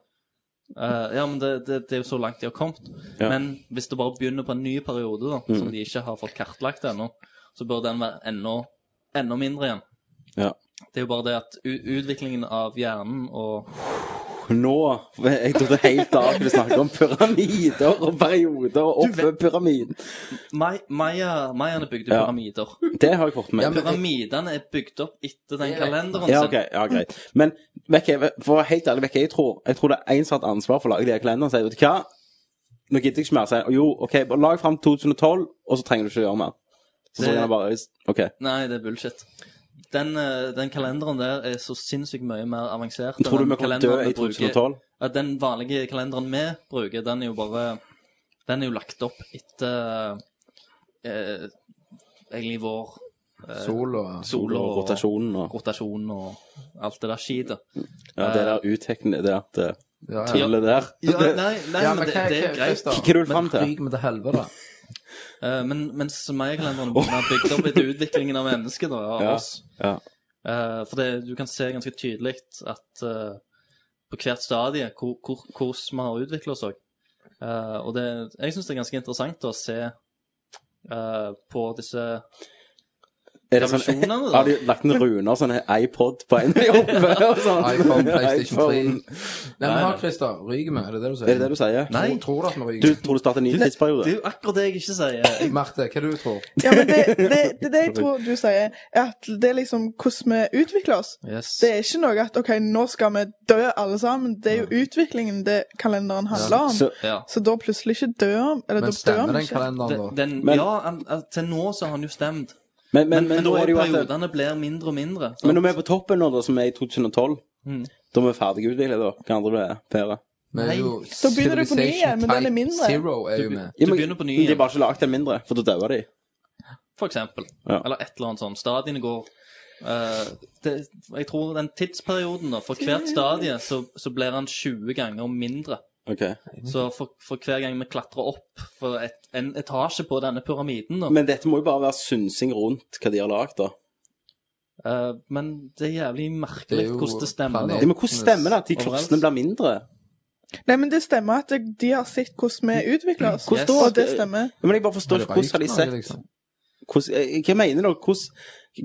Eh, ja, men det, det, det er jo så langt de har kommet.
Ja. Mm.
Men hvis det bare begynner på en ny periode, da, som de ikke har fått kartlagt ennå, så bør den være enda, enda mindre igjen.
Ja.
Det er jo bare det at u utviklingen av hjernen og
Nå Jeg trodde helt av du snakket om pyramider og perioder og
Du
oppe
vet-
pyramiden.
Mai- Maya- Mayaene bygde
Ja.
pyramider.
Det har jeg fått med.
Ja, men-
Pyramidene er bygd opp etter den kalenderen
Ja,
sin.
ok, ja, greit. Men vet jeg, for å være helt ærlig, vet jeg, jeg tror, jeg tror det er én som har hatt ansvar for å lage de her kalenderne. Sier, vet du hva, nå gidder jeg ikke mer. Sier, jo, OK, bare lag fram 2012, og så trenger du ikke gjøre mer. Så, så
Det-
kan jeg sånn bare OK.
Nei, det er bullshit. Den, eh, den kalenderen der er så sinnssykt mye mer avansert.
Tror du
enn
vi
den
kommer til å dø
kalenderen
i
vi bruker-
2012?
at den vanlige kalenderen vi bruker, den er jo bare Den er jo lagt opp etter eh, egentlig vår Eh,
Sol og
sol og
rotasjonen og
rotasjon og alt det der skitet.
Ja, det der utekne, det at eh,
ja, ja.
tullet der.
Ja,
Det-
nei, nei
Ja,
men, det,
hva-
det er
hva-
greit.
Christer,
Hva er det du fram til?
Ryk meg til helvete.
Eh, men mens Maya-kalenderen er bygd opp etter utviklingen av mennesket, da, av
Ja,
oss
ja.
Eh, For det, du kan se ganske tydelig at eh, på hvert stadie hvor, hvor, hvordan vi har utvikla oss òg. og det, jeg syns det er ganske interessant å se eh, på disse
Er det sånn,
Revolusjonene, da?
har de lagt en runer, sånn iPod på en oppe? og sånn?
iPhone, PlayStation 3.
iPhone.
Nei, men her, Christer. Ryker vi? Er det det du sier?
Er det det du sier?
Nei.
Tror- Tror du at vi
Du
ryker?
tror du starter en ny tidsperiode?
Det er jo akkurat det jeg ikke sier.
Marte, hva du tror du?
Ja, men det, det, det, er det jeg tror du sier, er at det er liksom hvordan vi utvikler oss. Det er ikke noe at OK, nå skal vi dø alle sammen. Det er jo utviklingen det kalenderen handler om.
Så,
Ja.
Så da plutselig ikke dør han. Eller
Men
da dør
stemmer
han
den
ikke.
kalenderen,
Den,
da?
den,
Men-
ja, han, altså, til nå så har han jo stemt.
men, men, men
Men,
nå er det jo at
periodene blir mindre og mindre. sant?
Men når vi er på toppen nå, da, som er i 2012,
Mm.
da er vi ferdig utviklet, da. Hva andre det er? Pere?
Vi er jo
Da begynner du på ny igjen, men den er
Civilization
mindre.
Type Zero er jo med.
Du begynner på ny
De
igjen.
har bare ikke lagd den mindre, for da dauer de.
For eksempel.
Ja.
Eller et eller annet sånt. Stadiene går eh, det, Jeg tror den tidsperioden, da, for hvert stadie, så, så blir han 20 ganger mindre.
Ok.
Så for, for hver gang vi klatrer opp for et, en etasje på denne pyramiden, da
Men dette må jo bare være synsing rundt hva de har lagd, da.
eh, Men det er jævlig merkelig
Det er jo
hvordan det stemmer.
planet.
da.
Ja, men hvordan stemmer det at de
Overalt.
klossene blir mindre?
Nei, men det stemmer at det- de har sett hvordan
Mm.
vi utvikler oss.
Hvordan da?
Og det stemmer.
Ja, Men jeg bare forstår
Det
ikke
er
hvordan har de
rykende,
sett
liksom.
hvordan, eh, Hva mener dere? Hvordan,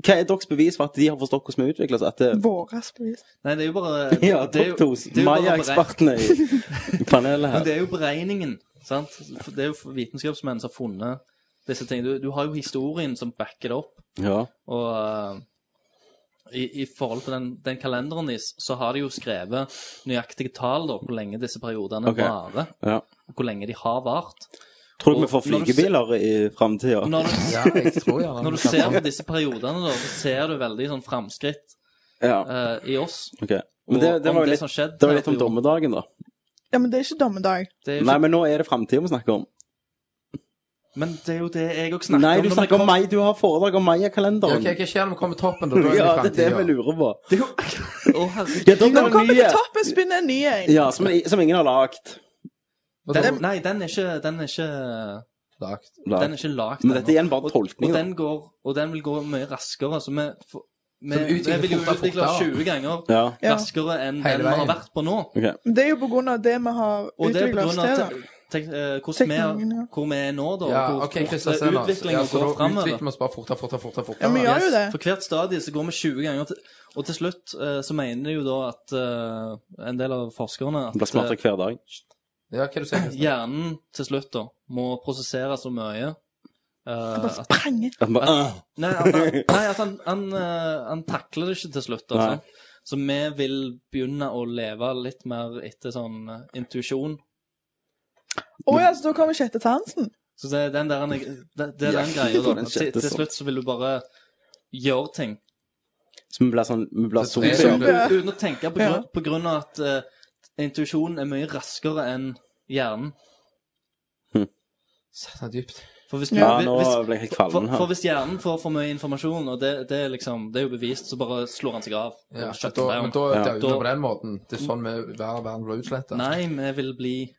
hva er deres bevis for at de har forstått hvordan vi utvikler oss? At det,
Våres bevis.
Nei, det er jo bare
ja,
det er jo-
Toptos,
det er jo bare berek-
Maya-ekspertene i i panelet
Men
her.
det er jo beregningen, sant? For Det er jo vitenskapsmenn som har funnet disse tingene. Du, du har jo historien som backer det opp,
Ja.
og eh, i, i forhold til den, den kalenderen deres, så har de jo skrevet nøyaktige tall, da, hvor lenge disse periodene
Ok.
varer,
ja.
og hvor lenge de har vart.
Tror dere
Og
vi får
når du
flygebiler i framtida?
Når du,
Ja, jeg tror gjerne
når du
det.
ser på disse periodene, da, så ser du veldig sånn framskritt
Ja.
eh, i oss.
OK. Men det,
og
det
om
var jo
det
litt,
som skjedde
det var litt om
med perioden.
dommedagen, da.
Ja, men det er ikke dommedag.
Det er jo
Nei,
ikke-
men nå er det framtida vi snakker om.
men det er jo det jeg òg snakker
Nei,
om.
du
når vi
snakker om
kom-
meg. Du har foredrag om
Ja,
Maya-kalenderen.
ok, Hva skjer når vi kommer til toppen? da? Da er vi
Ja,
i
det er det vi
fremtiden.
lurer på.
Det er jo Å, herregud.
Ja, da
Nå
blir
kommer
det
vi til
nye.
toppen, spinner en ny en.
Ja, som, som ingen har lagd.
Og da-
Den, nei, den er ikke Den er ikke,
Lagt.
den er ikke lagd
Men dette er igjen bare
Og,
tolkning.
og,
da.
den går, og den vil gå mye raskere. Så vi, får- vi,
Så vi
vi
utvikler
vil jo
fortere,
utvikle
fortere.
20 ganger
Ja,
Ja.
raskere enn
Hele
den vi har
veien.
vært på nå.
ok.
Men det er jo på grunn av det vi har
Og det er
utvikla
på
oss
grunn
til.
av
da.
te, te, eh, hvordan vi er,
Teknologien, ja.
hvor vi er nå, da. og
Ja,
hvor
ok,
fort
Christer, se nå.
utviklingen
Ja, så
går
da utvikler
framover.
vi oss bare fortere, fortere, fortere. fortere.
Ja, men gjør jo det.
For hvert stadie så går vi 20 ganger til Og til slutt eh, så mener de jo da at eh, en del av forskerne
Du blir
at
smartere hver dag.
Ja, hva du sier du?
Hjernen til slutt da må prosessere så mye eh,
Bare
at,
sprenge.
Han bare, øh, «Åh!»
nei, at, han, nei, at han, han, eh, han takler det ikke til slutt. da,
Nei.
sant? Så vi vil begynne å leve litt mer etter sånn eh, intuisjon.
Å ja, så da kommer sjette tansen.
Så det er den der Det, det er
Ja,
den greia, da.
den
Til,
sjette
til slutt så vil du bare gjøre ting.
Så vi blir sånn Vi blir
Så det er
zombier.
jo-
Ja.
Uten å tenke på grunn,
Ja.
på grunn av at eh, intuisjonen er mye raskere enn hjernen.
Satan, dypt.
For hvis,
Ja,
hvis-
nå
hvis,
ble jeg helt
for,
kvalm
for
her.
hvis hjernen får for mye informasjon, og det, det, er liksom, det er jo bevist, så bare slår han seg av. og
Ja,
shut
da,
down.
men da
Ja.
dauer vi
Da-
på den måten. Det er sånn vi hver verden blir utsletta.
Nei, vi vil bli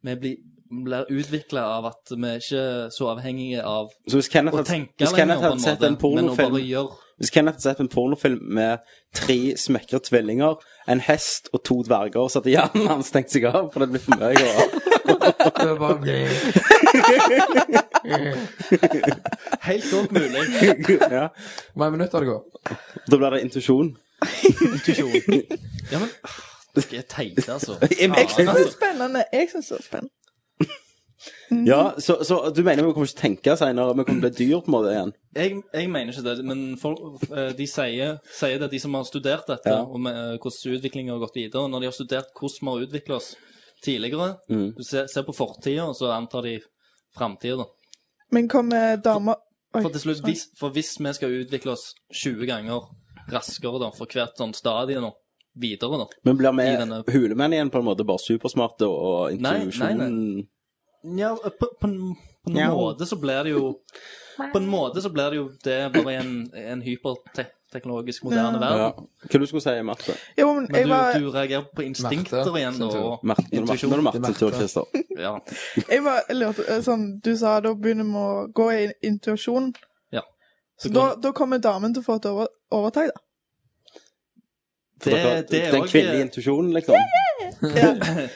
Vi blir, blir utvikla av at vi er ikke er så avhengige av
Så hvis Kenneth
å
hadde,
tenke
hvis Kenneth hadde sett en
men å bare
pornofilm
gjøre.
Hvis Kenneth hadde sett en pornofilm med tre smekre tvillinger, en hest og to dverger, så hadde hjernen hans stengt seg av, for det blir for mye. Og...
Det er bare-
Helt godt mulig.
Ja.
Hvor mange minutter det går?
Da blir det intuisjon.
Intuisjon. Ja, men ah, Dere er teite, altså.
Jeg syns det er
altså.
spennende. Jeg synes det er spennende.
Mm.
Ja, så, så du mener vi kommer ikke til å tenke senere, vi kommer til å bli dyr på en måte igjen?
Jeg, jeg mener ikke det, men folk, eh, de sier, sier det, de som har studert dette,
Ja.
om eh, hvordan utviklingen har gått videre. Når de har studert hvordan vi har utvikla oss tidligere
Mm.
Du ser, ser på fortida, og så antar de framtida.
Men kommer damer Oi,
For, til slutt,
sorry.
hvis, for hvis vi skal utvikle oss 20 ganger raskere da, for hvert sånn stadie nå, videre da
Men blir
I denne-
vi hulemenn igjen på en måte, bare supersmarte og
Nei, nei,
intuisjon?
nei. Ja, eh, på, på, en- på en
Ja.
måte så blir det jo På en måte så blir det jo det bare i en, en hyperteknologisk moderne
Ja.
Ja.
verden.
Hva du skulle si, Marte?
Jo, men
Men
jeg
du,
var,
du reagerer på instinkter
Smerte,
igjen,
sin
da.
tur.
og-
Marte, nå er det Marte- nå er det Marte sin tur,
Marte.
Christer.
Ja.
jeg var jeg lurte, eh, sånn, Du sa da begynner vi å gå i intuisjon.
Ja.
Så da, da kommer damen til å få et over, overtak, da.
For
Det-
dere-
det er
Den
også-
kvinnelige intuisjonen, liksom.
Ja.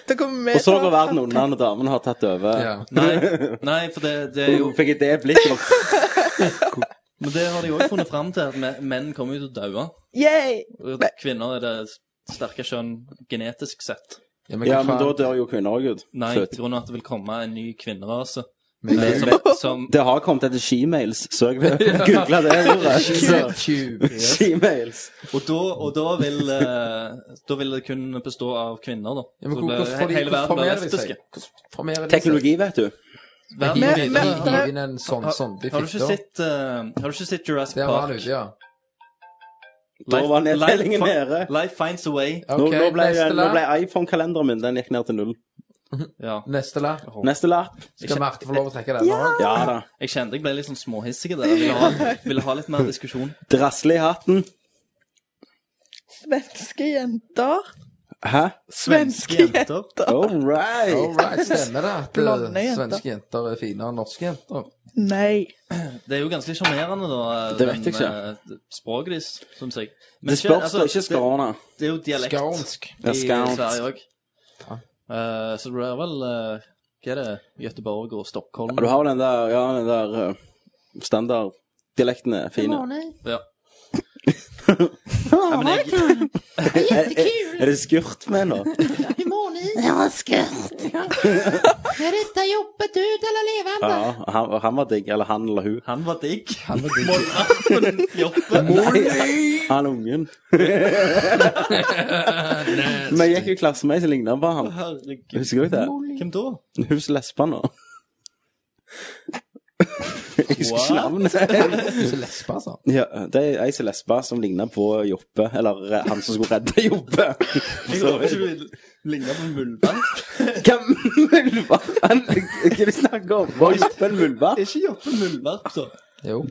Da kommer vi
Og så går verden unna når damen har tatt over.
Ja.
Nei, nei, for det, det er jo
Hun fikk et det blikket.
Men det har de òg funnet fram til, at me- menn kommer jo til å daue.
Yay!
Og
Nei.
Kvinner er det sterke kjønn genetisk sett.
Ja, men, hva
Ja, men da
faen?
dør jo kvinner òg ut.
Nei,
Slutt.
på grunn av at det vil komme en ny kvinnerase.
Men-
eh, som, som
Det har kommet etter shemales. Søk det. Google det ordet.
Tjue.
Shemales.
Og da, og da vil eh, Da vil det kun bestå av kvinner, da.
Ja, men
Så
hvor-
blir-
hvordan får de-
hele
hvordan
verden blir
formerer de seg?
lesbiske.
Hvordan formerer de seg?
Teknologi, vet du.
Verden
Hiv inn-
går
Men-
videre.
men-
hiv inn en sånn
Har-
sånn
Har du ikke
fitter.
sett eh, Har du ikke sett Jurassic
Der var han
Park?
ute, ja.
Da
Life-
var nedtellingen
life-
nede.
Life finds a way.
Nå,
Ok,
nå ble,
neste
nå
lapp.
ble iPhone-kalenderen min Den gikk ned til null.
Ja.
Neste lapp.
Neste lapp.
Skal Marte få lov å trekke den òg?
Ja da.
Jeg kjente jeg ble litt sånn småhissig der. Jeg ville ha, ville ha litt mer diskusjon.
Drasle i hatten.
Svenske jenter.
Hæ?
Svenske jenter.
All right.
All right, stemmer det at
Blonde
eh,
jenter.
svenske jenter er finere enn norske jenter?
Nei.
Det er jo ganske sjarmerende, da. eh,
Det vet jeg
ikke. Språket deres, syns jeg. Men altså,
Det spørs da ikke
det,
skårene.
det er jo dialekt
Skånsk.
Ja,
i
skånsk.
Sverige òg.
Ja.
så det er vel eh, Hva er det? Göteborg og Stockholm?
Ja, Du har jo den der, ja, den der uh, standarddialekten er fin. ja.
Ja.
Ja, men jeg- er, er, er det skurt med nå? Ja, han, han var digg. Eller han eller hun.
Han var digg.
Han er digg.
Morgenappen jobber.
Nei, han ungen. Vi gikk jo i klasse med ei som ligna på han.
Herregud.
Husker du det?
Hvem da?
Hun som lesba nå. Jeg husker ikke
What?
navnet.
Så lesbe, altså.
Ja, det er ei som lesba som ligna på Joppe. Eller eh, han som skulle redde Joppe.
Jeg
Så-
håper ikke du ligner på en muldvarp.
Hvem mulva? Han- Hva er det du snakker om? Var Joppe en mulva?
Er ikke Joppe en muldvarp, så?
Jo.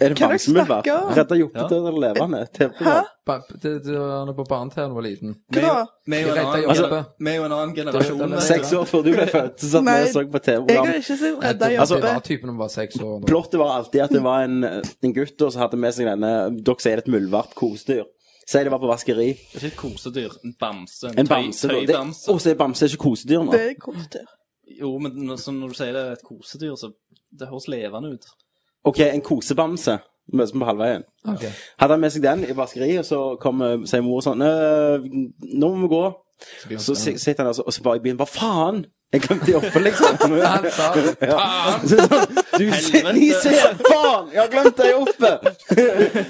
Er det
Hva er det du
bamsemulva?
snakker om?
Redda Joppe
Ja.
død eller levende? TV-program.
Hæ?
Ba- det- det var- Han er på banen til han var liten.
Hva da?
Vi er jo en
Greta
annen-
Joppe.
vi er jo en annen
Den er-
generasjon.
Seks år før du ble født, så satt vi og
Nei,
så på
Jeg har
TV-program.
ikke sett
Nei,
Redda
det-
altså,
jobbe.
Det var typen om var seks år. nå.
Plottet var alltid at det var en, en gutt da som hadde med seg denne Dere sier det er et muldvarp kosedyr. Si det var på vaskeri.
Det er ikke et kosedyr. En bamse. En,
En
tøy-
bamse. da. Det-
Tøybamse.
Å, så er bamse ikke kosedyr nå?
Det er kosedyr.
Jo, men når, så når du sier det er et kosedyr, så det høres levende ut.
OK, en kosebamse. Møtes vi på halvveien.
Ok.
Hadde han med seg den i vaskeriet, og så kom, eh, sier mor sånn «Øh, "Eh, Nå må vi gå. Så si- sitter han altså, og så bare i byen Hva faen? Jeg glemte de oppe, liksom.
Han sa
Ja. Så sånn, du ser, ni ser, faen! Jeg har glemt deg oppe!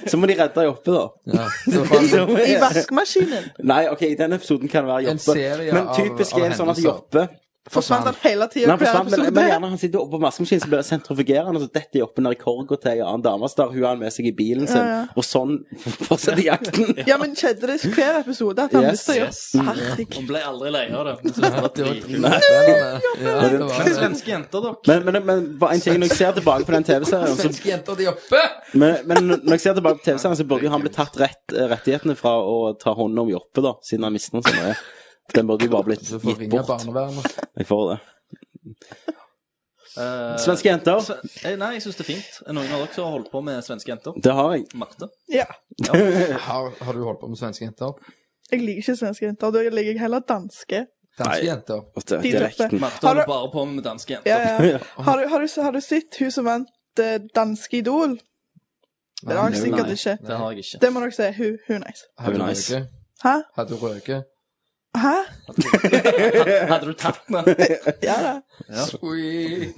Så må de redde deg oppe, da.
ja, så faen,
Som er-
I vaskemaskinen
Nei, ok, i denne episoden kan det være
En
Joppe.
serie
Men
av-
typisk er
av
en sånn at
hendelser.
Joppe
forsvant han hele
Nei,
tida.
han forsvant, men, men gjerne han sitter oppe på maskemaskinen, så blir det sentrifugerende, og så detter Joppe ned i korga til ei annen dame. Så tar hun han med seg i bilen sin,
Ja, ja.
og sånn fortsetter jakten.
Ja, men skjedde det hver episode at han
Yes,
mista jobb?
yes.
Herregud.
Hun ble aldri lei av det. Hun syntes det var
det var
dritkult.
dritspennende. Ja, det var
Men
det.
svenske jenter, dere.
Men, men, men bare en ting, når jeg ser tilbake på den TV-serien, så
Svenske jenter, de oppe!
Men, men når jeg ser tilbake på TV-serien, så burde jo han bli tatt rett, eh, rettighetene fra å ta hånd om Joppe, da, siden han mister den så mye. Den burde jo bare blitt
Så får
gitt
ringe
bort.
barnevernet.
Jeg får det.
Eh,
Svenske jenter.
sve- eh, Nei, jeg syns det er fint. Er Noen av dere som har holdt på med svenske jenter.
Det har jeg.
Marte.
Ja.
Har, har du holdt på med svenske jenter?
Jeg liker ikke svenske jenter. Da liker jeg heller danske.
Danske
Nei.
jenter.
Ofte,
De
direkten.
Marte holder
du-
bare på med danske jenter.
Ja, ja. Har, du, har, du, har du sett hun som vant eh, Danske Idol? Det har
Nei.
jeg sikkert ikke.
Det har jeg ikke.
Det må dere si. Hun, hun er nice.
Hadde du
Nice.
røket?
Hæ?
Hadde du røket?
Hæ?
Had- Hadde du tatt den?
Ja da.
Sweet!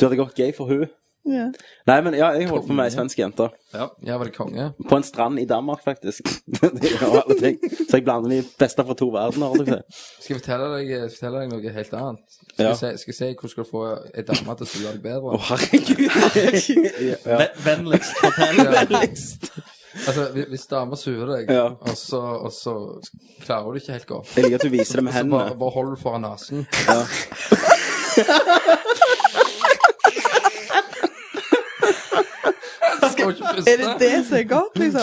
Du hadde gått gay for hun.
Ja.
Nei, men ja, jeg holdt på med ei svensk jente.
Ja, var det konge?
På en strand i Danmark, faktisk. Det var alle ting. Så jeg blander de beste fra to verdener. holdt jeg på å si.
Skal jeg fortelle deg, jeg skal fortelle deg noe helt annet? Skal,
Ja.
jeg si, skal jeg si hvordan du skal få ei dame til å spille deg bedre?
Å, herregud. Ja.
Ve- Vennligst fortell.
Altså, hvis- Hvis dama suger deg,
Ja.
og, så, og så klarer du ikke helt godt
Jeg liker at du viser det med
Så bare,
hendene.
bare hold du foran nesen. Skal ikke puste.
Er det det som er godt, liksom?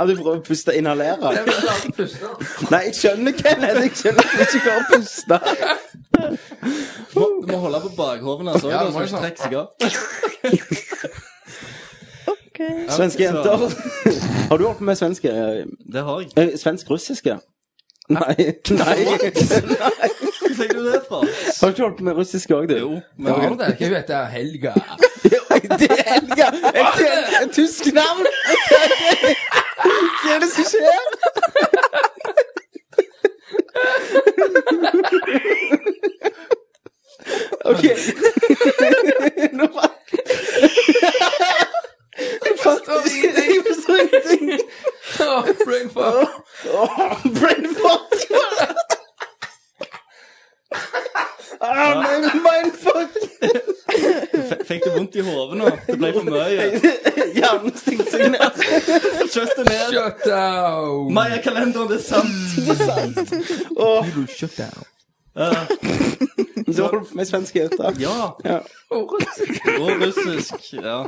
Ja, du prøver å puste inhalere.
Jeg vil klare å puste.
Nei, jeg skjønner, Kenneth. Jeg skjønner at du ikke klarer å puste.
Du må holde på bakhoven, altså.
Ja,
Ja,
det må
må
jeg
ikke trekke seg av.
OK.
Svenske jenter. Har du holdt på med svenske
Det har jeg.
eh, Svensk-russiske? Nei. Nei.
Hvor fikk du det fra?
Har du ikke holdt på med russisk òg, du?
Jo, men
Men har du det? Hva heter Helga?
Det er Helga! Et, et, et tysk navn! Hva er det som skjer? OK. Nå var Jeg forstår ingenting. Jeg forstår ingenting.
Brain fuck.
Åh, brain fuck! Ah, nei, mind fuck!
f- fikk du vondt i hodet nå? Det ble for mye.
Hjernen stengte seg ned.
Kjøtt det ned.
Shut down.
Maya-kalenderen, det er sant.
Åh,
You shut down.
Eh,
Så holdt med svenske jenter.
ja.
Ja.
Og russisk.
Og russisk. Ja.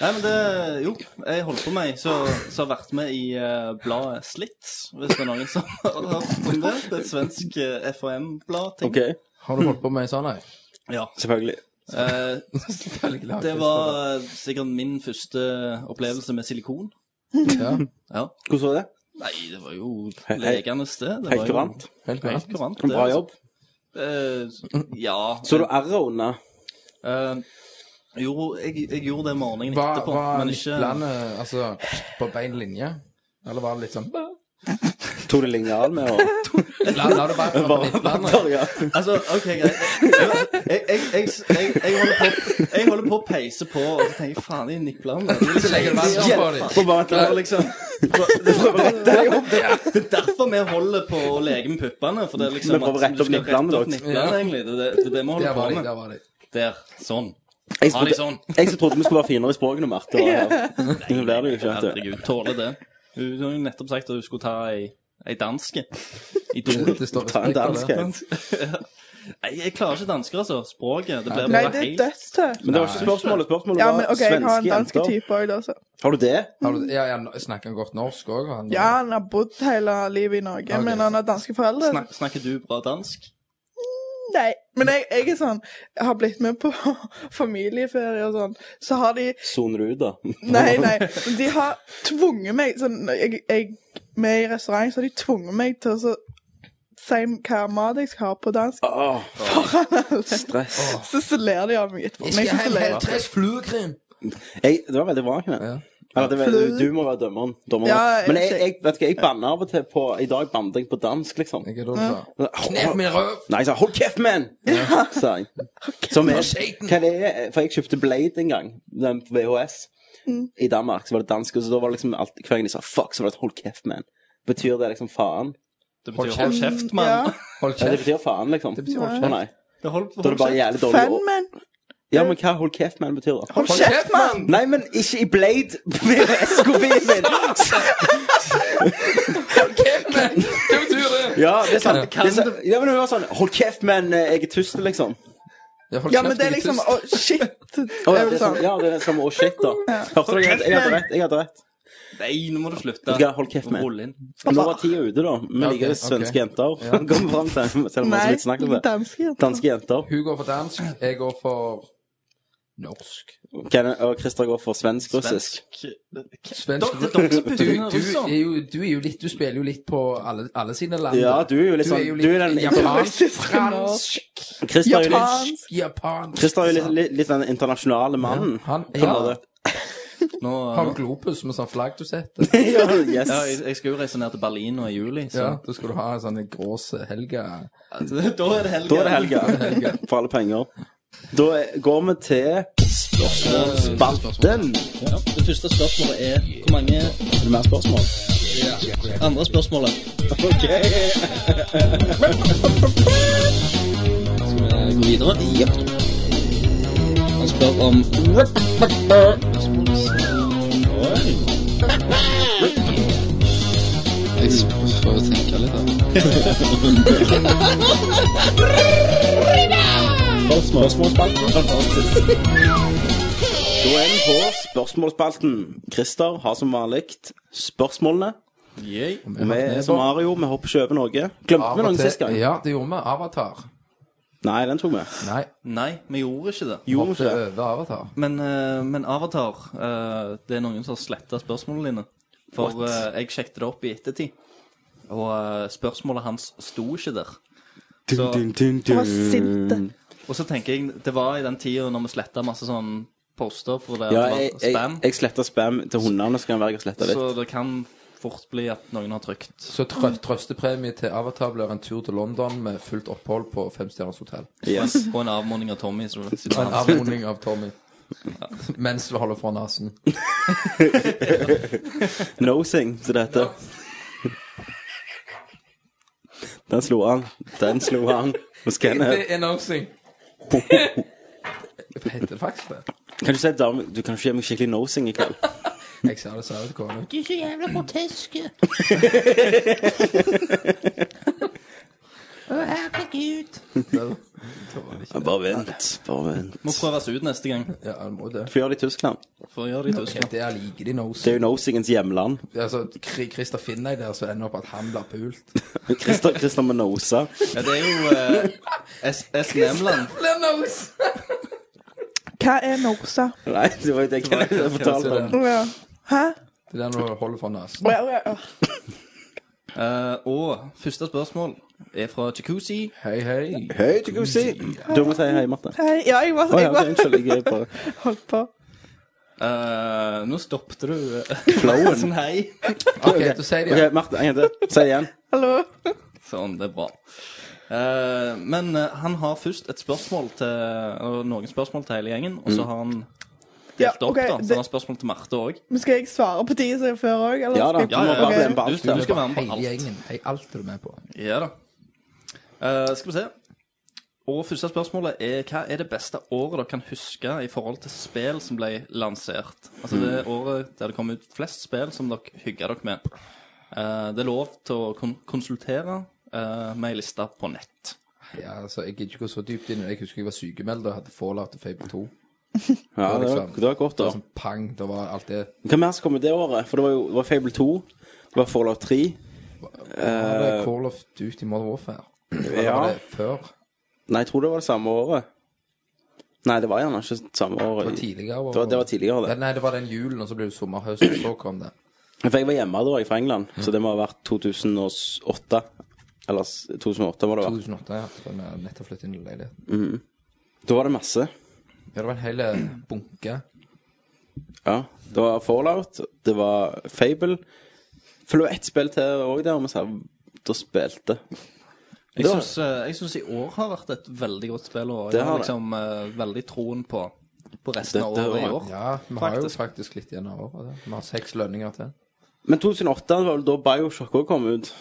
Nei, men det Jo, jeg holder på med ei som som har vært med i eh, bladet Slitt, hvis det er noen som har hørt om det. Det er et svensk eh, FHM-blad. ting.
OK,
Har du holdt på med en sånn ei?
Ja.
selvfølgelig.
Eh,
Selvfølgelig har jeg
det
ikke
var eh, sikkert min første opplevelse med silikon.
det. Ja,
Ja.
Hvordan var det?
Nei, det var jo
Hei- hei.
legenes sted. Det
Helt
var jo-
kurant.
helt bra.
Helt kurant. det,
Bra
altså.
jobb.
Eh, ja.
Så du r-et under?
Eh, jo, jeg, jeg gjorde det morgenen
Var,
etterpå,
var
men ikke
landet altså, på bein linje? Eller var det litt sånn
Tok du linjal med og
La, la det være på midtlandet.
ja.
Altså, OK, greit. Jeg, jeg, jeg, jeg, jeg, holder på, jeg holder på å peise på, og så tenker jeg faen, de nipler meg. Det er
Så legger du vann på dem.
Og bare vent
Det er
litt.
liksom Det er derfor vi holder på å leke med puppene. For det er liksom
Vi prøver å rette opp
du skal
nipplene, da.
nipplene,
Ja.
egentlig. Det er det, det, er det vi
Der var
holder
de,
på med.
der var de.
Der. Sånn.
Jeg
Ha de
trodde,
sånn.
jeg som trodde vi skulle være finere i språket enn Marte. var her. Nå blir det jo ikke, vet du.
Herregud, tåler det. Hun har jo nettopp sagt at hun skulle ta ei, ei danske. I
Det,
doen.
det står
Ta en
respekt av
dansk
det.
en.
Nei, jeg klarer ikke dansker, altså. Språket. Det blir
Nei,
bare
det er
helt
dødstøft.
Men det var ikke spørsmålet. Spørsmålet
Ja,
var
men OK, jeg har en
svenske
dansk
jenter.
type òg, da. Så.
Har du det?
Har du- Ja, ja, snakker han godt norsk òg?
Ja, han har bodd hele livet i Norge,
Ok.
men han har danske
altså.
foreldre.
Snak, Snakker du bra dansk?
Nei, men jeg, jeg er sånn Jeg har blitt med på familieferie og sånn. Så har de
Soner du ut, da?
Nei, nei. men De har tvunget meg sånn, jeg, jeg, Med i restaurant så har de tvunget meg til å så si hva mat jeg skal ha på dansk.
Åh, Ah, stress.
Ah.
Så, så ler de av meg etterpå. Men jeg synes det er løye.
fluekrem.
Jeg, det var veldig bra, Kenneth.
Ja.
Eller, det, var- du, du må være dømmeren. dommeren.
Ja, jeg-
Men jeg, jeg, vet ikke, jeg banner av og til på I dag bannet jeg på dansk, liksom.
Jeg er dum, sa.
Hold-
min røv!
Nei, jeg sa 'hold kjeft, man'! sa jeg. Som er,
Shaken.
hva det er For jeg kjøpte Blade en gang, den på VHS. I Danmark så var det dansk, og så da var det liksom alt, hver gang de sa 'fuck', så var det 'hold kjeft, man'. Betyr det liksom faen?
Det
Hold
betyr hold kjeft, mann.
Hold
Ja, det
kjeft.
betyr faen, liksom.
Det betyr hold
Å,
kjeft.
Nei.
Det hold,
Da er
hold
det bare
kjeft.
jævlig dårlig
Fan,
ord.
men
Ja, men hva 'hold kjeft, man' betyr, da?
Hold kjeft, mann!
Nei, men ikke i Blade VHS-kopien min!
Hva betyr det?
Ja, det er sant.
Kan-
Det er sant. Ja, men hun var sånn 'hold kjeft, man, jeg er tyst', liksom.
Ja, hold
Ja, men
kjeft,
det er
jeg
liksom
tyst.
Å, shit.
Å,
Det
ja,
er
det
vel
er sånn,
sånn.
ja, det er som å shit, da. Hørte dere? Jeg hadde rett. Jeg hadde rett.
Nei, nå må du slutte.
Vet du hva, hold kjeft, mann.
Rull inn.
Nå var tida ute, da. Vi
Ja,
liker
ok,
svenske
ok.
jenter.
Ja.
Kommer fram til, selv om vi har så
Nei,
vidt snakket om det.
danske jenter.
Danske jenter.
Hun går for dansk, jeg går for norsk.
Ken og Christer går for svensk-russisk.
Svensk.
Det er dere som
Du,
putter inn
du,
russer.
er jo, du er jo litt Du spiller jo litt på alle, alle sine land.
Ja, du er jo litt sånn Du er den
japansk,
Russisk,
fransk,
Christer er jo litt,
Japansk.
japansk
Christer er jo litt, litt, litt den internasjonale mannen.
Han
På en
ja,
måte.
Nå,
har du globus med sånn flagg du setter.
Ja,
ja, jeg,
yes.
jeg skal jo reise ned til Berlin nå i juli, så
Ja, da skal du ha en sånn grås helge.
Altså, Da er det helga.
Da er det helga. For alle penger. Da er- går vi til spørsmålsspalten.
Ja, det første spørsmålet er hvor mange
Er det mer spørsmål?
andre spørsmålet.
OK.
Skal vi gå videre? Ja. Han spør om
Spørsmålsspalten. Fantastisk. Da er vi på spørsmålsspalten. Christer har som vanlig spørsmålene. Og Vi er som Mario, vi hopper ikke over noe. Glemte vi noen sist gang?
Ja, det gjorde vi. Avatar.
Nei, den tok vi.
Nei,
Nei, vi gjorde ikke det.
Jo,
hoppet
vi ikke.
over Avatar.
Men, eh, men Avatar eh, Det er noen som har sletta spørsmålene dine. For eh, jeg sjekket det opp i ettertid, og eh, spørsmålet hans sto ikke der. Så,
Han var sinte.
og så tenker jeg Det var i den tida når vi sletta masse sånn poster for det
Ja,
at
jeg,
det var
jeg,
spam.
jeg sletta spam til hundene, så kan være jeg har sletta litt.
Så det kan fort bli at noen har trykt.
Så trø trøstepremie til Avatar blir en tur til London med fullt opphold på femstjerners hotell.
Yes.
Og en avmåning av Tommy. Så, så
Og en avroning av Tommy. Mens du holder for nesen.
Nosing, som det heter. Den slo han. Den slo han. Hos Kenneth.
er nosing. Heter det faktisk det?
Kan du si dame, du kan ikke gi meg skikkelig nosing i kveld?
Jeg ser det seriøst, Kåre.
Ja, Bare vent. Bare vent.
Må prøves ut neste gang.
Ja, han må det.
Hvorfor gjør de Tyskland?
For å gjøre det i Tyskland.
Det er like de
Det er
nosing.
jo nosingens hjemland.
Altså, Kri- Christer finner jeg der, så ender opp at han blir pult.
Christer, Christer med nosa.
Ja, det er jo eh, S- SNM-land.
Hva er Norsa?
Nei, det var jo det Kenneth fortalte om.
Det
Ja. Hæ?
er den du holder for nesen.
Å, ja, å, ja, å.
Eh, og første spørsmål er fra Jacuzzi.
Hei, hei.
Hei, du kan si. Du må si hei, Marte.
Hei. Ja, jeg var,
Å ja,
jeg
ok,
var
unnskyld. Jeg er bare
holdt på.
Eh, nå stoppet du eh,
flowen.
sånn hei.
OK, du sier det.
Ok, Marte, en gang til. Si det igjen.
Hallo?
Sånn, det er bra. Eh, men eh, han har først et spørsmål til og noen spørsmål til hele gjengen, og så har han
Mm. Ja,
delt opp,
ok,
da. Så
det-
sånn.
han har spørsmål til Marte òg.
Men skal jeg svare på de som er før òg?
Ja da.
Ja, ja,
Bare
ja.
glem på
Du,
alt,
skal- du skal være med på
Hele
alt.
gjengen. Hei, alt er du med på.
Ja da. Eh, skal vi se. Og første spørsmålet er hva er det beste året dere kan huske i forhold til spill som ble lansert? Altså det året der det kom ut flest spill som dere hygga dere med. Eh, det er lov til å kon konsultere eh, med ei liste på nett.
Ja, altså, Jeg gidder ikke gå så dypt inn. Jeg husker jeg var sykemeldt og hadde Fallout og Fable 2.
Ja, det liksom- var, det var godt,
Det
da.
var sånn pang. Da var alt det
Hva mer som kom det året? For det var jo det var Fable 2, det var Fallout 3
Da var det Call of Duty Modern Warfare. Eller
Eh, Ja.
var det før?
Nei, jeg tror det var det samme året. Nei, det var gjerne ikke samme
Det var
året.
tidligere.
Det var, det var tidligere, det.
Nei, det var den julen, og så ble det sommerhøst, og så kom det.
For jeg var hjemme da, jeg fra England, så det må ha vært 2008. Eller s- 2008 må det ha vært.
2008, ja. Da vi nettopp flyttet inn i leiligheten.
Da var det masse.
Ja, det var en hel bunke.
Ja, det var Fallout, det var Fable. For det var ett spill til òg der vi sa da spilte.
Jeg syns, eh, jeg syns i år har vært et veldig godt spillår.
Det
Jeg
har
har
det.
liksom eh, veldig troen på, på resten av
Dette
året i
året.
år.
Ja, vi har jo faktisk litt igjen av året. da. Vi har seks lønninger til.
Men 2008 var vel da Bioshock òg kom ut.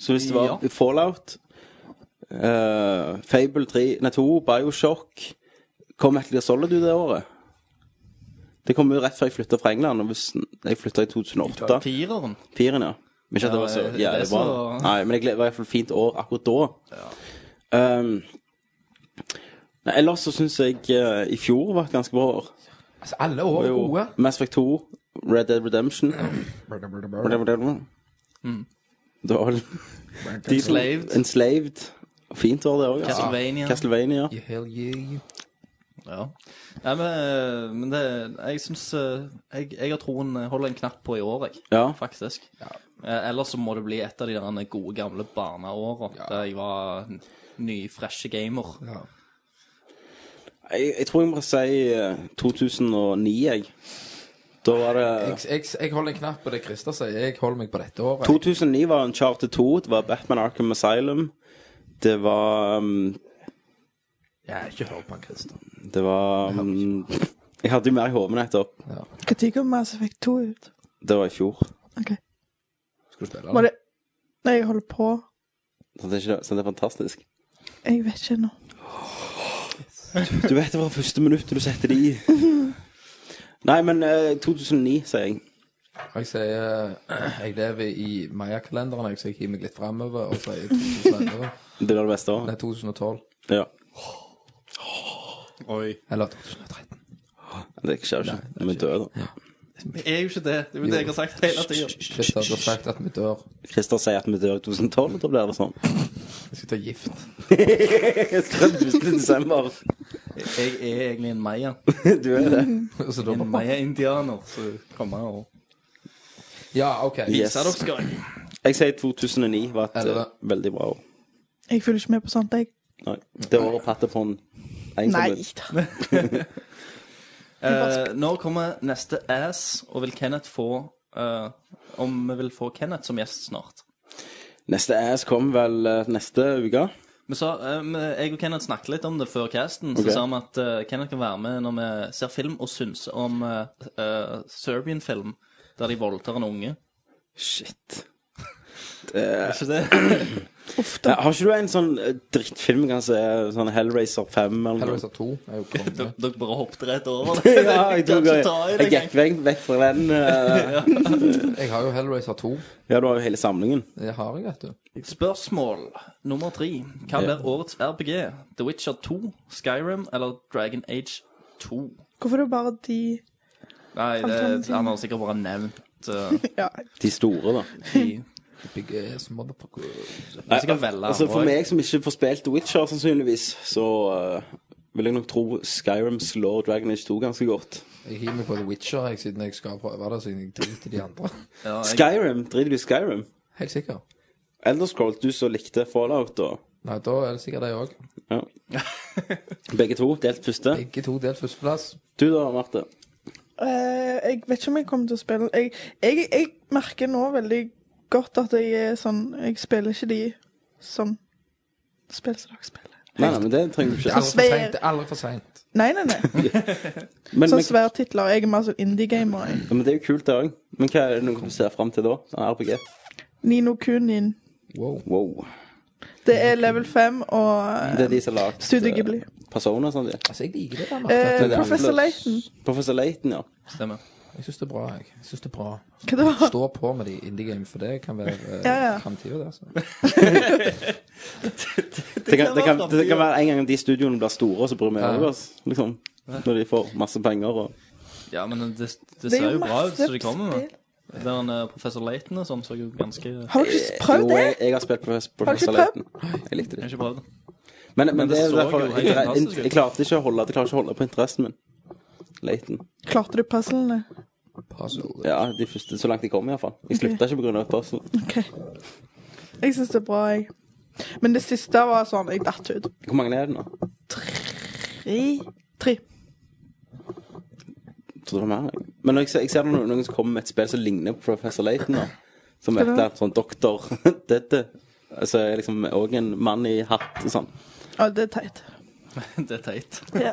Så hvis det var
Ja.
Fallout, eh, Fable 3, nei 2, Bioshock Kom Metal Gear Solid ut det året? Det kom jo rett før jeg flytta fra England. Og hvis jeg flytta i 2008
Fireren.
Firen, ja. Men ikke at det var så
Ja, det-
jævlig
det er
bra.
så-
Nei, men det gle- var i hvert fall fint år akkurat da. Um, nei, ellers så syns jeg eh, i fjor var et ganske bra år.
Altså, alle år er gode.
Mass Effect 2, Red Dead Redemption Det var vel de to-
Mm. Enslaved.
Enslaved. Fint var det òg.
Castlevania.
Castlevania.
Hell yeah.
Ja. Nei, men, eh, men det Jeg syns eh, jeg, jeg har troen eh, holder en knapp på i år, jeg.
Ja.
Faktisk. Eh, Ellers så må det bli et av de der gode, gamle barneåra der jeg var n- ny, freshe gamer.
Jeg, jeg tror jeg må si eh, 2009, jeg. Da var
Jeg,
det
jeg, jeg holder en knapp på det Christer sier. Jeg holder meg på dette året.
2009 var Uncharted 2, det var Batman Arkham Asylum. Det var um,
Ja, ikke hør på han Christer.
Det var um, Jeg hadde jo mer i hodet nettopp.
Når kom Mass Effect 2 ut?
Det var i fjor.
Ok.
Skal du spille
Var
den?
det Nei, jeg holder på.
Så det er, ikke, så det er fantastisk.
Jeg vet ikke ennå.
Du vet det fra første minuttet du setter det i. Nei, men eh, 2009, sier jeg.
Jeg sier eh, Jeg lever i mayakalenderen, jeg, så jeg hiver meg litt framover og sier 2011.
Det var det beste året.
Nei, 2012.
Ja.
Eller 2013.
Det skjer jo ikke. Vi dør, da.
Det er jo ikke det. Det er jo det jeg har sagt hele tida.
Christer, du har sagt at vi dør.
Christer sier at vi dør i 2012, da blir det sånn.
Vi skal ta gift.
30. desember.
Jeg er egentlig en maya.
Du er det.
Så da
En maya-indianer. Så kom her og
Ja, OK.
Yes.
Sa dere skal jeg.
Jeg sier 2009 var et eh,
Elleve.
veldig bra år.
Jeg følger ikke med på sånt, jeg.
Nei. Det året pattet på en
Nei
ensomhet.
da.
Eh, Når kommer neste ass, og vil Kenneth få eh, Om vi vil få Kenneth som gjest snart?
Neste ass kom vel eh, neste uke.
Vi sa, eh, men jeg og Kenneth snakket litt om det før casten.
Ok.
Så sa vi at eh, Kenneth kan være med når vi ser film og synser om eh, eh, Serbian film der de voldtar en unge.
Shit.
Er ikke det?
Eh, Har ikke du en sånn eh, drittfilm, kanskje? Sånn Hellraiser 5 eller noe?
Hellraiser 2 er jo konge.
Dere dere bare hoppet rett over det.
Ja, jeg,
Kan
tok,
ikke
jeg,
ta i det
jeg gikk vekk, vekk fra den. eh,
Jeg har jo Hellraiser 2.
ja, du har jo hele samlingen.
Det har jeg, vet du.
engang. Spørsmål nummer tre. Hva
Ja.
blir årets RPG? The Witcher 2, Skyrim eller Dragon Age 2?
Hvorfor er det bare de
Nei, det,
Alternativ.
han har sikkert bare nevnt eh,
Ja.
De store, da.
de
Big ass motherfucker.
Det er sikkert veldig
Altså, for
andre.
meg som ikke får spilt The Witcher, sannsynligvis, så eh, vil jeg nok tro Skyrim slår Dragon Age 2 ganske godt.
Jeg hiver meg på The Witcher jeg, siden jeg skal prøve det, siden jeg driter i de andre.
Ja, jeg-
Skyrim? Driter du i Skyrim?
Helt sikker.
Elder Scrolls, du som likte Fallout, da.
Nei, da er det sikkert det òg.
Ja. Begge to delt første.
Begge to delt førsteplass.
Du da, Marte?
Eh, jeg vet ikke om jeg kommer til å spille jeg, jeg, jeg merker nå veldig godt at jeg er sånn Jeg spiller ikke de som spill som dere spiller.
Nei, nei, men det trenger du
Det er
Altså,
ikke.
aldri for seint. Det er aldri for sent.
Nei, nei, nei.
Men,
Sånn
men,
svære titler. Jeg er mer sånn indie-gamer. jeg.
men det er jo kult, det òg. Men hva er det noe du ser fram til da? Sånn RPG?
Nino Kunin.
Wow.
Wow.
Det er level 5 og
Det er de som har lagd
Studio
eh,
Ghibli.
Persona og sånn? de.
Altså, jeg liker det der,
eh,
Marte.
Professor Layton.
Professor Layton, ja.
Stemmer.
Jeg syns det er bra. jeg. Jeg synes det er bra.
Hva det var?
Stå på med de indie-game, for det kan være eh,
Ja, ja.
fremtiden der. Så.
Det kan, det, kan,
være
det kan være en gang de studioene blir store, og så bryr vi
Ja.
oss. Liksom. Når de får masse penger og
Ja, men det, det
Det
ser jo bra ut,
masse
så de kommer med.
spill.
Den eh, professor Layton og sånn så jo ganske Jeg
Har dere ikke prøvd
Eh, Jo,
det?
jeg, jeg har spilt Professor,
Har du ikke
professor Layton. Jeg likte
har
det.
ikke prøvd det.
Men, men, det
det
er jo
så
derfor
jo helt
jeg, jeg,
fantastisk ut.
jeg klarte ikke å holde Jeg klarer ikke å holde på interessen min. Layton.
Klarte du puzzlene?
Puzzle.
Ja, de første, så langt jeg kom, iallfall. Jeg slutta ikke pga. Puzzle.
OK. Jeg syns det er bra, jeg. Men det siste var sånn Jeg datt ut.
Hvor mange er det nå?
Tre. Tre.
trodde det var mer. jeg. Men når jeg ser, jeg ser noen, noen som kommer med et spill som ligner på Professor Layton, da, som
Skal
er et
du ha?
eller annet sånn doktor Dette altså, er liksom òg en mann i hatt og sånn.
Ja, det er teit.
det er teit.
Ja.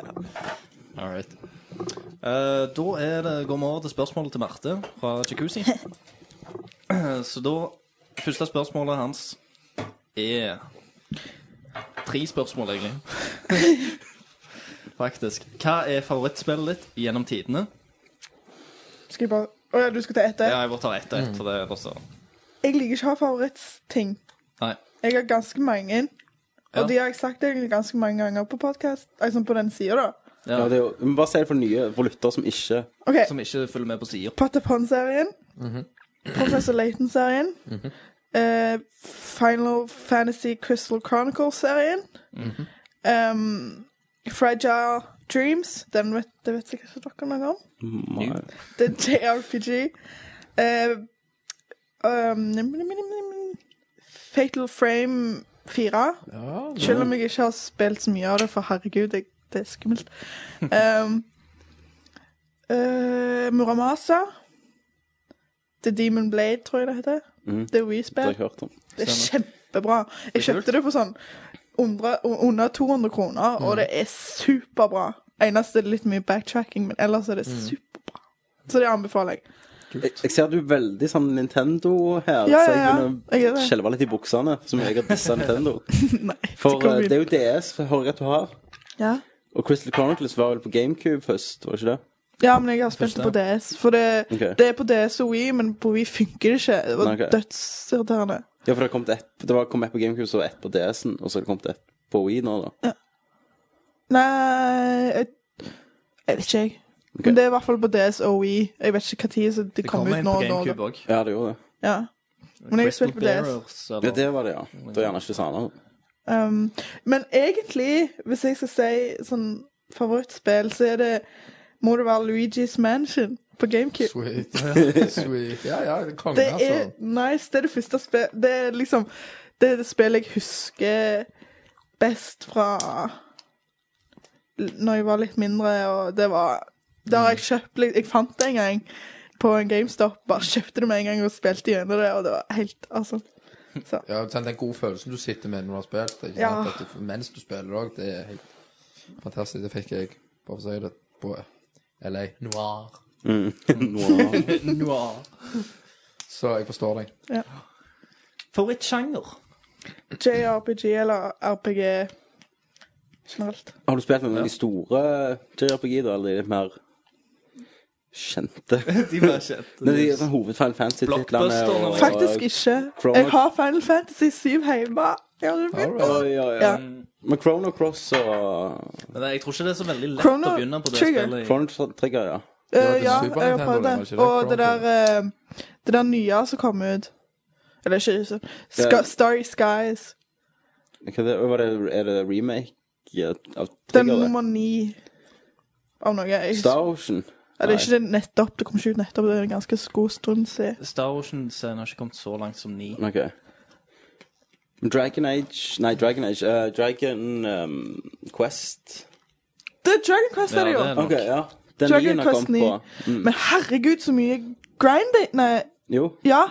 All right. Eh, da er det, går vi over til spørsmålet til Marte fra Jacuzzi. Så da Første spørsmålet hans er Tre spørsmål, egentlig. Faktisk. Hva er favorittspillet ditt gjennom tidene?
Skal jeg bare Å ja, du skal ta ett der?
Ja, jeg bare tar ett og ett, for det er også
Jeg liker ikke å ha favoritting.
Nei.
Jeg har ganske mange. Og
Ja.
de har jeg sagt egentlig ganske mange ganger på podkast. Altså på den sida, da.
Ja, det er jo, vi må bare si det for nye for lyttere som ikke
OK.
Som ikke følger med på sider.
Patapon-serien. Professor Layton-serien. eh, Final Fantasy Crystal Chronicle-serien. em, Fragile Dreams. Den vet, det vet sikkert ikke dere noe om.
må,
Det er JRPG. Eh, um, nim, nim, nim, nim. Fatal Frame 4. Selv om jeg ikke har spilt så mye av det, for herregud, jeg, det er skummelt. Um, eh, Muramasa. The Demon Blade, tror jeg det heter. Det er
Mm. Det har jeg
Wii-spill.
hørt om.
Det er kjempebra. Jeg
Det er kult.
kjøpte det for sånn under, under 200 kroner,
Mm.
og det er superbra. Eneste er det litt mye backtracking, men ellers er det
Mm.
superbra. Så det anbefaler jeg.
Jeg, jeg ser du er veldig sånn Nintendo her,
Ja,
så
ja, ja.
jeg
Jeg gjør
begynner å
det.
skjelve litt i buksene, som jeg har dissa Nintendo.
Nei,
For
kommer
eh, det er
inn.
jo DS, for jeg hører at du har.
ja.
Og Crystal Chronicles var vel på GameCube først, var det ikke det?
ja, men jeg har spilt det på DS. For det,
Ok.
det er på DS og Wii, men på Wii funker det ikke. Det var
Nei, ok.
dødsirriterende.
Ja, for det kom et, det var, kom et på GameCube, så var det ett på DS-en, og så har det kommet ett på Wii nå, da.
Nei jeg, jeg vet ikke, jeg. Men det er i hvert fall på DS og Wii. Jeg vet ikke når det, det
Det
kom
kommer
ut
inn
nå
på
og nå. da.
GameCube òg.
Ja, det gjorde det.
Ja. Men jeg har spilt på DS.
Ja, det var det, ja. Det var gjerne ikke samme.
Um, men egentlig, hvis jeg skal si sånn favorittspill, så er det Må det være Luigi's Mansion på GameCube.
Sweet. Ja, Sweet. Ja, ja, det er konge,
Det
altså.
er nice. Det er det første spill Det er liksom Det er det spillet jeg husker best fra l- Når jeg var litt mindre, og det var Det har
Mm.
jeg kjøpt litt Jeg fant det en gang på en GameStop. Bare kjøpte det med en gang og spilte gjennom det, og det var helt Altså. Så.
Ja, sant, den gode følelsen du sitter med når du har spilt, ikke sant?
Ja.
At du, mens du spiller òg, det er helt fantastisk. Det fikk jeg, bare for å si det, på LA Noir.
Noir.
Så jeg forstår deg.
Favorittsjanger?
JRPG eller RPG generelt.
Har du spilt med noen av de store JRPG, da, eller de litt mer kjente?
De var kjente.
Nei, de er sånn hovedfeil fantasy-titlene
Blockbuster,
og
Faktisk ikke.
Chrono-
Jeg har Final Fantasy 7 hjemme. Ja, det er fint.
Alright.
Oi, oi,
Ja.
oi. Men Chrono Cross og
Men jeg tror ikke det er så veldig lett
Chrono
å begynne på det
Trigger.
spillet.
Chrono Trigger, ja.
Eh,
var til
ja,
Super
jeg har
Nintendo, det
prøvd
var ikke
det.
det,
Og det
Chrono
der, eh, det der nye som kom ut Eller ikke så-
Ja.
Ska, Starry Skies.
Hva er det, var det, er det remake av
Den
Trigger? det?
nummer ni av noe. Jeg, husker-
Star Ocean?
ja, det er ikke det nettopp. Det kom ikke ut nettopp. Det er en ganske god stund siden.
Star Ocean-scenen har ikke kommet så langt som ni.
Ok. Dragon Age Nei, Dragon Age. eh, Dragon ehm, Quest.
Det er Dragon Quest,
Ja,
er det jo!
det er nok.
Ok, ja. Den
Dragon
nyen har
Quest
kommet på.
9. Men herregud, så mye grinding Nei,
Jo.
Ja,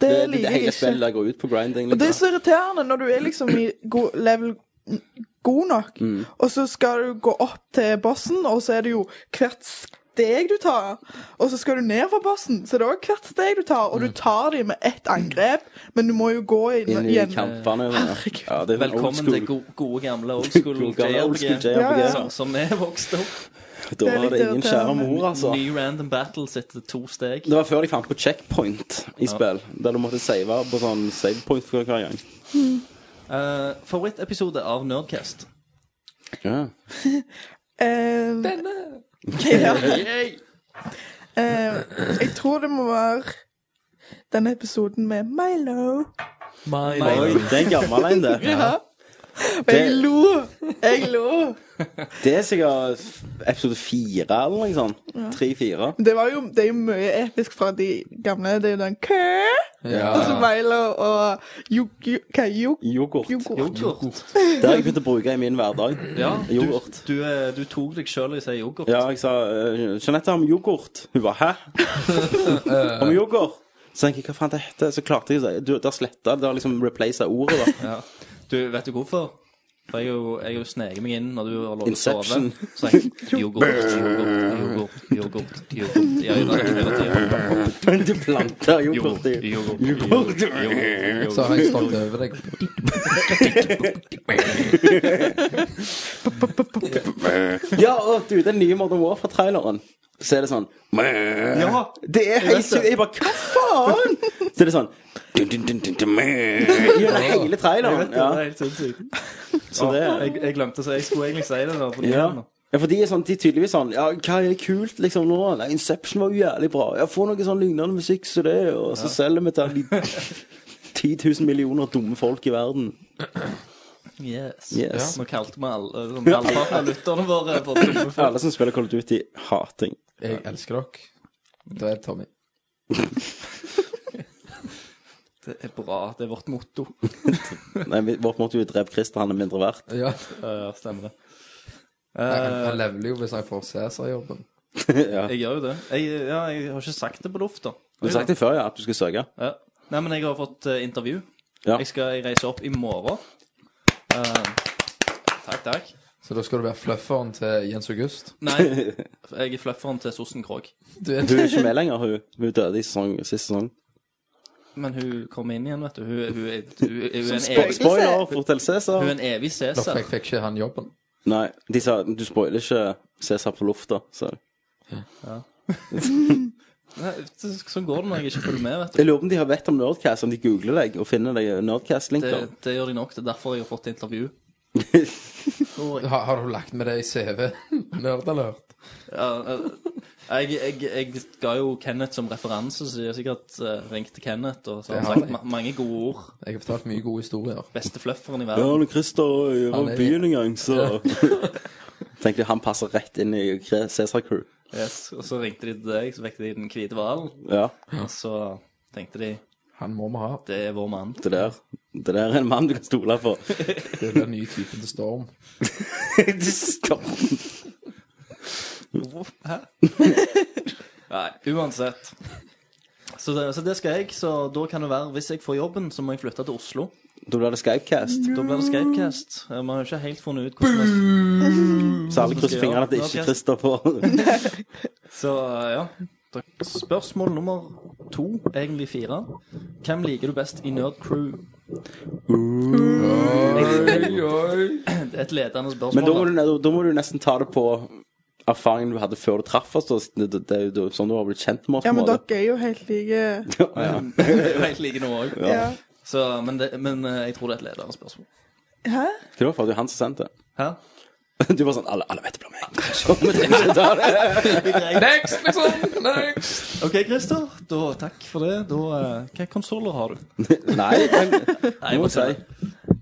Det,
det,
det,
liker jeg
hele
ikke.
spillet går ut på grinding.
Og det er
Liksom.
så irriterende når du er liksom i god level god nok,
Mm.
og så skal du gå opp til bossen, og så er det jo hvert steg du tar. Og så skal du ned fra bossen, så det er også hvert steg du tar, og du tar dem med ett angrep, men du må jo gå inn,
Mm. Inn i
sånn igjen.
kampene. ja.
Herregud.
Ja, det er sånn old
Velkommen
school.
til go gode, gamle old school
Gode gamle old school
JRPG.
JRPG.
Ja, ja.
Som- Som vi vokste opp.
Da
Det er
var
litt
det ingen kjære
irriterende.
mor, altså.
Ny random battles etter to steg.
Det var før de fant på checkpoint i spill, der du måtte save på sånn savepoint for hver gang.
Eh, Favorittepisode av Nerdcast.
Ja.
Eh, ja. Eh, jeg tror det må være denne episoden med Milo.
Oi, det er en gammel en, det.
Og jeg lo! Jeg lo!
Det er sikkert episode fire eller noe sånt. Tre-fire.
Men Det, var jo, det er jo mye episk fra de gamle. Det er jo den kø,
Ja.
og så Milo og juk- ju- Hva er juk-
Yoghurt.
yoghurt?
Yoghurt.
Det har jeg begynt å bruke i min hverdag.
Ja, du,
Yoghurt.
du, eh, du tok deg sjøl i å si yoghurt.
Ja, jeg sa eh, Jeanette har om yoghurt. Hun bare hæ? om yoghurt? Så tenkte jeg hva faen det heter. Så klarte jeg å si Du, det har sletta det. har liksom replacet ordet, da.
Ja. Du, vet du hvorfor? For jeg har jo, jeg har jo sneket meg inn når du har lov til å sove.
Inception.
Så jeg yoghurt, yoghurt, yoghurt, yoghurt, yoghurt. Jeg har jo vært yoghurt,
Men du planter yoghurt
yoghurt,
i
yoghurt,
Yoghurt.
yoghurt, yoghurt.
Så har jeg stått over deg.
Ja, og du, den nye Modern Warfare-traileren. Så er det sånn Ja, det er helt sykt. Jeg bare Hva faen? Så er det sånn dun, dun, dun, dun, dun, Gjennom hele traileren.
Det er
Ja,
helt sinnssykt.
så det
Jeg, jeg glemte å si Jeg skulle egentlig si det. Da, for
ja.
nå.
ja, for de er sånn, de er tydeligvis sånn Ja, hva er kult liksom nå? Nei, Inception var jo jævlig bra. Ja, få noe sånn lignende musikk som det, og så selger vi til de 10 000 millioner dumme folk i verden.
Yes.
Yes.
Nå kalte vi alle sånn, halvparten av lytterne våre for dumme folk.
Alle som spiller Call of Duty, hating.
Jeg elsker dere. Det er Tommy.
Det er bra. Det er vårt motto.
Nei, vi- vårt måte jo drepe Christer, han er mindre verdt.
Ja.
Eh, stemmer det.
Han
Eh,
han leveler jo hvis han får Cæsar-jobben.
ja.
jeg gjør jo det. Jeg, ja, jeg har ikke sagt det på lufta.
Du har sagt det før, ja, at du skal søke.
Ja. Nei, men jeg har fått eh, intervju.
Ja.
Jeg skal reise opp i morgen. Eh, takk, takk.
Så da skal du være flufferen til Jens August.
Nei, jeg er flufferen til Sossen Krog.
Du er
Du er ikke med lenger, hun. Hun døde i sesong, siste sesong.
Men hun kommer inn igjen, vet du. Hun, hun, er, hun, er- hun, er, en
Spo-
evig,
Spoiler! Fortell Cæsar.
hun er en evig
Da
Cæsar.
fikk, fikk ikke han jobben.
Nei, de sa du spoiler ikke Cæsar på lufta. Så.
Nei, så- Sånn går det når jeg ikke følger med, vet du.
Jeg lurer på om de har vett om Nerdcast, om de googler deg og finner deg
Det,
Nerdcast-linker.
det gjør de nok. Det er derfor jeg har fått intervju.
Har, har du lagt med det i CV? Nerdalert.
Ja, eh, jeg, jeg, jeg ga jo Kenneth som referanse, så jeg har sikkert eh, ringt til Kenneth og så har
Det har
han sagt
jeg.
ma mange gode ord.
Jeg har fortalt mye gode historier.
Beste flufferen i
Ja,
verden.
når Christer jeg var
Han er-
i byen en gang, så Tenkte jeg han passer rett inn i Cæsar-crew.
Yes. Og så ringte de til deg, så vekket de den hvite hvalen.
Ja,
Og så tenkte de
Han må vi ha.
det er vår mann.
det der. Det der er en mann du kan stole på.
Det er den nye typen til Storm.
Du stopper.
Hæ? Nei, uansett. Så det, så det skal jeg. Så da kan det være, hvis jeg får jobben, så må jeg flytte til Oslo.
Da blir det Skypecast.
Da blir det Skypecast. Eh, Vi har jo ikke helt funnet ut hvordan vi
Så alle krysser fingrene at det ikke er Christer får
Så eh, ja. Da- Spørsmål nummer to, egentlig fire. Hvem liker du best i Nerd Crew?
Oi, oi.
Det er Et ledende
Men da må,
spørsmål. da.
du, da må du nesten ta det på erfaringen du hadde før du traff oss. da. Det, det, det er jo da- sånn du har blitt kjent med oss.
Ja, men
på en måte.
dere er jo helt like.
ja.
Jeg er jo helt like nå òg.
Ja.
Men, det- men eh, jeg tror det er et ledende spørsmål.
Hæ?
Hva var det for? Det er jo han som sendte det.
Hæ?
Du var sånn Alle, alle vet det blir meg. Så vi trenger ikke ta det.
Next, liksom! Next!
OK, Christer. Da, takk for det. Da, eh, hva konsoller har du?
Nei, men
Nei,
jeg må si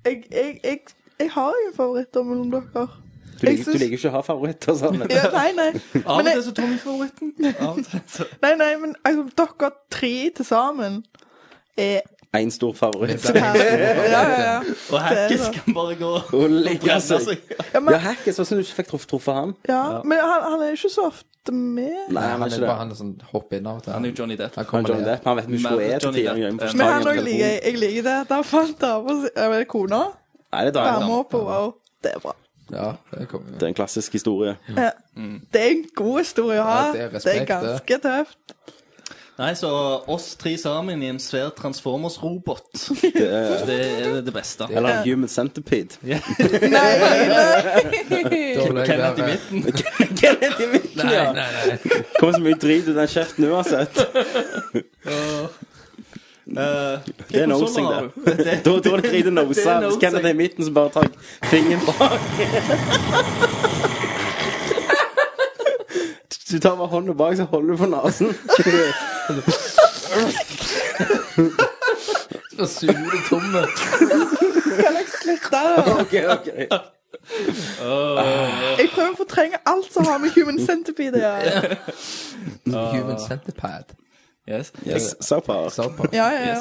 Jeg, jeg, jeg, jeg har ingen favoritter mellom dere.
Du
Jeg
liker,
syns-
du liker ikke å ha favoritter og sånn.
Ja, nei, nei.
Av og
Men jeg-
til så tar vi favoritten. Av og til så-
Nei, nei, men altså, dere tre til sammen er
Én stor favoritt.
Ja, ja, ja.
Og Hackis
Det er det.
kan bare gå og
Og legge
brenne
seg.
seg.
Ja, altså- men,
Ja, Hackes, hva syns du ikke fikk truff- truffet han?
ja, men han, han er jo ikke så ofte med.
Nei,
Han
han er
er
ikke
bare
det.
han er sånn hopp inn av og til.
Han er jo Johnny Depp.
Han
Han
kommer
Johnny
ned.
Depp, han vet vi ikke hvor er til
Johnny
tider
Depp.
engang.
Men han òg liker jeg. Jeg liker det. Der fant dama si Eller kona
Nei, det er Daniel.
dama på wow. Det er bra.
Ja, det kommer jo.
Det er en klassisk historie.
Ja. Det er en god historie å ha.
Mm. Ja, det er respekt,
Det er ganske tøft.
Nei, så oss tre sammen i en svær Transformers-robot.
Det er,
Det er det beste.
eller en Human Centipede.
Da vil jeg
Kenneth i
være-
midten.
Kenneth i midten, ja.
Nei, nei.
Kommer så mye drit ut av den kjeften uansett. Det er nosing, det.
det.
Da da er det drit i
Det
nosa.
er
Hvis
nosing.
Kenneth er i midten, så bare tar jeg fingeren bak. Du tar bare hånda bak, så holder du på nesen.
Nå suger du tomme.
Kan jeg slutte? da?
OK, OK.
Jeg prøver å fortrenge alt som har med human centipede å gjøre.
Human centipede.
Yes.
Yes, super.
South Park.
Ja, ja, ja.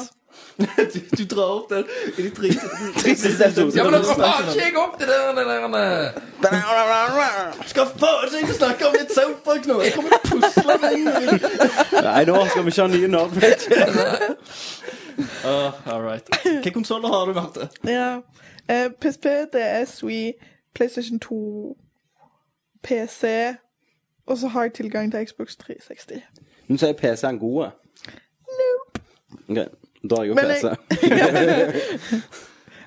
Du, du drar opp den i de tre
Siste episode.
Ja, men da faen ikke jeg opp til det der, det der
Skal faen ikke snakke om litt South Park nå! Jeg kommer til å pusle deg inn!
Nei, nå skal vi ikke ha nye nerdbreak.
Uh, all right. Hvilke konsoller har du, Marte?
Ja. Eh, PSP, DS, Wii, PlayStation 2, PC, og så har jeg tilgang til Xbox 360.
Men så er PC-en god.
Nope.
OK, da har jeg jo
Men
PC.
jeg-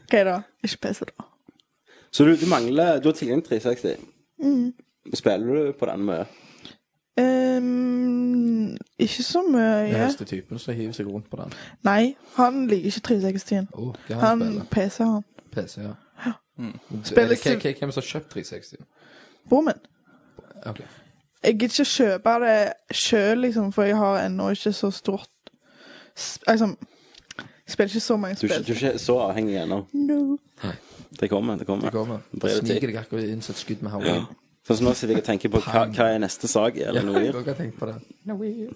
OK, da. Ikke PC, da.
Så du, du mangler Du har tilgang til 360.
Mm.
Spiller du på den mye?
Ehm, ikke så
Den
mye.
høyeste typen som hiver seg rundt på den.
Nei, han liker ikke 360-en.
Oh, det er han,
Han PC, han.
spiller. PC, ja. Mm.
Spiller
Er det
Civ-
hvem- Hvem som har kjøpt 360?
Bror min.
Ok.
Jeg gidder ikke kjøpe det sjøl, liksom, for jeg har ennå ikke så stort s- Altså, jeg spiller ikke så mange
Du, er ikke-
spill.
du er ikke så avhengig ennå.
No.
Det kommer. det kommer.
Det kommer.
Det er det
Sniker
tid.
deg akkurat inn som et skudd med haugen.
Sånn som nå sitter jeg og tenker på hva, hva er neste sak i Ellen
Jeg
Noir.
har tenkt på det.
Noir.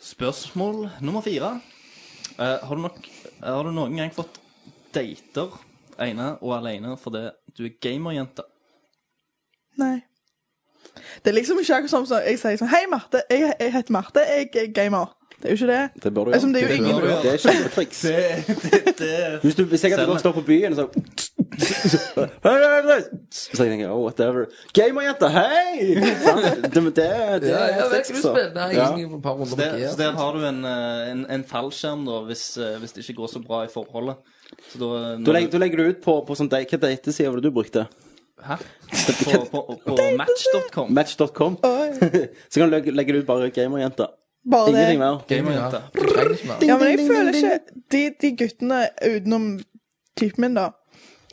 Spørsmål nummer fire. Eh, har, du nok, har du noen gang fått dater ene og alene fordi du er gamerjente?
Nei. Det er liksom ikke akkurat sånn som jeg sier sånn Hei, Marte. Jeg, jeg heter Marte. Jeg er gamer. Det er jo ikke det.
Det bør du
Altså,
gjøre.
det er jo
Det bør
ingen
du
Det er ikke noe triks. Hvis, du, hvis jeg hadde
Selv-
gått og stått på byen og så så- Hei, hei, hei. Så jeg tenker oh, whatever. Gamerjente, hei! Sant? Det, det, det
Ja, ja,
er
det
triks,
skal du
så.
spille. Nei,
Ja.
jeg er et par runder
Så
på
der, så
G.
der har du en, eh, en, en fallskjerm da, hvis, eh, hvis det ikke går så bra i forholdet. Så da, eh,
Da legger, da legger du ut på, på sånn date, hva dateside var det du brukte?
Hæ? På, på, på match.com.
Match.com.
Oi.
Så kan du legge, legge det ut bare gamerjente.
Bare det.
Ingenting mer.
Gamerjente.
Du trenger ikke mer.
Ja, men jeg føler ikke de, de guttene utenom typen min, da.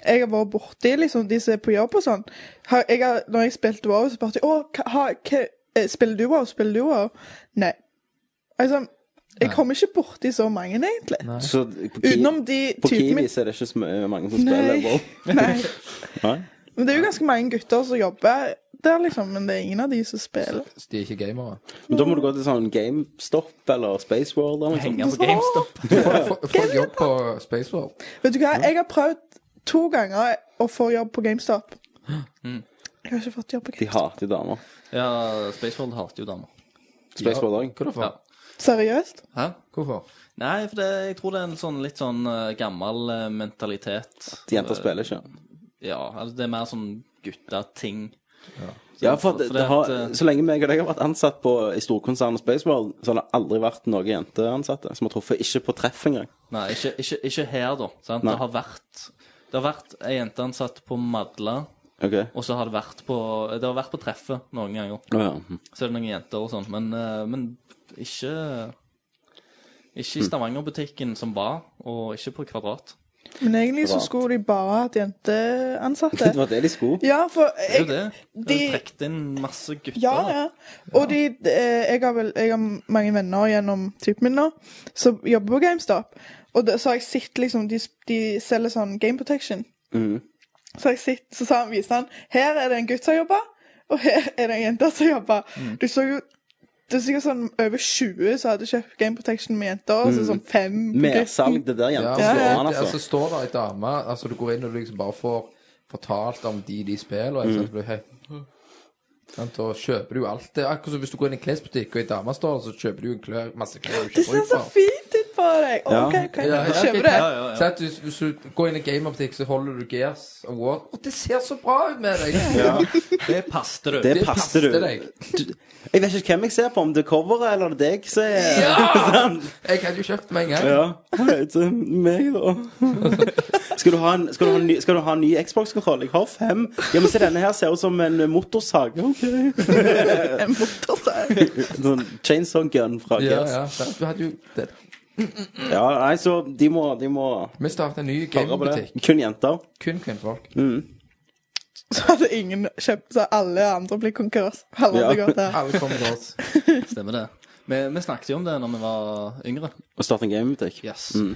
Jeg har vært borti liksom, de som er på jobb og sånn. Har, jeg har, når jeg spilte WoW, så bare de, Å, hva- ha, hva, eh, spiller du WoW? Spiller du WoW? Nei. Altså, jeg kommer ikke borti så mange, egentlig.
Så på, Ki
Utenom de
på
typen
Kiwi
min.
så er det ikke så mye- mange som spiller.
Nei.
Wow.
Nei.
Nei?
Men det er jo ganske mange gutter som jobber der, liksom. Men det er ingen av de som spiller.
De er ikke gamere.
Men da må du gå til sånn GameStop eller Space World eller noe sånt.
Henge på GameStop.
Folk folk jobber på Space World.
Vet du hva, jeg har prøvd to ganger å få jobb på GameStop. Jeg har ikke fått jobb på
Mm. De
GameStop.
hater damer.
Ja, Spaceworld hater jo damer.
Space World også.
Hvorfor?
Ja.
Seriøst?
Hæ?
Hvorfor?
Nei, for det, jeg tror det er en sånn, litt sånn eh, gammel eh, mentalitet.
De Jenter spiller ikke.
Ja, altså det er mer sånn gutta-ting.
Ja, for at det,
fordi
det har,
at, eh,
Så lenge meg og deg har vært ansatt på, i storkonsernet Spaceworld, så har det aldri vært noen jenteansatte som har truffet ikke på treff engang.
Nei, ikke, ikke, ikke her, da. Sant?
Nei.
Det har vært Det har vært ei jente ansatt på Madla,
Ok.
og så har det vært på Det har vært på treffet noen ganger.
Å ja.
Så er det noen jenter og sånn, men, eh, men ikke Ikke i
Mm.
Stavanger-butikken som var, og ikke på Kvadrat.
Men egentlig så
Rart.
skulle de bare hatt
Det
jenteansatte.
var det de skulle.
Ja, for
Det er jo
jeg,
det. De
de-
trekte inn masse gutter.
ja, ja. Og de, eh, jeg, har vel, jeg har mange venner gjennom typen min nå som jobber på GameStop. Og det, så har jeg sett liksom De, de selger sånn Game Protection.
Mm.
Så har jeg sett, så sa han, viste han Her er det en gutt som jobber, og her er det en jente som jobber.
Mm.
Du så jo det er sikkert sånn over 20 som hadde kjøpt Game Protection med jenter. Og så sånn fem på gutten.
Mm. Mersalg, det der
Ja,
jenter
altså,
slår
ja,
an,
altså
altså.
står der ei dame Altså, du går inn og du liksom bare får fortalt om de de spiller, og så blir du helt Sant, og kjøper du alt det. Akkurat som hvis du går inn i en klesbutikk og ei dame står der, så kjøper du en klør, masse klær du ikke
Det ser
bruker.
så fint ut på deg! Å,
Ja.
OK, OK,
Ja, ja,
kjøper
ok.
det.
Ja, ja, ja. Sant, hvis, hvis du går inn i en gamerbutikk, så holder du Gears og War. Å, det ser så bra ut med deg!
Det passet du.
Det
Det
passer du.
passer deg.
Du- Jeg vet ikke hvem jeg ser på, om det er coveret eller det er deg som er Sånn. Sant?
Jeg hadde jo kjøpt meg en gang.
Ja. Hei, det er meg, da. Skal du ha en, skal du ha en ny, skal du ha en ny Xbox-kontroll? Jeg har fem. Ja, men se, denne her ser ut som en motorsag. OK.
En motorsag.
Sånn chainsaw gun fra
Ja,
Gears.
ja, sant, du hadde jo det.
Ja, nei, så de må, de må
Vi startet en ny
høre på det.
gamerbutikk.
Kun jenter.
Kun kvinnfolk.
Så hadde ingen kjøpt, så alle andre ble konkurs. Alle hadde
Ja.
gått der.
Alle kommer til oss.
Stemmer det. Vi, vi snakket jo om det når vi var yngre.
Å starte en gamebutikk.
Yes.
Mm.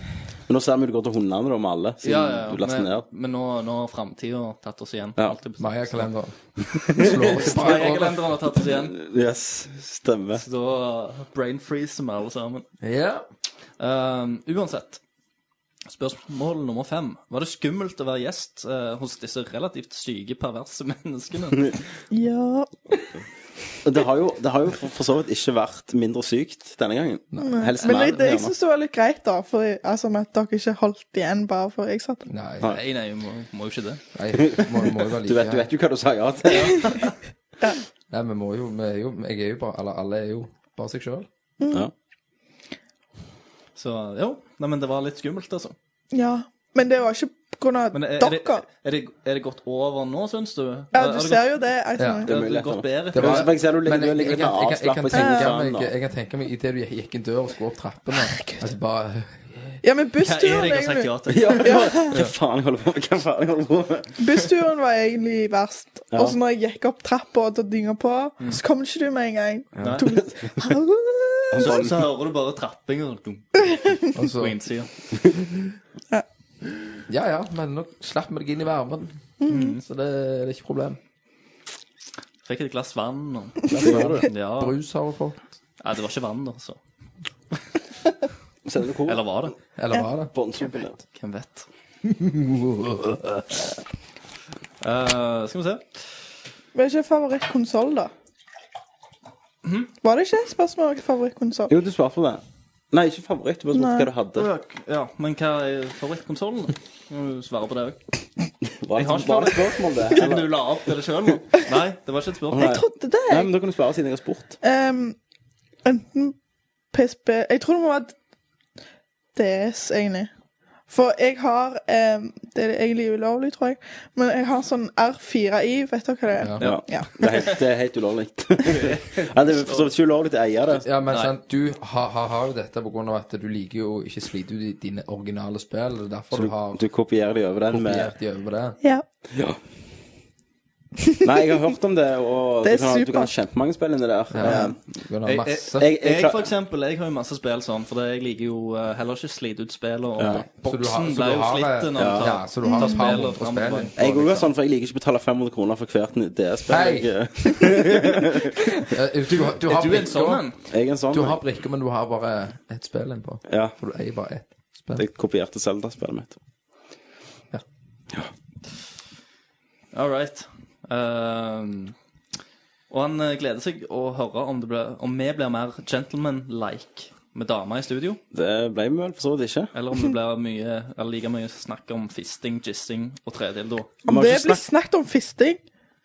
Men nå ser vi det går til hundene da, med alle, siden
Ja, ja, ja.
du laster ned.
Men, men nå, nå har framtida tatt oss igjen.
Ja.
Alt er-
Maya-kalenderen.
Maya-kalenderen har tatt oss igjen.
Yes, stemmer.
Så da brainfreezer vi alle sammen.
Ja.
Ehm, uansett. Spørsmål nummer fem. Var det skummelt å være gjest eh, hos disse relativt syke, perverse menneskene?
Ja.
Det har jo, det har jo for, for så vidt ikke vært mindre sykt denne gangen. Helst
Men jeg,
mer,
jeg
gjerne.
syns det var litt greit, da, for jeg, altså, med at dere ikke holdt igjen bare for jeg satt der.
Nei,
Nei, nei, vi må, må jo ikke det.
nei må, må jo være like
Du vet, du
her.
vet jo hva du sa ja til.
Nei, vi må jo, vi er jo Jeg er jo bare Eller alle er jo bare seg sjøl.
Ja.
Så jo, nei, men det var litt skummelt, altså.
Ja. Men det var ikke på grunn av
Men er, er, det,
dere.
er, det, er det gått over nå, syns du?
Ja, du ser jo det. Jeg,
Ja.
tror jeg.
Det er
Det
mye
har gått bedre.
Det var-
For jeg ser du ligger, du
Men jeg, jeg,
ligger
jeg,
litt mer
jeg, jeg, kan
avslappet i
tenke
sofaen,
meg
da.
Jeg kan tenke meg idet du gikk inn døra og skulle opp trappene At du bare
Ja, men
Hva er
bussturen,
det jeg har sagt
egentlig,
ja til?
Ja, hva faen jeg holder på med? Hva faen jeg holder på med?
bussturen var egentlig verst.
Ja.
Og så når jeg gikk opp trappa og dynga på, så kom ikke du med en gang.
Nei.
Tok litt-
Så, så hører du bare trapping og sånn dunk
og så,
på innsida.
Ja ja, men nå slapp vi deg inn i varmen.
Mm.
Så det, det er ikke problem.
Fikk et glass vann og ja.
Brus har hun fått.
Nei, det var ikke vann, da, så.
Ser du hvor?
Eller var det?
Eller var det?
Båndsopen der.
Hvem vet? Eh, skal vi se.
Var det ikke favorittkonsoll, da? Var det ikke et spørsmål om favorittkonsoll?
Jo, du svarte på det. Nei, ikke favoritt. Du bare spurte
Nei.
hva du hadde.
Ja, men hva er favorittkonsollen? Må jo svare på det òg.
Var
Jeg
det,
har ikke
var det spørsmål, det?
Men
Eller?
du la opp til det sjøl nå? Nei, det var ikke et spørsmål.
Nei.
Jeg trodde det.
Nei,
jeg.
men da kan du svare siden jeg har spurt.
Ehm, enten PSP Jeg tror det må være DS, egentlig. For jeg har ehm, Det er egentlig ulovlig, tror jeg. Men jeg har sånn R4i. Vet dere hva det er?
Ja.
Ja.
Det er helt, det er helt ulovlig. Nei, det er for så vidt ikke ulovlig å eie det.
Ja, men sant, du har, har, har jo dette på grunn av at du liker jo ikke slite ut i dine originale spill. Det er derfor
Du,
du har
du kopierer de over den med
kopiert de over det.
ja.
Ja. Nei, jeg har hørt om det, og
Det er
du kan, ha- du kan ha
supert.
kjempemange spill inni der.
Ja.
Eh,
Du har masse.
Jeg, jeg,
Jeg for
klar-
eksempel, jeg har jo masse spill sånn, for jeg liker jo eh, heller ikke slite ut spill. Og
Ja.
Så du har-
boksen
så
ble
du
jo
har, eh,
slitt når
ja,
du tar,
ja, så du har
tar
et par
spill
hundre
og fram og
spill.
tilbake.
jeg òg er sånn, for jeg liker ikke å betale 500 kroner for hvert
Hei!
DS-spill. Jeg, eh,
Eh, Du, du, du har
Er du en sånn
brikker,
en?
jeg er en sånn.
du har brikker, men du har bare ett spill innpå.
Ja.
For du eier bare ett spill.
Jeg kopierte Zelda-spillet mitt.
All right. Ehm, og han eh, gleder seg å høre om, det ble, om vi blir mer gentleman-like med damer i studio.
Det ble vi vel for så vidt ikke.
Eller om det blir mye, eller like mye snakk om fisting, gissing og tredildo.
Vi har
Det
ikke
blir
snakket
snakket om fisting.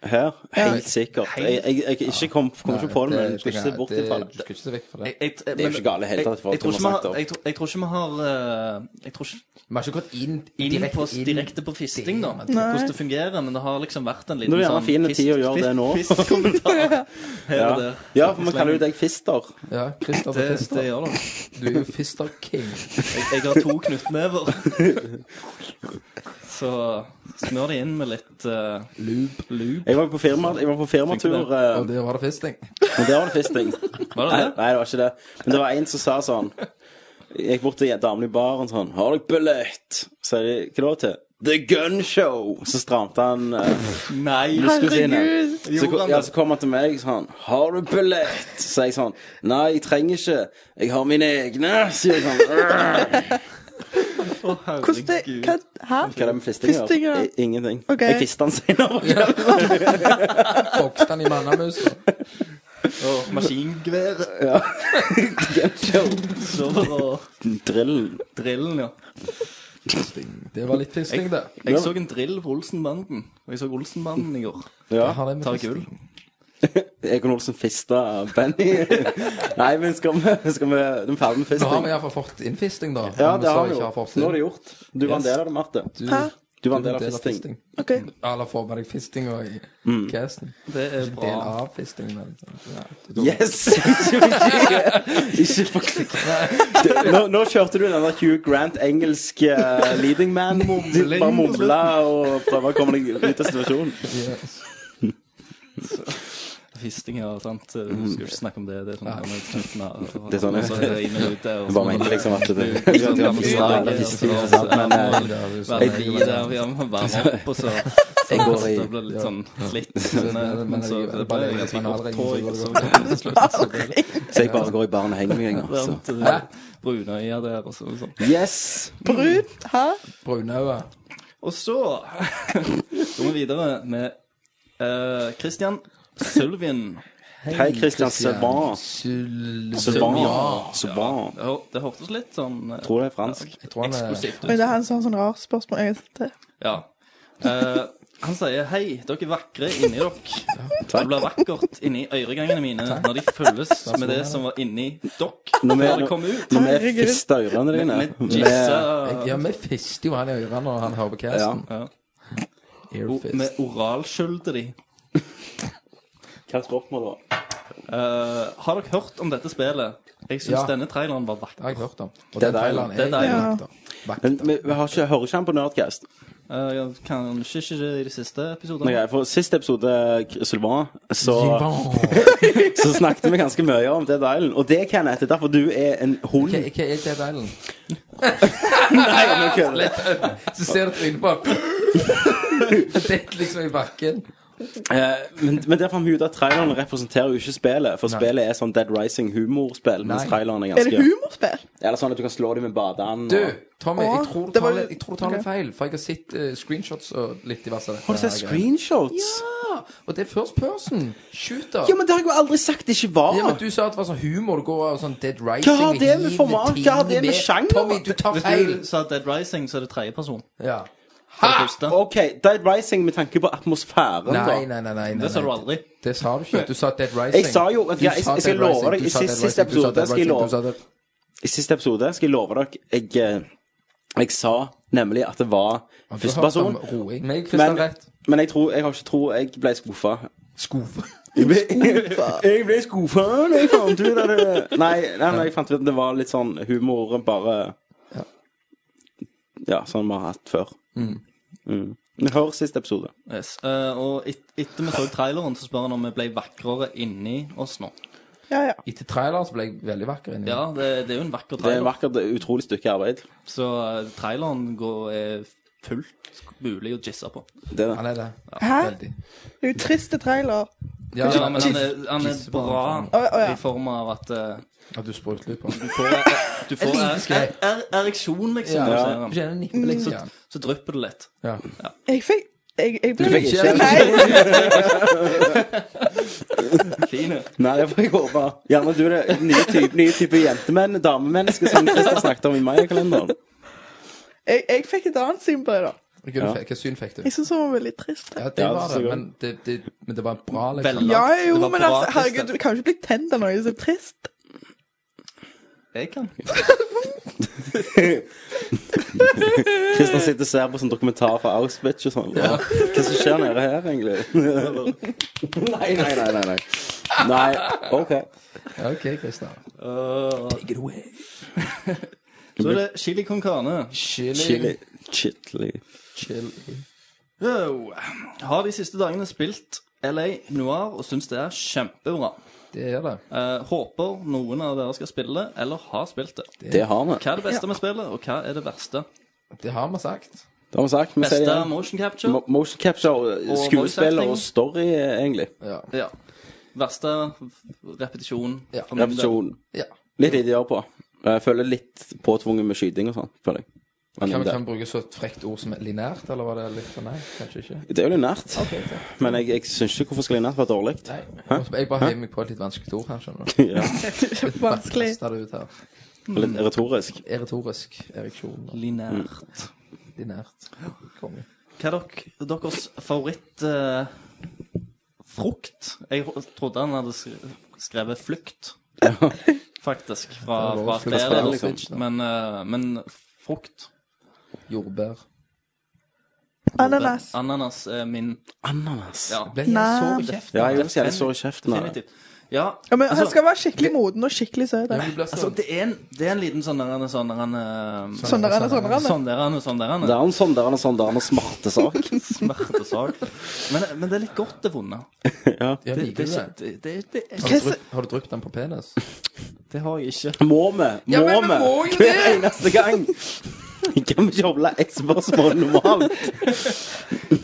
her, helt sikkert. Jeg, jeg, jeg ikke kom, kom ikke på det, men
du
jeg skal ikke se bort ifra det.
Du skal ikke se vekk fra det.
Jeg, jeg,
Det er jo ikke galt i det hele tatt, for
Jeg, jeg,
at
tror
de
ikke
har snakket om-
vi har- jeg, tror- jeg tror ikke vi har eh, Jeg tror ikke
Vi har ikke gått inn,
inn
direkte
på,
inn.
direkte på fisting, da. Hvordan det fungerer. Men det har liksom vært en liten
Nå er det gjerne
sånn
fin
fist-
tid å gjøre
fist-
det nå.
fistkommentar her
Ja.
og der.
ja, for vi kaller jo deg Fister.
Ja, Christopher
Det,
Fister.
det gjør det.
Du er jo Fister King.
Jeg, jeg har to knyttnever. Så snør det inn med litt eh,
Loop.
loop.
Jeg var jo på, firma, jeg var på firmatur,
Tenkte
eh,
Og der var det fisting.
men der var det fisting.
Var
Nei,
det det?
nei, det var ikke det. Men det var en som sa sånn Jeg gikk bort til damene i baren sånn 'Har dere billett?' Så sa de 'Hva da til?' 'The Gun Show'. Så stramte han eh,
Nei.
muskelsynet.
Herregud.
Så,
Gjorde han
ja,
det?
så kom han til meg sånn 'Har du billett?' Så sier jeg sånn 'Nei, jeg trenger ikke. Jeg har mine egne', sier jeg sånn.
Å,
Hvordan det Hva?
herregud.
Hæ?
Hva er det med fisting å
Fisting, ja.
gjøre? I- Ingenting.
Ok.
Jeg fista han senere. Ja.
Vokste han i mannamus.
Og maskingeværet. Så og
Drill.
drillen, ja.
Det var litt fisting, det.
Jeg så en drill på Olsenbanden. Og jeg så Olsenbanden i går.
Ja.
Har det med
Tar
fisting?
gull.
Egon Olsen fista Benny. Nei, men skal vi, skal vi De er ferdig med
Nå har
fisting.
vi iallfall fått inn fisting, da.
Ja, det
Som
har
vi
vi
ikke
jo.
fått inn.
Nå er det gjort. Du var en
Yes.
del av det, Marte.
Du-
Hæ?
Du var
du
en del av
del av
fisting. Mm.
fisting.
OK.
Alle får med deg fisting og i casten.
Det er bra.
Del av fisting, men ja, det er dumt.
Yes! ikke faktisk nå, nå kjørte du den der Hugh Grant engelsk eh, leading man.
Mumling.
Bare mumle og prøve å komme deg ut av situasjonen.
Fisting, ja. sant? Du skal jo ikke snakke om det. Det er sånn gammel knuttene og-
Mm. Det er sånn-
og så er det inn og ut der. og
Jeg bare
så-
mente liksom at det-
Det er jo sånn gammel
Ja,
slag,
det er
og så-
fisting,
og
sant,
så-
men,
ja,
eh,
Være i der, ja, varme opp, og så
Jeg går i-
Det blir litt sånn litt sånn, eh, Men så
men-
det ble
men-
ganske
men-
kort
men-
hår,
men-
jeg, så til slutt så ble det
Så jeg bare går i baren og henger meg, jeg nå. Så.
varmt. eh, Brunøya der, og så- og sånn.
Yes!
Brun? Hæ?
Brunhaue.
Og så går vi videre med eh, Christian Sylvin.
Hei, Christian Sylvain. Sylvain. Sylvain.
Det hør- det hørtes litt sånn eh,
Tror det er fransk.
Jeg tror han er
eksklusivt
Men
ut.
det er han som har sånn rar spørsmål. Jeg vet ikke.
Ja. Eh, han sier 'Hei, dere er vakre inni dere'. Det blir vakkert inni øregangene mine når de fylles med det som var inni dere
Når vi-
før det kom ut.
Når vi
Herregud.
fister ørene dine
Med
med-
jizza
Ja, vi fister jo han i ørene når han hører på
ja.
casten.
ja. Oh, O- Med
Earfist.
oralskyld til de.
Hva er spørsmålet?
Eh, har dere hørt om dette spillet? Jeg syns
Ja.
denne traileren var vakker.
Det har jeg hørt om. Og
Dead
den traileren
Island. Dead
er
Island.
jo vakker.
Men vi, vi har ikke, hører ikke han på Nerdcast.
Eh, jeg kan ikke ikke det i de siste episodene.
Nei, greit, for Sist episode, Sylvain, så,
Vakker.
så snakket vi ganske mye om Dead Island. Og det, Kenneth, er derfor du er en hund.
Hva hva er Dead Island?
Nei, nå kødder jeg.
Så ser du trynet på han. Detter liksom i bakken.
Eh, men, men der fant vi ut at traileren representerer jo ikke spillet. For spillet er sånn Dead Rising-humorspill. Mens
Nei.
traileren er
Er det
ganske
humorspill?
Eller sånn at du kan slå dem med badeand.
Du,
og-
Tommy,
Åh,
jeg tror du
det var
tar, litt-
litt-
jeg tror du tar litt
ok.
feil, for jeg har sett eh, screenshots og litt diverse. av dette
Har du sett
her greia.
screenshots?
Ja, og det er first person. Shooter.
Ja, men det har jeg jo aldri sagt det ikke var.
Ja, men du sa at det var sånn humor, det går av sånn Dead Rising
Hva har det med
hiver
format? Hva har det med
ting
sjanger?
Tommy, du tar
Hvis
feil.
du sa Dead Rising, så er det tredjeperson.
Ja.
Det er første.
OK, Dead Rising med tanke på atmosfæren,
Nei,
da.
nei, nei, nei, nei, nei.
Det sa du aldri.
Det sa du ikke. Du sa Dead Rising.
Jeg sa jo at-
Du
ja, jeg-
sa
jeg skal
Dead
love
Rising,
deg,
du
i
sa Dead
siste
Rising, du sa
episode
Dead
skal jeg
Rising,
love-
du sa Dead-
I siste episode skal jeg love dere Jeg, eh, jeg sa nemlig at det var
Du har hørt
førsteperson.
om roing. Men jeg
Men,
Kristian rett.
men jeg tror Jeg har ikke tro Jeg ble skuffa.
Skuffe.
Jeg ble, jeg ble skuffa da jeg fant ut at det Nei, nei, nei, jeg fant ut at det var litt sånn humor bare Ja, sånn vi har hatt før. Mm. Men Hør siste episode.
Yes. Eh, og et, etter vi så traileren, så spør han om vi ble vakrere inni oss nå.
Ja, ja.
Etter traileren så ble jeg veldig vakker inni.
Ja, det, det er jo en vakker
Det er
trailer.
et vakkert, utrolig stykke arbeid.
så eh, traileren går, er fullt mulig å jizze på.
Det er det.
Han er det.
Hæ?
Veldig.
Det er jo triste trailer.
Ja,
Ja, men han er, han er
Jizz på
bra
han.
Å, å, ja.
i form av at eh,
Ja, du sprøyter litt på
du
den.
får, du får
liten
er, er,
skrei.
er, ereksjon, liksom.
Ja.
når du ser han.
Du kjenner nippet litt. Ja.
Mm.
Så drypper det litt.
Ja.
Jeg fikk Jeg, jeg ble
fikk ikke-
Nei,
Fine.
Nei, det får jeg håpe. Gjerne du er den nye type, nye type jentemenn, damemenneske, som Christer snakket om i Maya-kalenderen.
jeg, jeg fikk et annet syn på det, da.
Hva du fikk- Hva syn fikk du?
Jeg syns hun var veldig trist.
Ja, det
Ja,
var
så
det,
godt.
men det, det, men det var en bra liksom.
Veldig.
Ja, jo,
Det var
men
bra
altså,
trist,
herregud,
det.
du kan jo ikke bli tent av noe som er trist.
Jeg kan.
Kristian sitter og ser på sånn dokumentar fra Auschwitz og sånn. Hva som skjer nede her, egentlig? nei, nei, nei, nei, nei. Nei, OK.
Ja, OK, Kristian.
Øh,
Take it away.
så er det chili con carne.
Chili.
Chili. Chitli.
Chili.
Wow. Har de siste dagene spilt LA Noir og syns det er kjempebra.
Det er det.
Eh, håper noen av dere skal spille det, eller har spilt det.
Det har vi.
Hva er det beste med spillet, og hva er det verste?
Det har vi sagt.
Det har vi sagt. Vi sier det
Beste
igjen.
motion capture?
Mo- Motion capture,
voice
skuespill
acting.
og story, eh, egentlig.
Ja.
Ja. Verste repetisjon.
Ja.
for min del.
Repetisjon.
ja.
Litt lite å gjøre på. Jeg føler litt påtvunget med skyting og sånn, føler jeg. Men
Kan vi,
det-
kan vi bruke så et frekt ord som linært, eller var det litt for Nei, kanskje ikke.
Det er jo linært.
Ok, takk.
Men jeg, jeg syns ikke hvorfor skal linært være dårlig.
Nei. Jeg bare heier meg på et litt vanskelig ord her, skjønner du.
Ja,
Vanskelig.
Kasta det ut her.
litt retorisk.
Eretorisk. Ereksjon.
Linært.
Linært. Konge.
Hva er dok deres favorittfrukt? frukt? jeg ho- trodde han hadde sk- skrevet 'flukt', faktisk, fra,
Det
fra
var flukt
flere,
fra
liksom.
Auschwitz, da.
Men, eh, men frukt
Jordbær.
Ananas.
Ananas er min
Ananas.
Ja,
Ble jeg
Nei.
sår i kjeften?
Ja, jeg vil si det er sår i kjeften. av det.
definitivt. Ja,
Ja, men Han
altså,
skal være skikkelig moden og skikkelig søt. da.
Men du blir
altså,
sånn
det, er en, det er en liten sånn der en sånn der en, eh,
Sånn der er det, sånn der er det.
Sånn der en, sånn der en,
Det er en sånn der en sånn der en smarte sak.
smertesak. Men, men det er litt godt det vonde.
Ja,
Det,
liker
det,
du det?
er ikke- det, det, det, er-
Har du drypp- Har du dryppet den på penis?
det har jeg ikke.
Må vi? Må
men
vi?
vi må jo
Hver
det!
eneste gang. Kan vi ikke holde ett spørsmål normalt?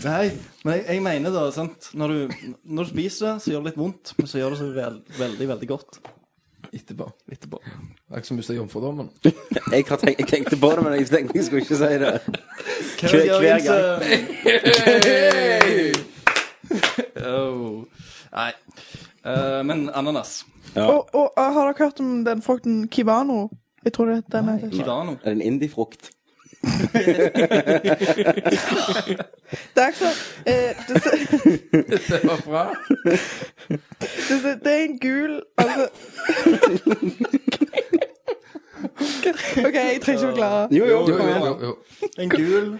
Nei, men jeg, jeg mener da, sant Når du, når du spiser det, så gjør det litt vondt, men så gjør det så vel, veldig, veldig godt
Etterpå. Det
etterpå.
er ikke som å miste jomfrudommen.
Jeg, har tenkt, jeg tenkte på det, men jeg tenkte jeg skulle ikke si det. Hver, hver gang.
Oh. Nei. Eh, men ananas.
Og, og uh, har dere hørt om den frukten Kivano? Jeg tror det er den heter.
Kivano.
Er det en indiefrukt?
Det er ikke så eh, det, ser-
Det var bra.
det, ser- det er en gul Altså OK, jeg trenger ikke forklare.
Jo, jo.
Jo, jo, jo, jo.
En gul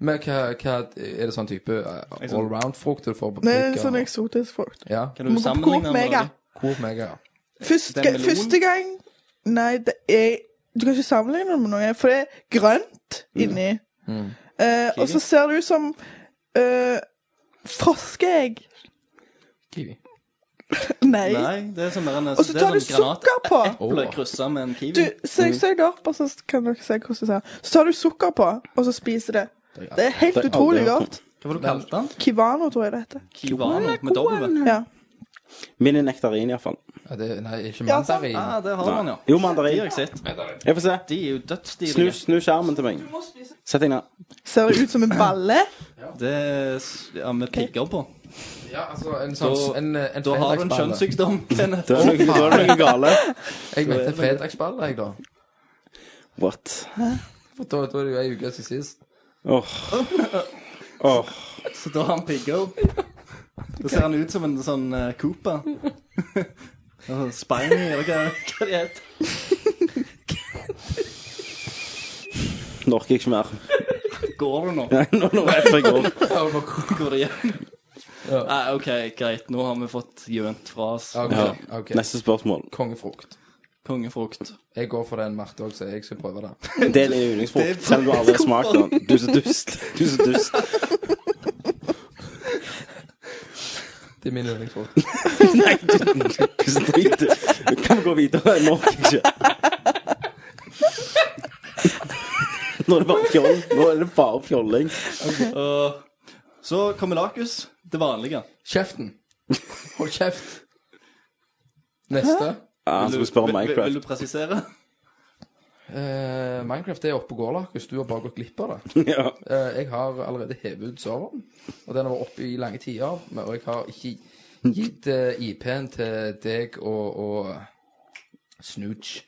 Men hva, hva er det sånn type
Liksom-
allround-frukt du får på
Det er en
butikker?
sånn eksotisk frukt.
Ja.
Kan
Må
du
gå på
sammenligne
Coop
med
Mega.
noe?
Hvor mega, ja.
Første,
Det er melon.
første gang Nei, det er Du kan ikke sammenligne det med noe, for det er grønt inni. Eh, og så ser det ut som eh, froskeegg.
Kiwi.
Nei.
Nei, det er sånn som mer enn
Og så tar du sukker på.
Ble kryssa med en
Du,
kiwi.
søk, søk det opp, og så kan dere se hvordan det ser Så tar du sukker på, og så spiser det. Det er helt
Det har jeg
utrolig
aldri hørt om.
godt.
Hva var det du kalte den?
Kivano, tror jeg det heter.
Kivano med W?
Ja.
Min er nektarin, iallfall.
Ja, det, nei, ikke
Ja, sånn.
mandarin.
Ah, det har man, ja.
Jo,
De
mandarin.
har jeg sett.
Jeg får se.
De er jo
Snu,
dødsstilige.
snu skjermen til meg. Sett deg ned.
Ser det ut som en balle?
Det er s- ja, med pigger på.
Ja, altså, en sånn
Da-
en, en
Da har du en
fredagsballe.
kjønnssykdom. Kenneth.
Da er det noe, da er det noe gale.
Jeg mente fredagsballe, jeg, da.
What?
For da, da er det jo ei uke siden sist.
Åh. Åh.
Så da har han pigger. Da ser han ut som en sånn eh, Cooper. En sånn Spiny, eller hva, hva det heter.
Nå orker jeg ikke mer.
Går du nå?
Nei, Nå nå er jeg for god.
Går det hjem? Nei, OK, greit. Nå har vi fått gjønt fra oss
Ah, Ok,
Ja.
ok.
Neste spørsmål.
Kongefrukt.
kongefrukt.
Jeg går for den, Marte òg, så jeg skal prøve det.
Det er din yndlingsfrukt, selv om du aldri har smakt den. Du er så dust. Du er så dust.
Det er min yndlingsfrukt.
Nei, du du er så drit. Kan vi gå videre? Nå orker jeg ikke. Nå er det bare fjoll. Nå er det bare fjolling.
Og så kamelakus. Det vanlige.
Kjeften. Hold kjeft. Neste.
Ja, han skulle spørre om
vil, vil
Minecraft.
du presisere?
Eh, Minecraft er oppe og går, Lakus. Du har bare gått glipp av det.
Ja.
Eh, jeg har allerede hevet ut serveren, og den har vært oppe i lange tider. men- Og jeg har ikke gitt eh, IP-en til deg og, og eh, Snooch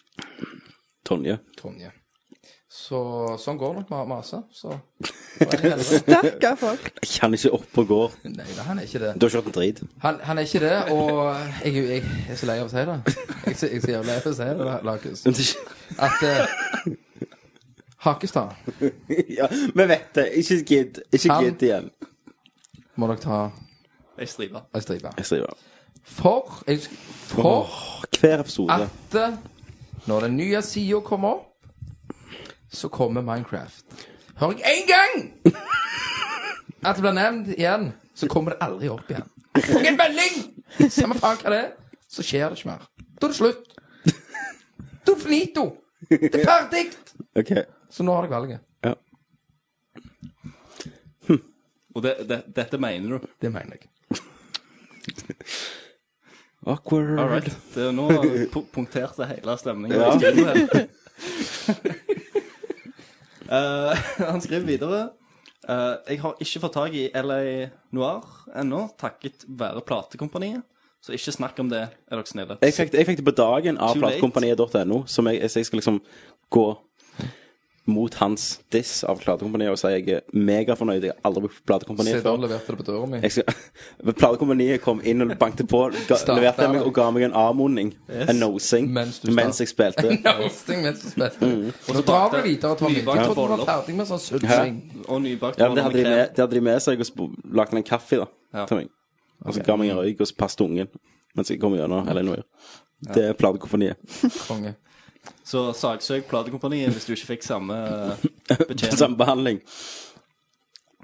Tonje.
Tonje. Så sånn går det nok med Mase. Så Hva er det heller?
Stakkar folk.
Jeg kan ikke opp og gå.
Nei da, han er ikke det.
Du har ikke hørt en drit.
Han, han er ikke det, og jeg, er jo- jeg er så lei av å si det. Jeg er så, jeg er så jævlig lei av å si det, Lakus. At eh, Hakestad
Ja, vi vet det. Ikke gidd. Ikke
Han-
gidd igjen.
må dere ta
Ei stripe.
ei stripe.
Jeg skriver.
For, jeg, sk- for
Åh, hver episode.
at eh, når den nye sida kommer opp, så kommer Minecraft. Hører jeg én gang at det blir nevnt igjen, så kommer det aldri opp igjen. Få en melding! Samme faen hva det er, så skjer det ikke mer. Da er det slutt. Da er det finito. Det er ferdig.
OK.
Så nå har dere valget.
Ja.
Og det, det, dette mener du?
Det mener jeg.
Awkward.
All right. Det, nå pu- punkterte hele stemningen.
Ja.
i studio her. Eh, han skriver videre eh, Jeg har ikke fått tak i LA Noir ennå, takket være platekompaniet. Så ikke snakk om det, er dere snille.
Jeg fikk, jeg fikk det på dagen av
Too late.
platekompaniet.no, som jeg, så jeg skal liksom gå mot hans diss av platekompaniet og si jeg er megafornøyd. Jeg har aldri brukt platekompaniet
Sidan
før.
leverte det på døra mi.
Jeg skal, platekompaniet kom inn og banket på, ga,
Starta
leverte meg og
med-
ga meg en avmodning. En nosing.
Mens
Mens,
du
jeg spilte.
Nosting mens du spilte. Nå drar du videre, Tommy. Jeg
Nybakt
trodde du var
boller.
ferdig med sånn sudsing.
Og nybakt
Ja, men det
boller
hadde, de
krem.
med, det hadde de med seg og sp- lagde en kaffe da,
Ja.
til meg. Og så ga meg en røyk, og så passet ungen. mens jeg kommer gjennom Eleanor. Det er platekompaniet.
Konge.
Så saksøk platekompaniet hvis du ikke fikk samme eh, betjening.
Samme behandling.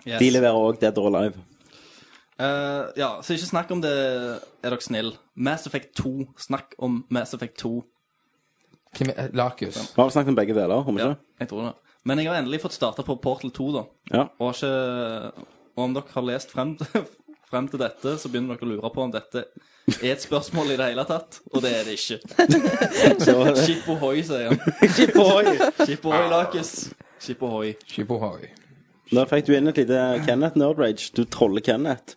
Yes.
De leverer òg Dead or Alive.
Eh, ja, så ikke snakk om det, er dere snill. Mass Effect 2. Snakk om Mass Effect 2.
Hvem er Lakius?
Vi har vel snakket om begge deler, har vi
Ja,
ikke?
jeg tror det. Men jeg har endelig fått starta på Portal 2, da.
Ja.
Og har ikke Og om dere har lest frem, frem til dette, så begynner dere å lure på om dette er et spørsmål i det hele tatt. Og det er det ikke.
Så var det
Skip ohoi, sier han.
Skip ohoi!
Skip ohoi, Lakus. Skip ohoi.
Shibohoi.
Da fikk du inn et lite Kenneth Nerd Rage. Du troller Kenneth.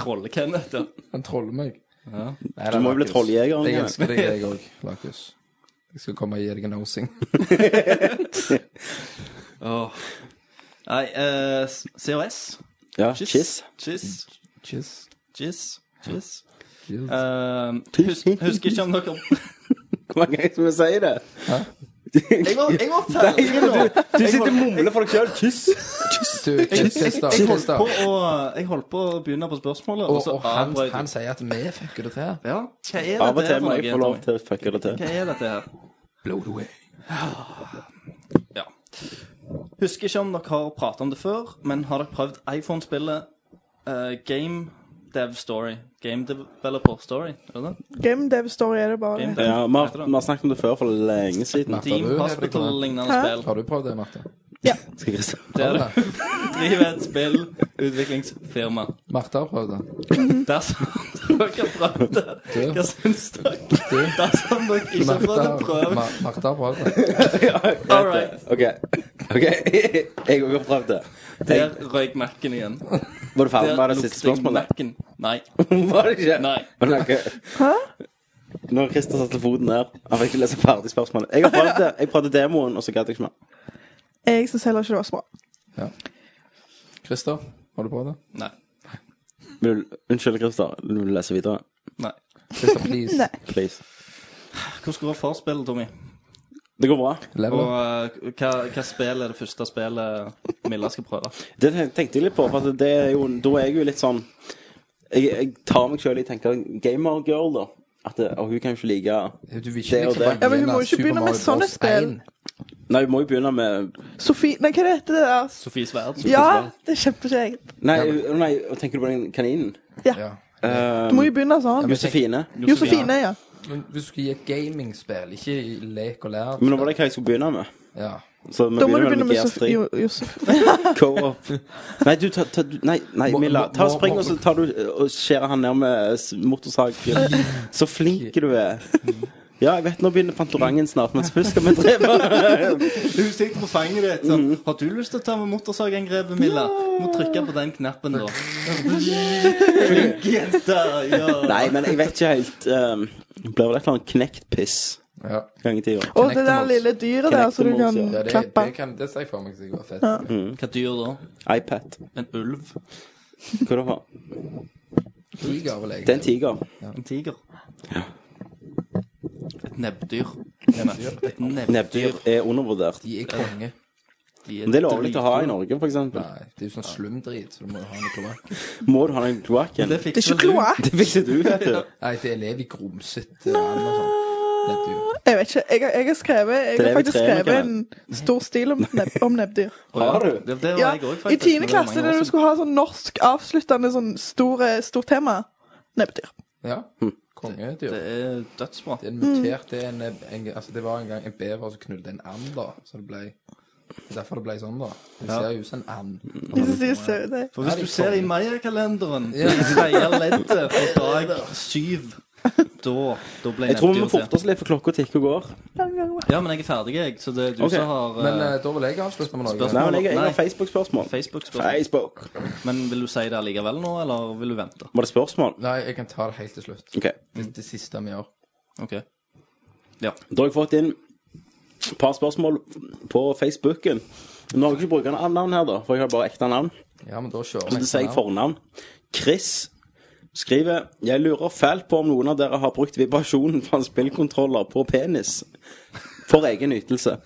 Trolle-Kenneth, ja.
Han troller meg. Nei,
Du
det er
må jo bli
Lakius.
trolljegeren.
Jeg
Kenneth.
elsker deg, jeg òg, Lakius. Jeg skal komme og gi deg en nosing.
Åh. Nei, eh, COS.
Ja, Kiss.
Chiss.
Cheers.
Chiss. Chiss.
Cheers.
Eh,
Chiss.
hus, husker ikke om dere
Hvor mange ganger skal vi si det?
Jeg var, jeg var ferdig nå!
Du sitter og mumler for deg sjøl. Kiss.
Du, Christer,
Jeg holdt
Christer.
på å, jeg holdt på å begynne på spørsmålet, og
Og,
så
og han,
avbrøt
han
jeg.
sier at vi fucker det til.
Ja, hva
Av
er
og
dette
til
her
må
for
jeg
noe?
få lov
Tommy?
til å fucke det til.
Hva er dette her?
Blow it away.
Ja. Husker ikke om dere har pratet om det før, men har dere prøvd iPhone-spillet eh, Game Dev Story? Game Developer Story? Er det det?
Game Dev Story er det bare.
Game Dev.
Ja, vi har,
Heter det?
vi har snakket om det før, for lenge siden.
Martha,
Team
du er helt
Hospital-lignende
Hæ?
spill.
Har du prøvd det, Marte?
Skal Christian-
Der
Har du det?
driver et spillutviklingsfirma.
Marte har prøvd det.
Dersom sånn dere prøvde Hva syns dere? Dersom dere ikke har
Marte
fått en
har-
prøve
Ma- Marte har prøvd det.
All right.
OK. ok, Jeg òg har prøvd det.
Der røyk Mac-en igjen.
Var du ferdig med
Der
det siste
lukter jeg
spørsmålet?
Mac-en. Nei.
Var det ikke?
Nei.
Men ok. Når Christer satte foten der Han fikk ikke lese ferdig spørsmålet. Jeg har prøvd det. Jeg prøvde demoen, og så gadd jeg ikke mer.
Jeg syns heller ikke det var så bra.
Christer, har du prøvd det?
Nei.
Vil du- Unnskyld, Christer. Vil du lese videre?
Nei.
Christer, please.
Nei.
Please.
Hvordan går forspillet, Tommy?
Det går bra.
Level
Og
up.
eh, hva, hva spill er det første spillet Milla skal prøve?
Det ten- tenkte jeg litt på, for at det er jo, da er jeg jo litt sånn Jeg, jeg tar meg sjøl i tanken gamer-girl, da. At det, og hun kan jo ikke like
Du vil ikke
Det er jo
liksom
det.
bare
Ja, men hun
begynne
må jo ikke
Super
begynne med
Mario Bros.
sånne spill.
1.
Nei, hun må jo begynne med
Sofie Nei, hva heter det der?
Sofie Sverd?
Ja, det er kjempekjekt.
Nei, hun- nei tenker du på den kaninen? Ehm,
Ja.
Du må jo begynne sånn.
Josefine.
Josefine, ja.
Men hvis du skal gi et gamingspill, ikke lek og lær
Men nå var det hva jeg skulle begynne med.
Ja.
Så vi
Da må du
begynner vel
begynne
med
med Sof-
GS3.
Jo- Josef.
Co-op. Nei, du, ta, ta, du, nei, nei
Må-
Milla.
må-
Ta og
må-
spring,
må-
og så tar du og skjærer han ned med s- motorsag. Så flink du er. Ja, jeg vet nå begynner Fantorangen snart, men først skal vi drive
Hun sitter på fanget ditt sånn Har du lyst til å ta med motorsagangrepet, Milla? Må trykke på den knappen, da. Flink jente! Ja.
Nei, men jeg vet ikke helt um, Det Blir vel et eller annet knektpiss
ja.
gang i tida.
Og det der
Connectimals.
lille dyret der som du kan
Connectimals,
ja det,
klappe.
det, kan, det ser jeg for meg sikkert var fett.
Hva dyr da?
iPad.
En ulv?
Hva det var
Tiger, vil jeg.
Det er en tiger.
En tiger? Et nebbdyr. Et
Nebbdyr
nebbdyr.
er undervurdert.
De er konge.
De er
Men det er lovlig å ha i
dritkule.
Norge, for eksempel.
Nei, det er jo sånn slumdrit, så du må jo ha noe kloakk.
Må du ha den kloakken?
Det
Det er
fikser
ikke
vel du.
kloakk.
Det fikser du, vet du.
Nei, det lever i grumsete land og sånn. Det er dyr.
Jeg vet ikke. Jeg, har- jeg har skrevet Jeg
lever
har faktisk
tre
skrevet
noe,
en stor stil om, nebb, om nebbdyr.
Har du?
Det, det var
Ja,
jeg også,
I
faktisk, men
tiende
det var
klasse,
mange år
da du
siden.
skulle ha sånn norsk avsluttende sånn store, stort tema. Nebbdyr.
Ja. Kongedyr.
Hm. Det er dødsbra.
Det er en mutert det, er en, en, altså det var en gang en bever som knulte en and, da. Så det ble det er Derfor det ble sånn, da. Det
Ja.
ser jo ut som en and.
Jeg synes de er søte.
For hvis
Ja,
du
de
ser i
kommer.
Maya-kalenderen,
Ja.
tredje leddet på dag syv, da, da ble
Jeg tror vi
nebbdyr
må forte
til.
oss litt, for klokka tikker og går.
Ja, men jeg er ferdig, jeg. Så det er du
Ok.
som har eh,
Men eh, da vil jeg avslutte med noe.
Nei,
Spørsmål?
men jeg, jeg har
Nei.
Facebook-spørsmål.
Facebook-spørsmål.
Facebook.
Men vil du si det allikevel nå, eller vil du vente?
Var det spørsmål?
Nei, jeg kan ta det helt til slutt.
Ok.
Det, det siste vi gjør.
OK.
Da har jeg fått inn et par spørsmål på Facebooken. Nå har jeg ikke brukt navn her, da, for jeg har bare ekte navn.
Ja, men da kjører
Så det sier jeg
navn.
fornavn. Chris skriver Jeg lurer fælt på om noen av dere har brukt vibrasjonen fra en spillkontroller på penis for egen ytelse.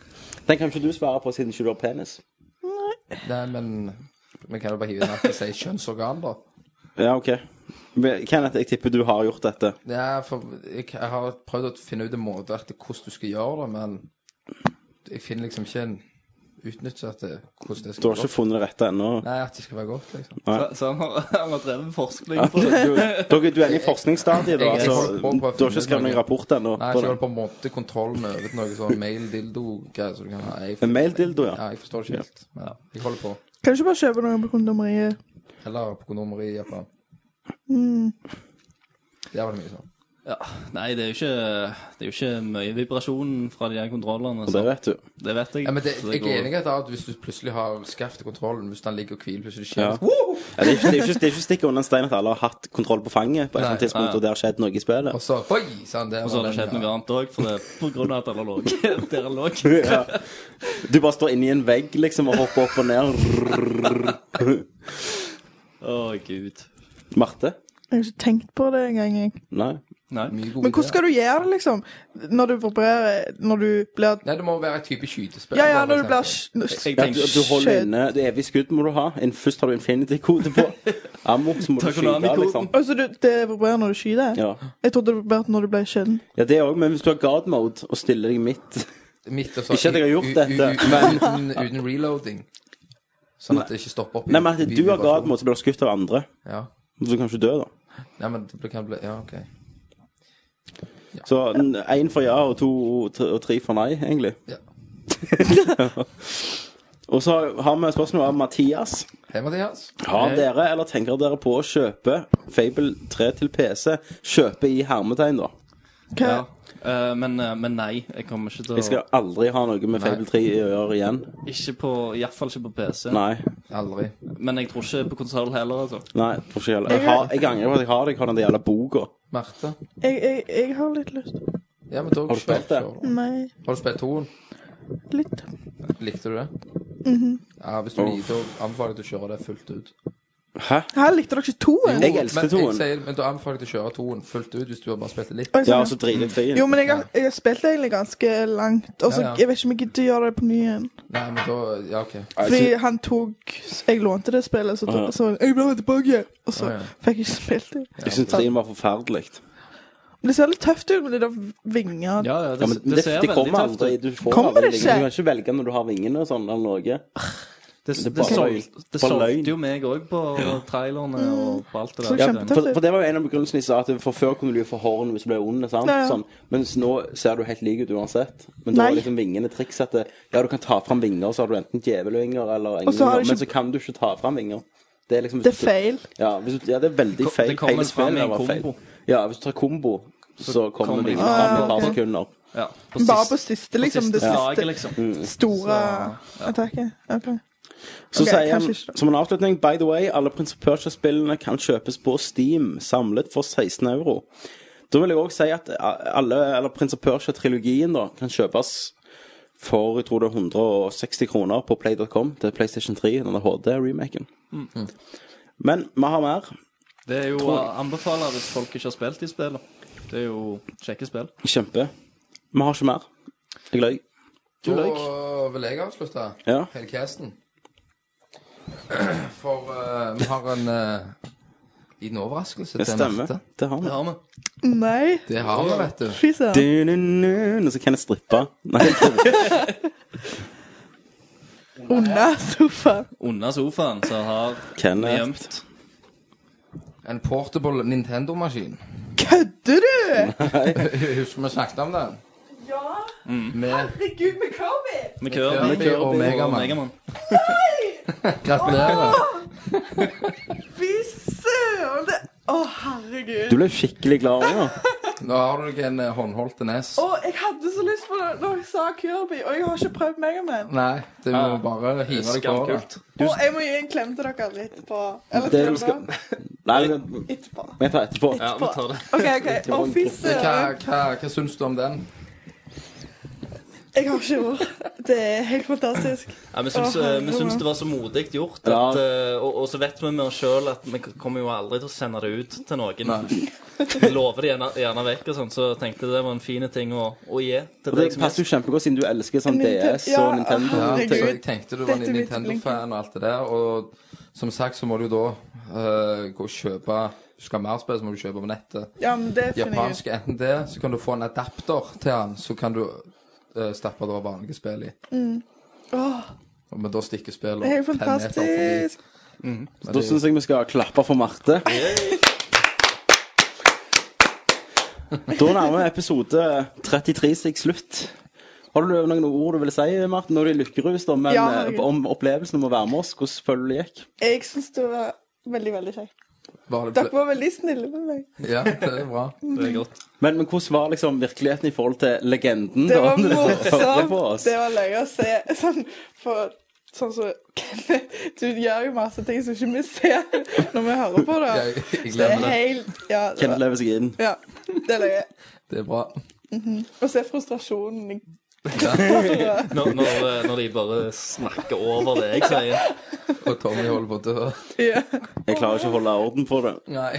Den kan ikke du svare på siden ikke du har penis.
Nei, men vi kan jo bare hive inn at vi sier kjønnsorgan, da.
Ja, OK. Men, Kenneth, jeg tipper du har gjort dette.
Ja, for jeg, jeg har prøvd å finne ut en måte etter hvordan du skal gjøre det, men jeg finner liksom ikke en utnyttelse etter hvordan det
Du
skal
har ikke funnet det rette ennå.
Nei, at det skal være godt, liksom.
Så, så han har, han har drevet forskning
Ja,
på
du,
det.
dere, du er inne i forskningsstadiet, da.
Jeg- jeg-
Altså,
prøver å
du har
finne
ikke skrevet
noe.
noen rapport ennå.
Nei,
på
ikke
det.
hold på en måte kontrollen over til noe sånn mail-dildo-greier som du kan ha. Jeg,
En maildildo,
ja,
ja.
jeg forstår det ikke helt, men jeg holder på.
Kan du ikke bare kjøpe noe på kondomeriet?
Eller på kondomeri i Japan.
Mm.
Det er vel mye sånn.
Ja, nei, det er, jo ikke, det er jo ikke mye vibrasjon fra de her kontrollene.
Og
Så
det vet du.
det vet jeg.
Ja, men det,
så
jeg
går-
er enig i at hvis du plutselig har skaffet kontrollen, hvis den ligger og hviler, plutselig skjer
Ja.
det Woo!
Ja, det, er ikke, det, er ikke, det er ikke å stikke under en stein at alle har hatt kontroll på fanget på et eller annet
Nei,
tidspunkt,
nei.
og det har skjedd noe i spillet.
Og så Oi! Sånn, der
Og
var
så har det
den,
skjedd noe
ja.
annet òg, for det er på grunn av at alle lå der han lå.
Ja. Du bare står inni en vegg, liksom, og hopper opp og ned.
Å, gud.
Marte?
Jeg har ikke tenkt på det engang. jeg.
Nei.
Nei.
Mye gode
Men hvordan skal
ideer.
du gjøre det, liksom? Når du vibrerer Når du blir
Nei, det må være et type skytespill.
Ja, ja,
for
når du blir
eksempel.
sj-
Jeg
Ja, sånn. du,
tenker
du holder
Shit.
inne Det evige skudd må du ha. En, først har du infinity-kode på. Ammo, så må du skyte,
Takonami-koden.
liksom.
Altså, du, det vibrerer når du skyter?
Ja.
Jeg trodde det vibrerte når du ble skjeden.
ja, det òg, men hvis du har guard mode og stiller deg midt
Midt og så,
Ikke at jeg har gjort
u- u-
dette,
u-
men-
uten, uten reloading. Sånn at det ikke stopper opp. i-
Nei, men
i
at du har
vibrasjon.
guard mode, så blir du skutt av andre.
Ja.
Så du kan ikke dø, da.
Nei, men det kan bli Ja, OK.
Så én for ja og to og tre- og tre for nei, egentlig.
Ja.
Og så har vi et spørsmål av Mathias.
Hei, Mathias.
Har dere, eller tenker dere på å kjøpe Fable 3 til PC? Kjøpe i hermetegn, da.
Hva?
Ja. Eh, men, eh, men nei, jeg kommer ikke til å
Jeg skal aldri ha noe med Fable 3 å gjøre igjen.
Ikke på, Iallfall ikke på PC.
Nei.
Aldri.
Men jeg tror ikke på konsoll heller, altså.
Nei, for ikke heller. Jeg, har, jeg angrer på at jeg har det. Jeg har den der jævla boka.
Marte.
Jeg, jeg, jeg har litt lyst.
Ja, men dog,
Har du spilt det?
kjør.
Nei,
Har du spilt toen?
litt.
Likte du det?
Mhm.
Ja, hvis du liker, så anbefaler jeg deg å kjøre det fullt ut.
Hæ?
Her likte dere ikke toen.
Jeg elsker
men,
toen.
Jeg sier, men da anbefaler jeg deg å kjøre toen fullt ut hvis du har bare spilt det litt.
Oi, sånn,
Ja, altså, og så driter jeg i
Jo, men jeg har, jeg har spilt det egentlig ganske langt. Og så
Ja, ja.
Jeg vet ikke om jeg gidder å gjøre det på ny igjen.
Nei, men da Ja, OK.
Fordi han tok Jeg lånte det spillet, så,
Ja.
så jeg ble tilbake. Og så
Å, ja.
fikk jeg ikke spilt det.
Jeg syns 3 var forferdelig.
Men det ser litt tøft ut med de der vinger.
Ja, ja, det,
Ja, men
det
det,
ser
det
veldig
kommer
tøft
aldri.
ut.
Du får
Kommer
aldri
det
vingene.
ikke?
Du kan ikke velge når du har vingene og sånn eller noe.
Det, det,
bare løgn.
solgte, det
Bare løgn.
solgte jo meg òg på trailerne og på alt det
Så
der.
Ja,
Kjempetøft.
for, for det var jo en av begrunnelsene jeg sa, at for før kunne du jo få horn hvis du ble ond, sant?
Ja, ja.
Sånn. mens nå ser du helt lik ut uansett. Men da
Nei.
var liksom vingene triks at det, ja, du kan ta fram vinger, så har du enten djevelvinger eller
Og så har
englevinger,
du ikke-
men så kan du ikke ta fram vinger. Det er liksom
Det er feil.
Ja, hvis du, ja, det er veldig
Det kom-
feil.
det kommer
Hele
fram i
spillet
en
var feil.
kombo.
Ja, hvis du tar kombo, så kommer
kommer
vingene
de
fram i
fram.
et par
Ah, ok.
sekunder.
Ja, på
Bare
sist-
på siste, liksom.
siste
Det siste
slaget, liksom.
store attakket. Ok.
Så
Ok,
sier
kanskje
han
ikke da.
som en avslutning By the way, alle Prince of Persia-spillene kan kjøpes på Steam samlet for 16 euro. Da vil jeg òg si at eh, alle, eller Prince of Persia-trilogien da, kan kjøpes for jeg tror det er 160 kroner på play.com til PlayStation 3, denne HD-remaken. Mm-hmm. Men vi har mer.
Det er jo å anbefale hvis folk ikke har spilt de spillene. Det er jo kjekke spill.
Kjempe. Vi har ikke mer. Jeg løy.
Du løy.
Da vil jeg avslutte
Ja.
hele casten. For eh, vi har en eh, liten overraskelse
Det
til
stemmer.
Marte.
Det har vi.
Det har vi.
Nei,
Det har vi, vet du.
fy søren.
Du-du-du, Og så kan jeg strippe. Nei, jeg tror ikke.
Under sofaen.
Under sofaen så har vi
Kenneth.
gjemt
En portable Nintendo-maskin.
Kødder du?!
Husker vi snakket om den? Mm.
Ja,
Med
herregud, vi kommer!
med Kirby,
Kirby og Mega Man.
Megaman.
Gratulerer.
Fy søren! det- Å, herregud.
Du ble skikkelig glad òg, ja.
Nå har du ikke en eh, håndholdt NS.
Å, jeg hadde så lyst på det når jeg sa Kirby, og jeg har ikke prøvd Megaman.
Nei, du må bare hive deg på det.
Skamkult.
Og jeg må gi en klem til dere litt etterpå. Eller
Det
til
du
dere
skal Nei,
etterpå.
vi tar etterpå.
Ja, vi tar det.
OK, OK. Å, fy
Hva,
søren.
hva, hva syns du om den?
Jeg har ikke ord. Det er helt fantastisk.
Ja, vi, syns,
Å,
eh, vi
herregud.
syns det var så modig gjort. At,
Ja.
eh, og, og så vet vi med oss sjøl at vi kommer jo aldri til å sende det ut til noen. lover det gjerne, gjerne vekk og sånn, så tenkte jeg det var en fin ting å, å gi til
Og det
liksom-
deg som
passer jo kjempegodt siden du elsker sånn
Nintendo-
DS
ja,
og Nintendo.
Ja,
Herregud,
så jeg tenkte du var
dette
en
er mitt
Nintendo-fan og alt det der. Og som sagt så må du jo da eh, gå og kjøpe Hvis du skal ha mer spill, så må du kjøpe på nettet.
Ja, men det finner jeg ut.
Japansk enten det, så kan du få en adapter til den, så kan du eh, stappe det vanlige spill i.
Åh,
Men da stikker spillet
det er jo
opp ten meter forbi.
fantastisk.
Da syns jeg vi skal klappe for Marte. Da nærmer episode 33 seg slutt. Har du noen ord du vil si, Marte? Nå er det lykkerus, da, men
Ja,
eh,
herregud.
om opplevelsen om å være med oss, hvordan føler du det gikk?
Jeg syns det var veldig, veldig kjekt.
Bare det
Dere var veldig snille med meg.
ble- Ja, det er bra.
Det er godt.
Men, men hvordan var liksom virkeligheten i forhold til legenden?
Det
da?
var
Hører på
morsomt.
oss.
Det var løye å se. Sånn, for, sånn så, du gjør jo masse ting som ikke vi ser når vi hører på det.
Jeg, jeg
Det er
glemmer det.
helt Ja, det,
Kenneth lever seg inn.
ja, det er løye.
Det er bra.
Å se frustrasjonen i
Når, når, eh, når de bare snakker over det jeg sier.
Og Tommy holder på å dø.
ja.
Jeg klarer ikke å holde orden på det.
Nei.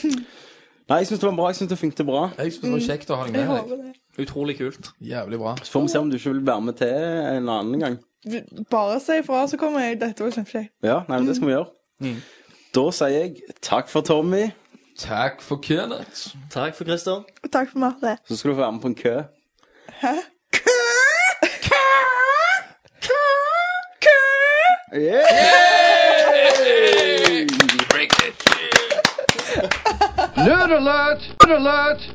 Nei, jeg syns det var bra. Jeg synes det funket bra.
Jeg syns det var kjekt å ha deg
Jeg
med. deg.
håper det.
Utrolig kult.
Jævlig bra.
Så får vi se om du ikke vil være med til en annen gang.
Vi- Bare si ifra, så kommer jeg. Dette var kjempekjekt.
Ja, nei, men det skal vi gjøre. Da sier jeg takk for Tommy.
Takk for Kenneth.
Takk for Christer.
Og takk for Marte.
Så skal du få være med på en kø. Yeah!
Nerd alert! Nerd alert!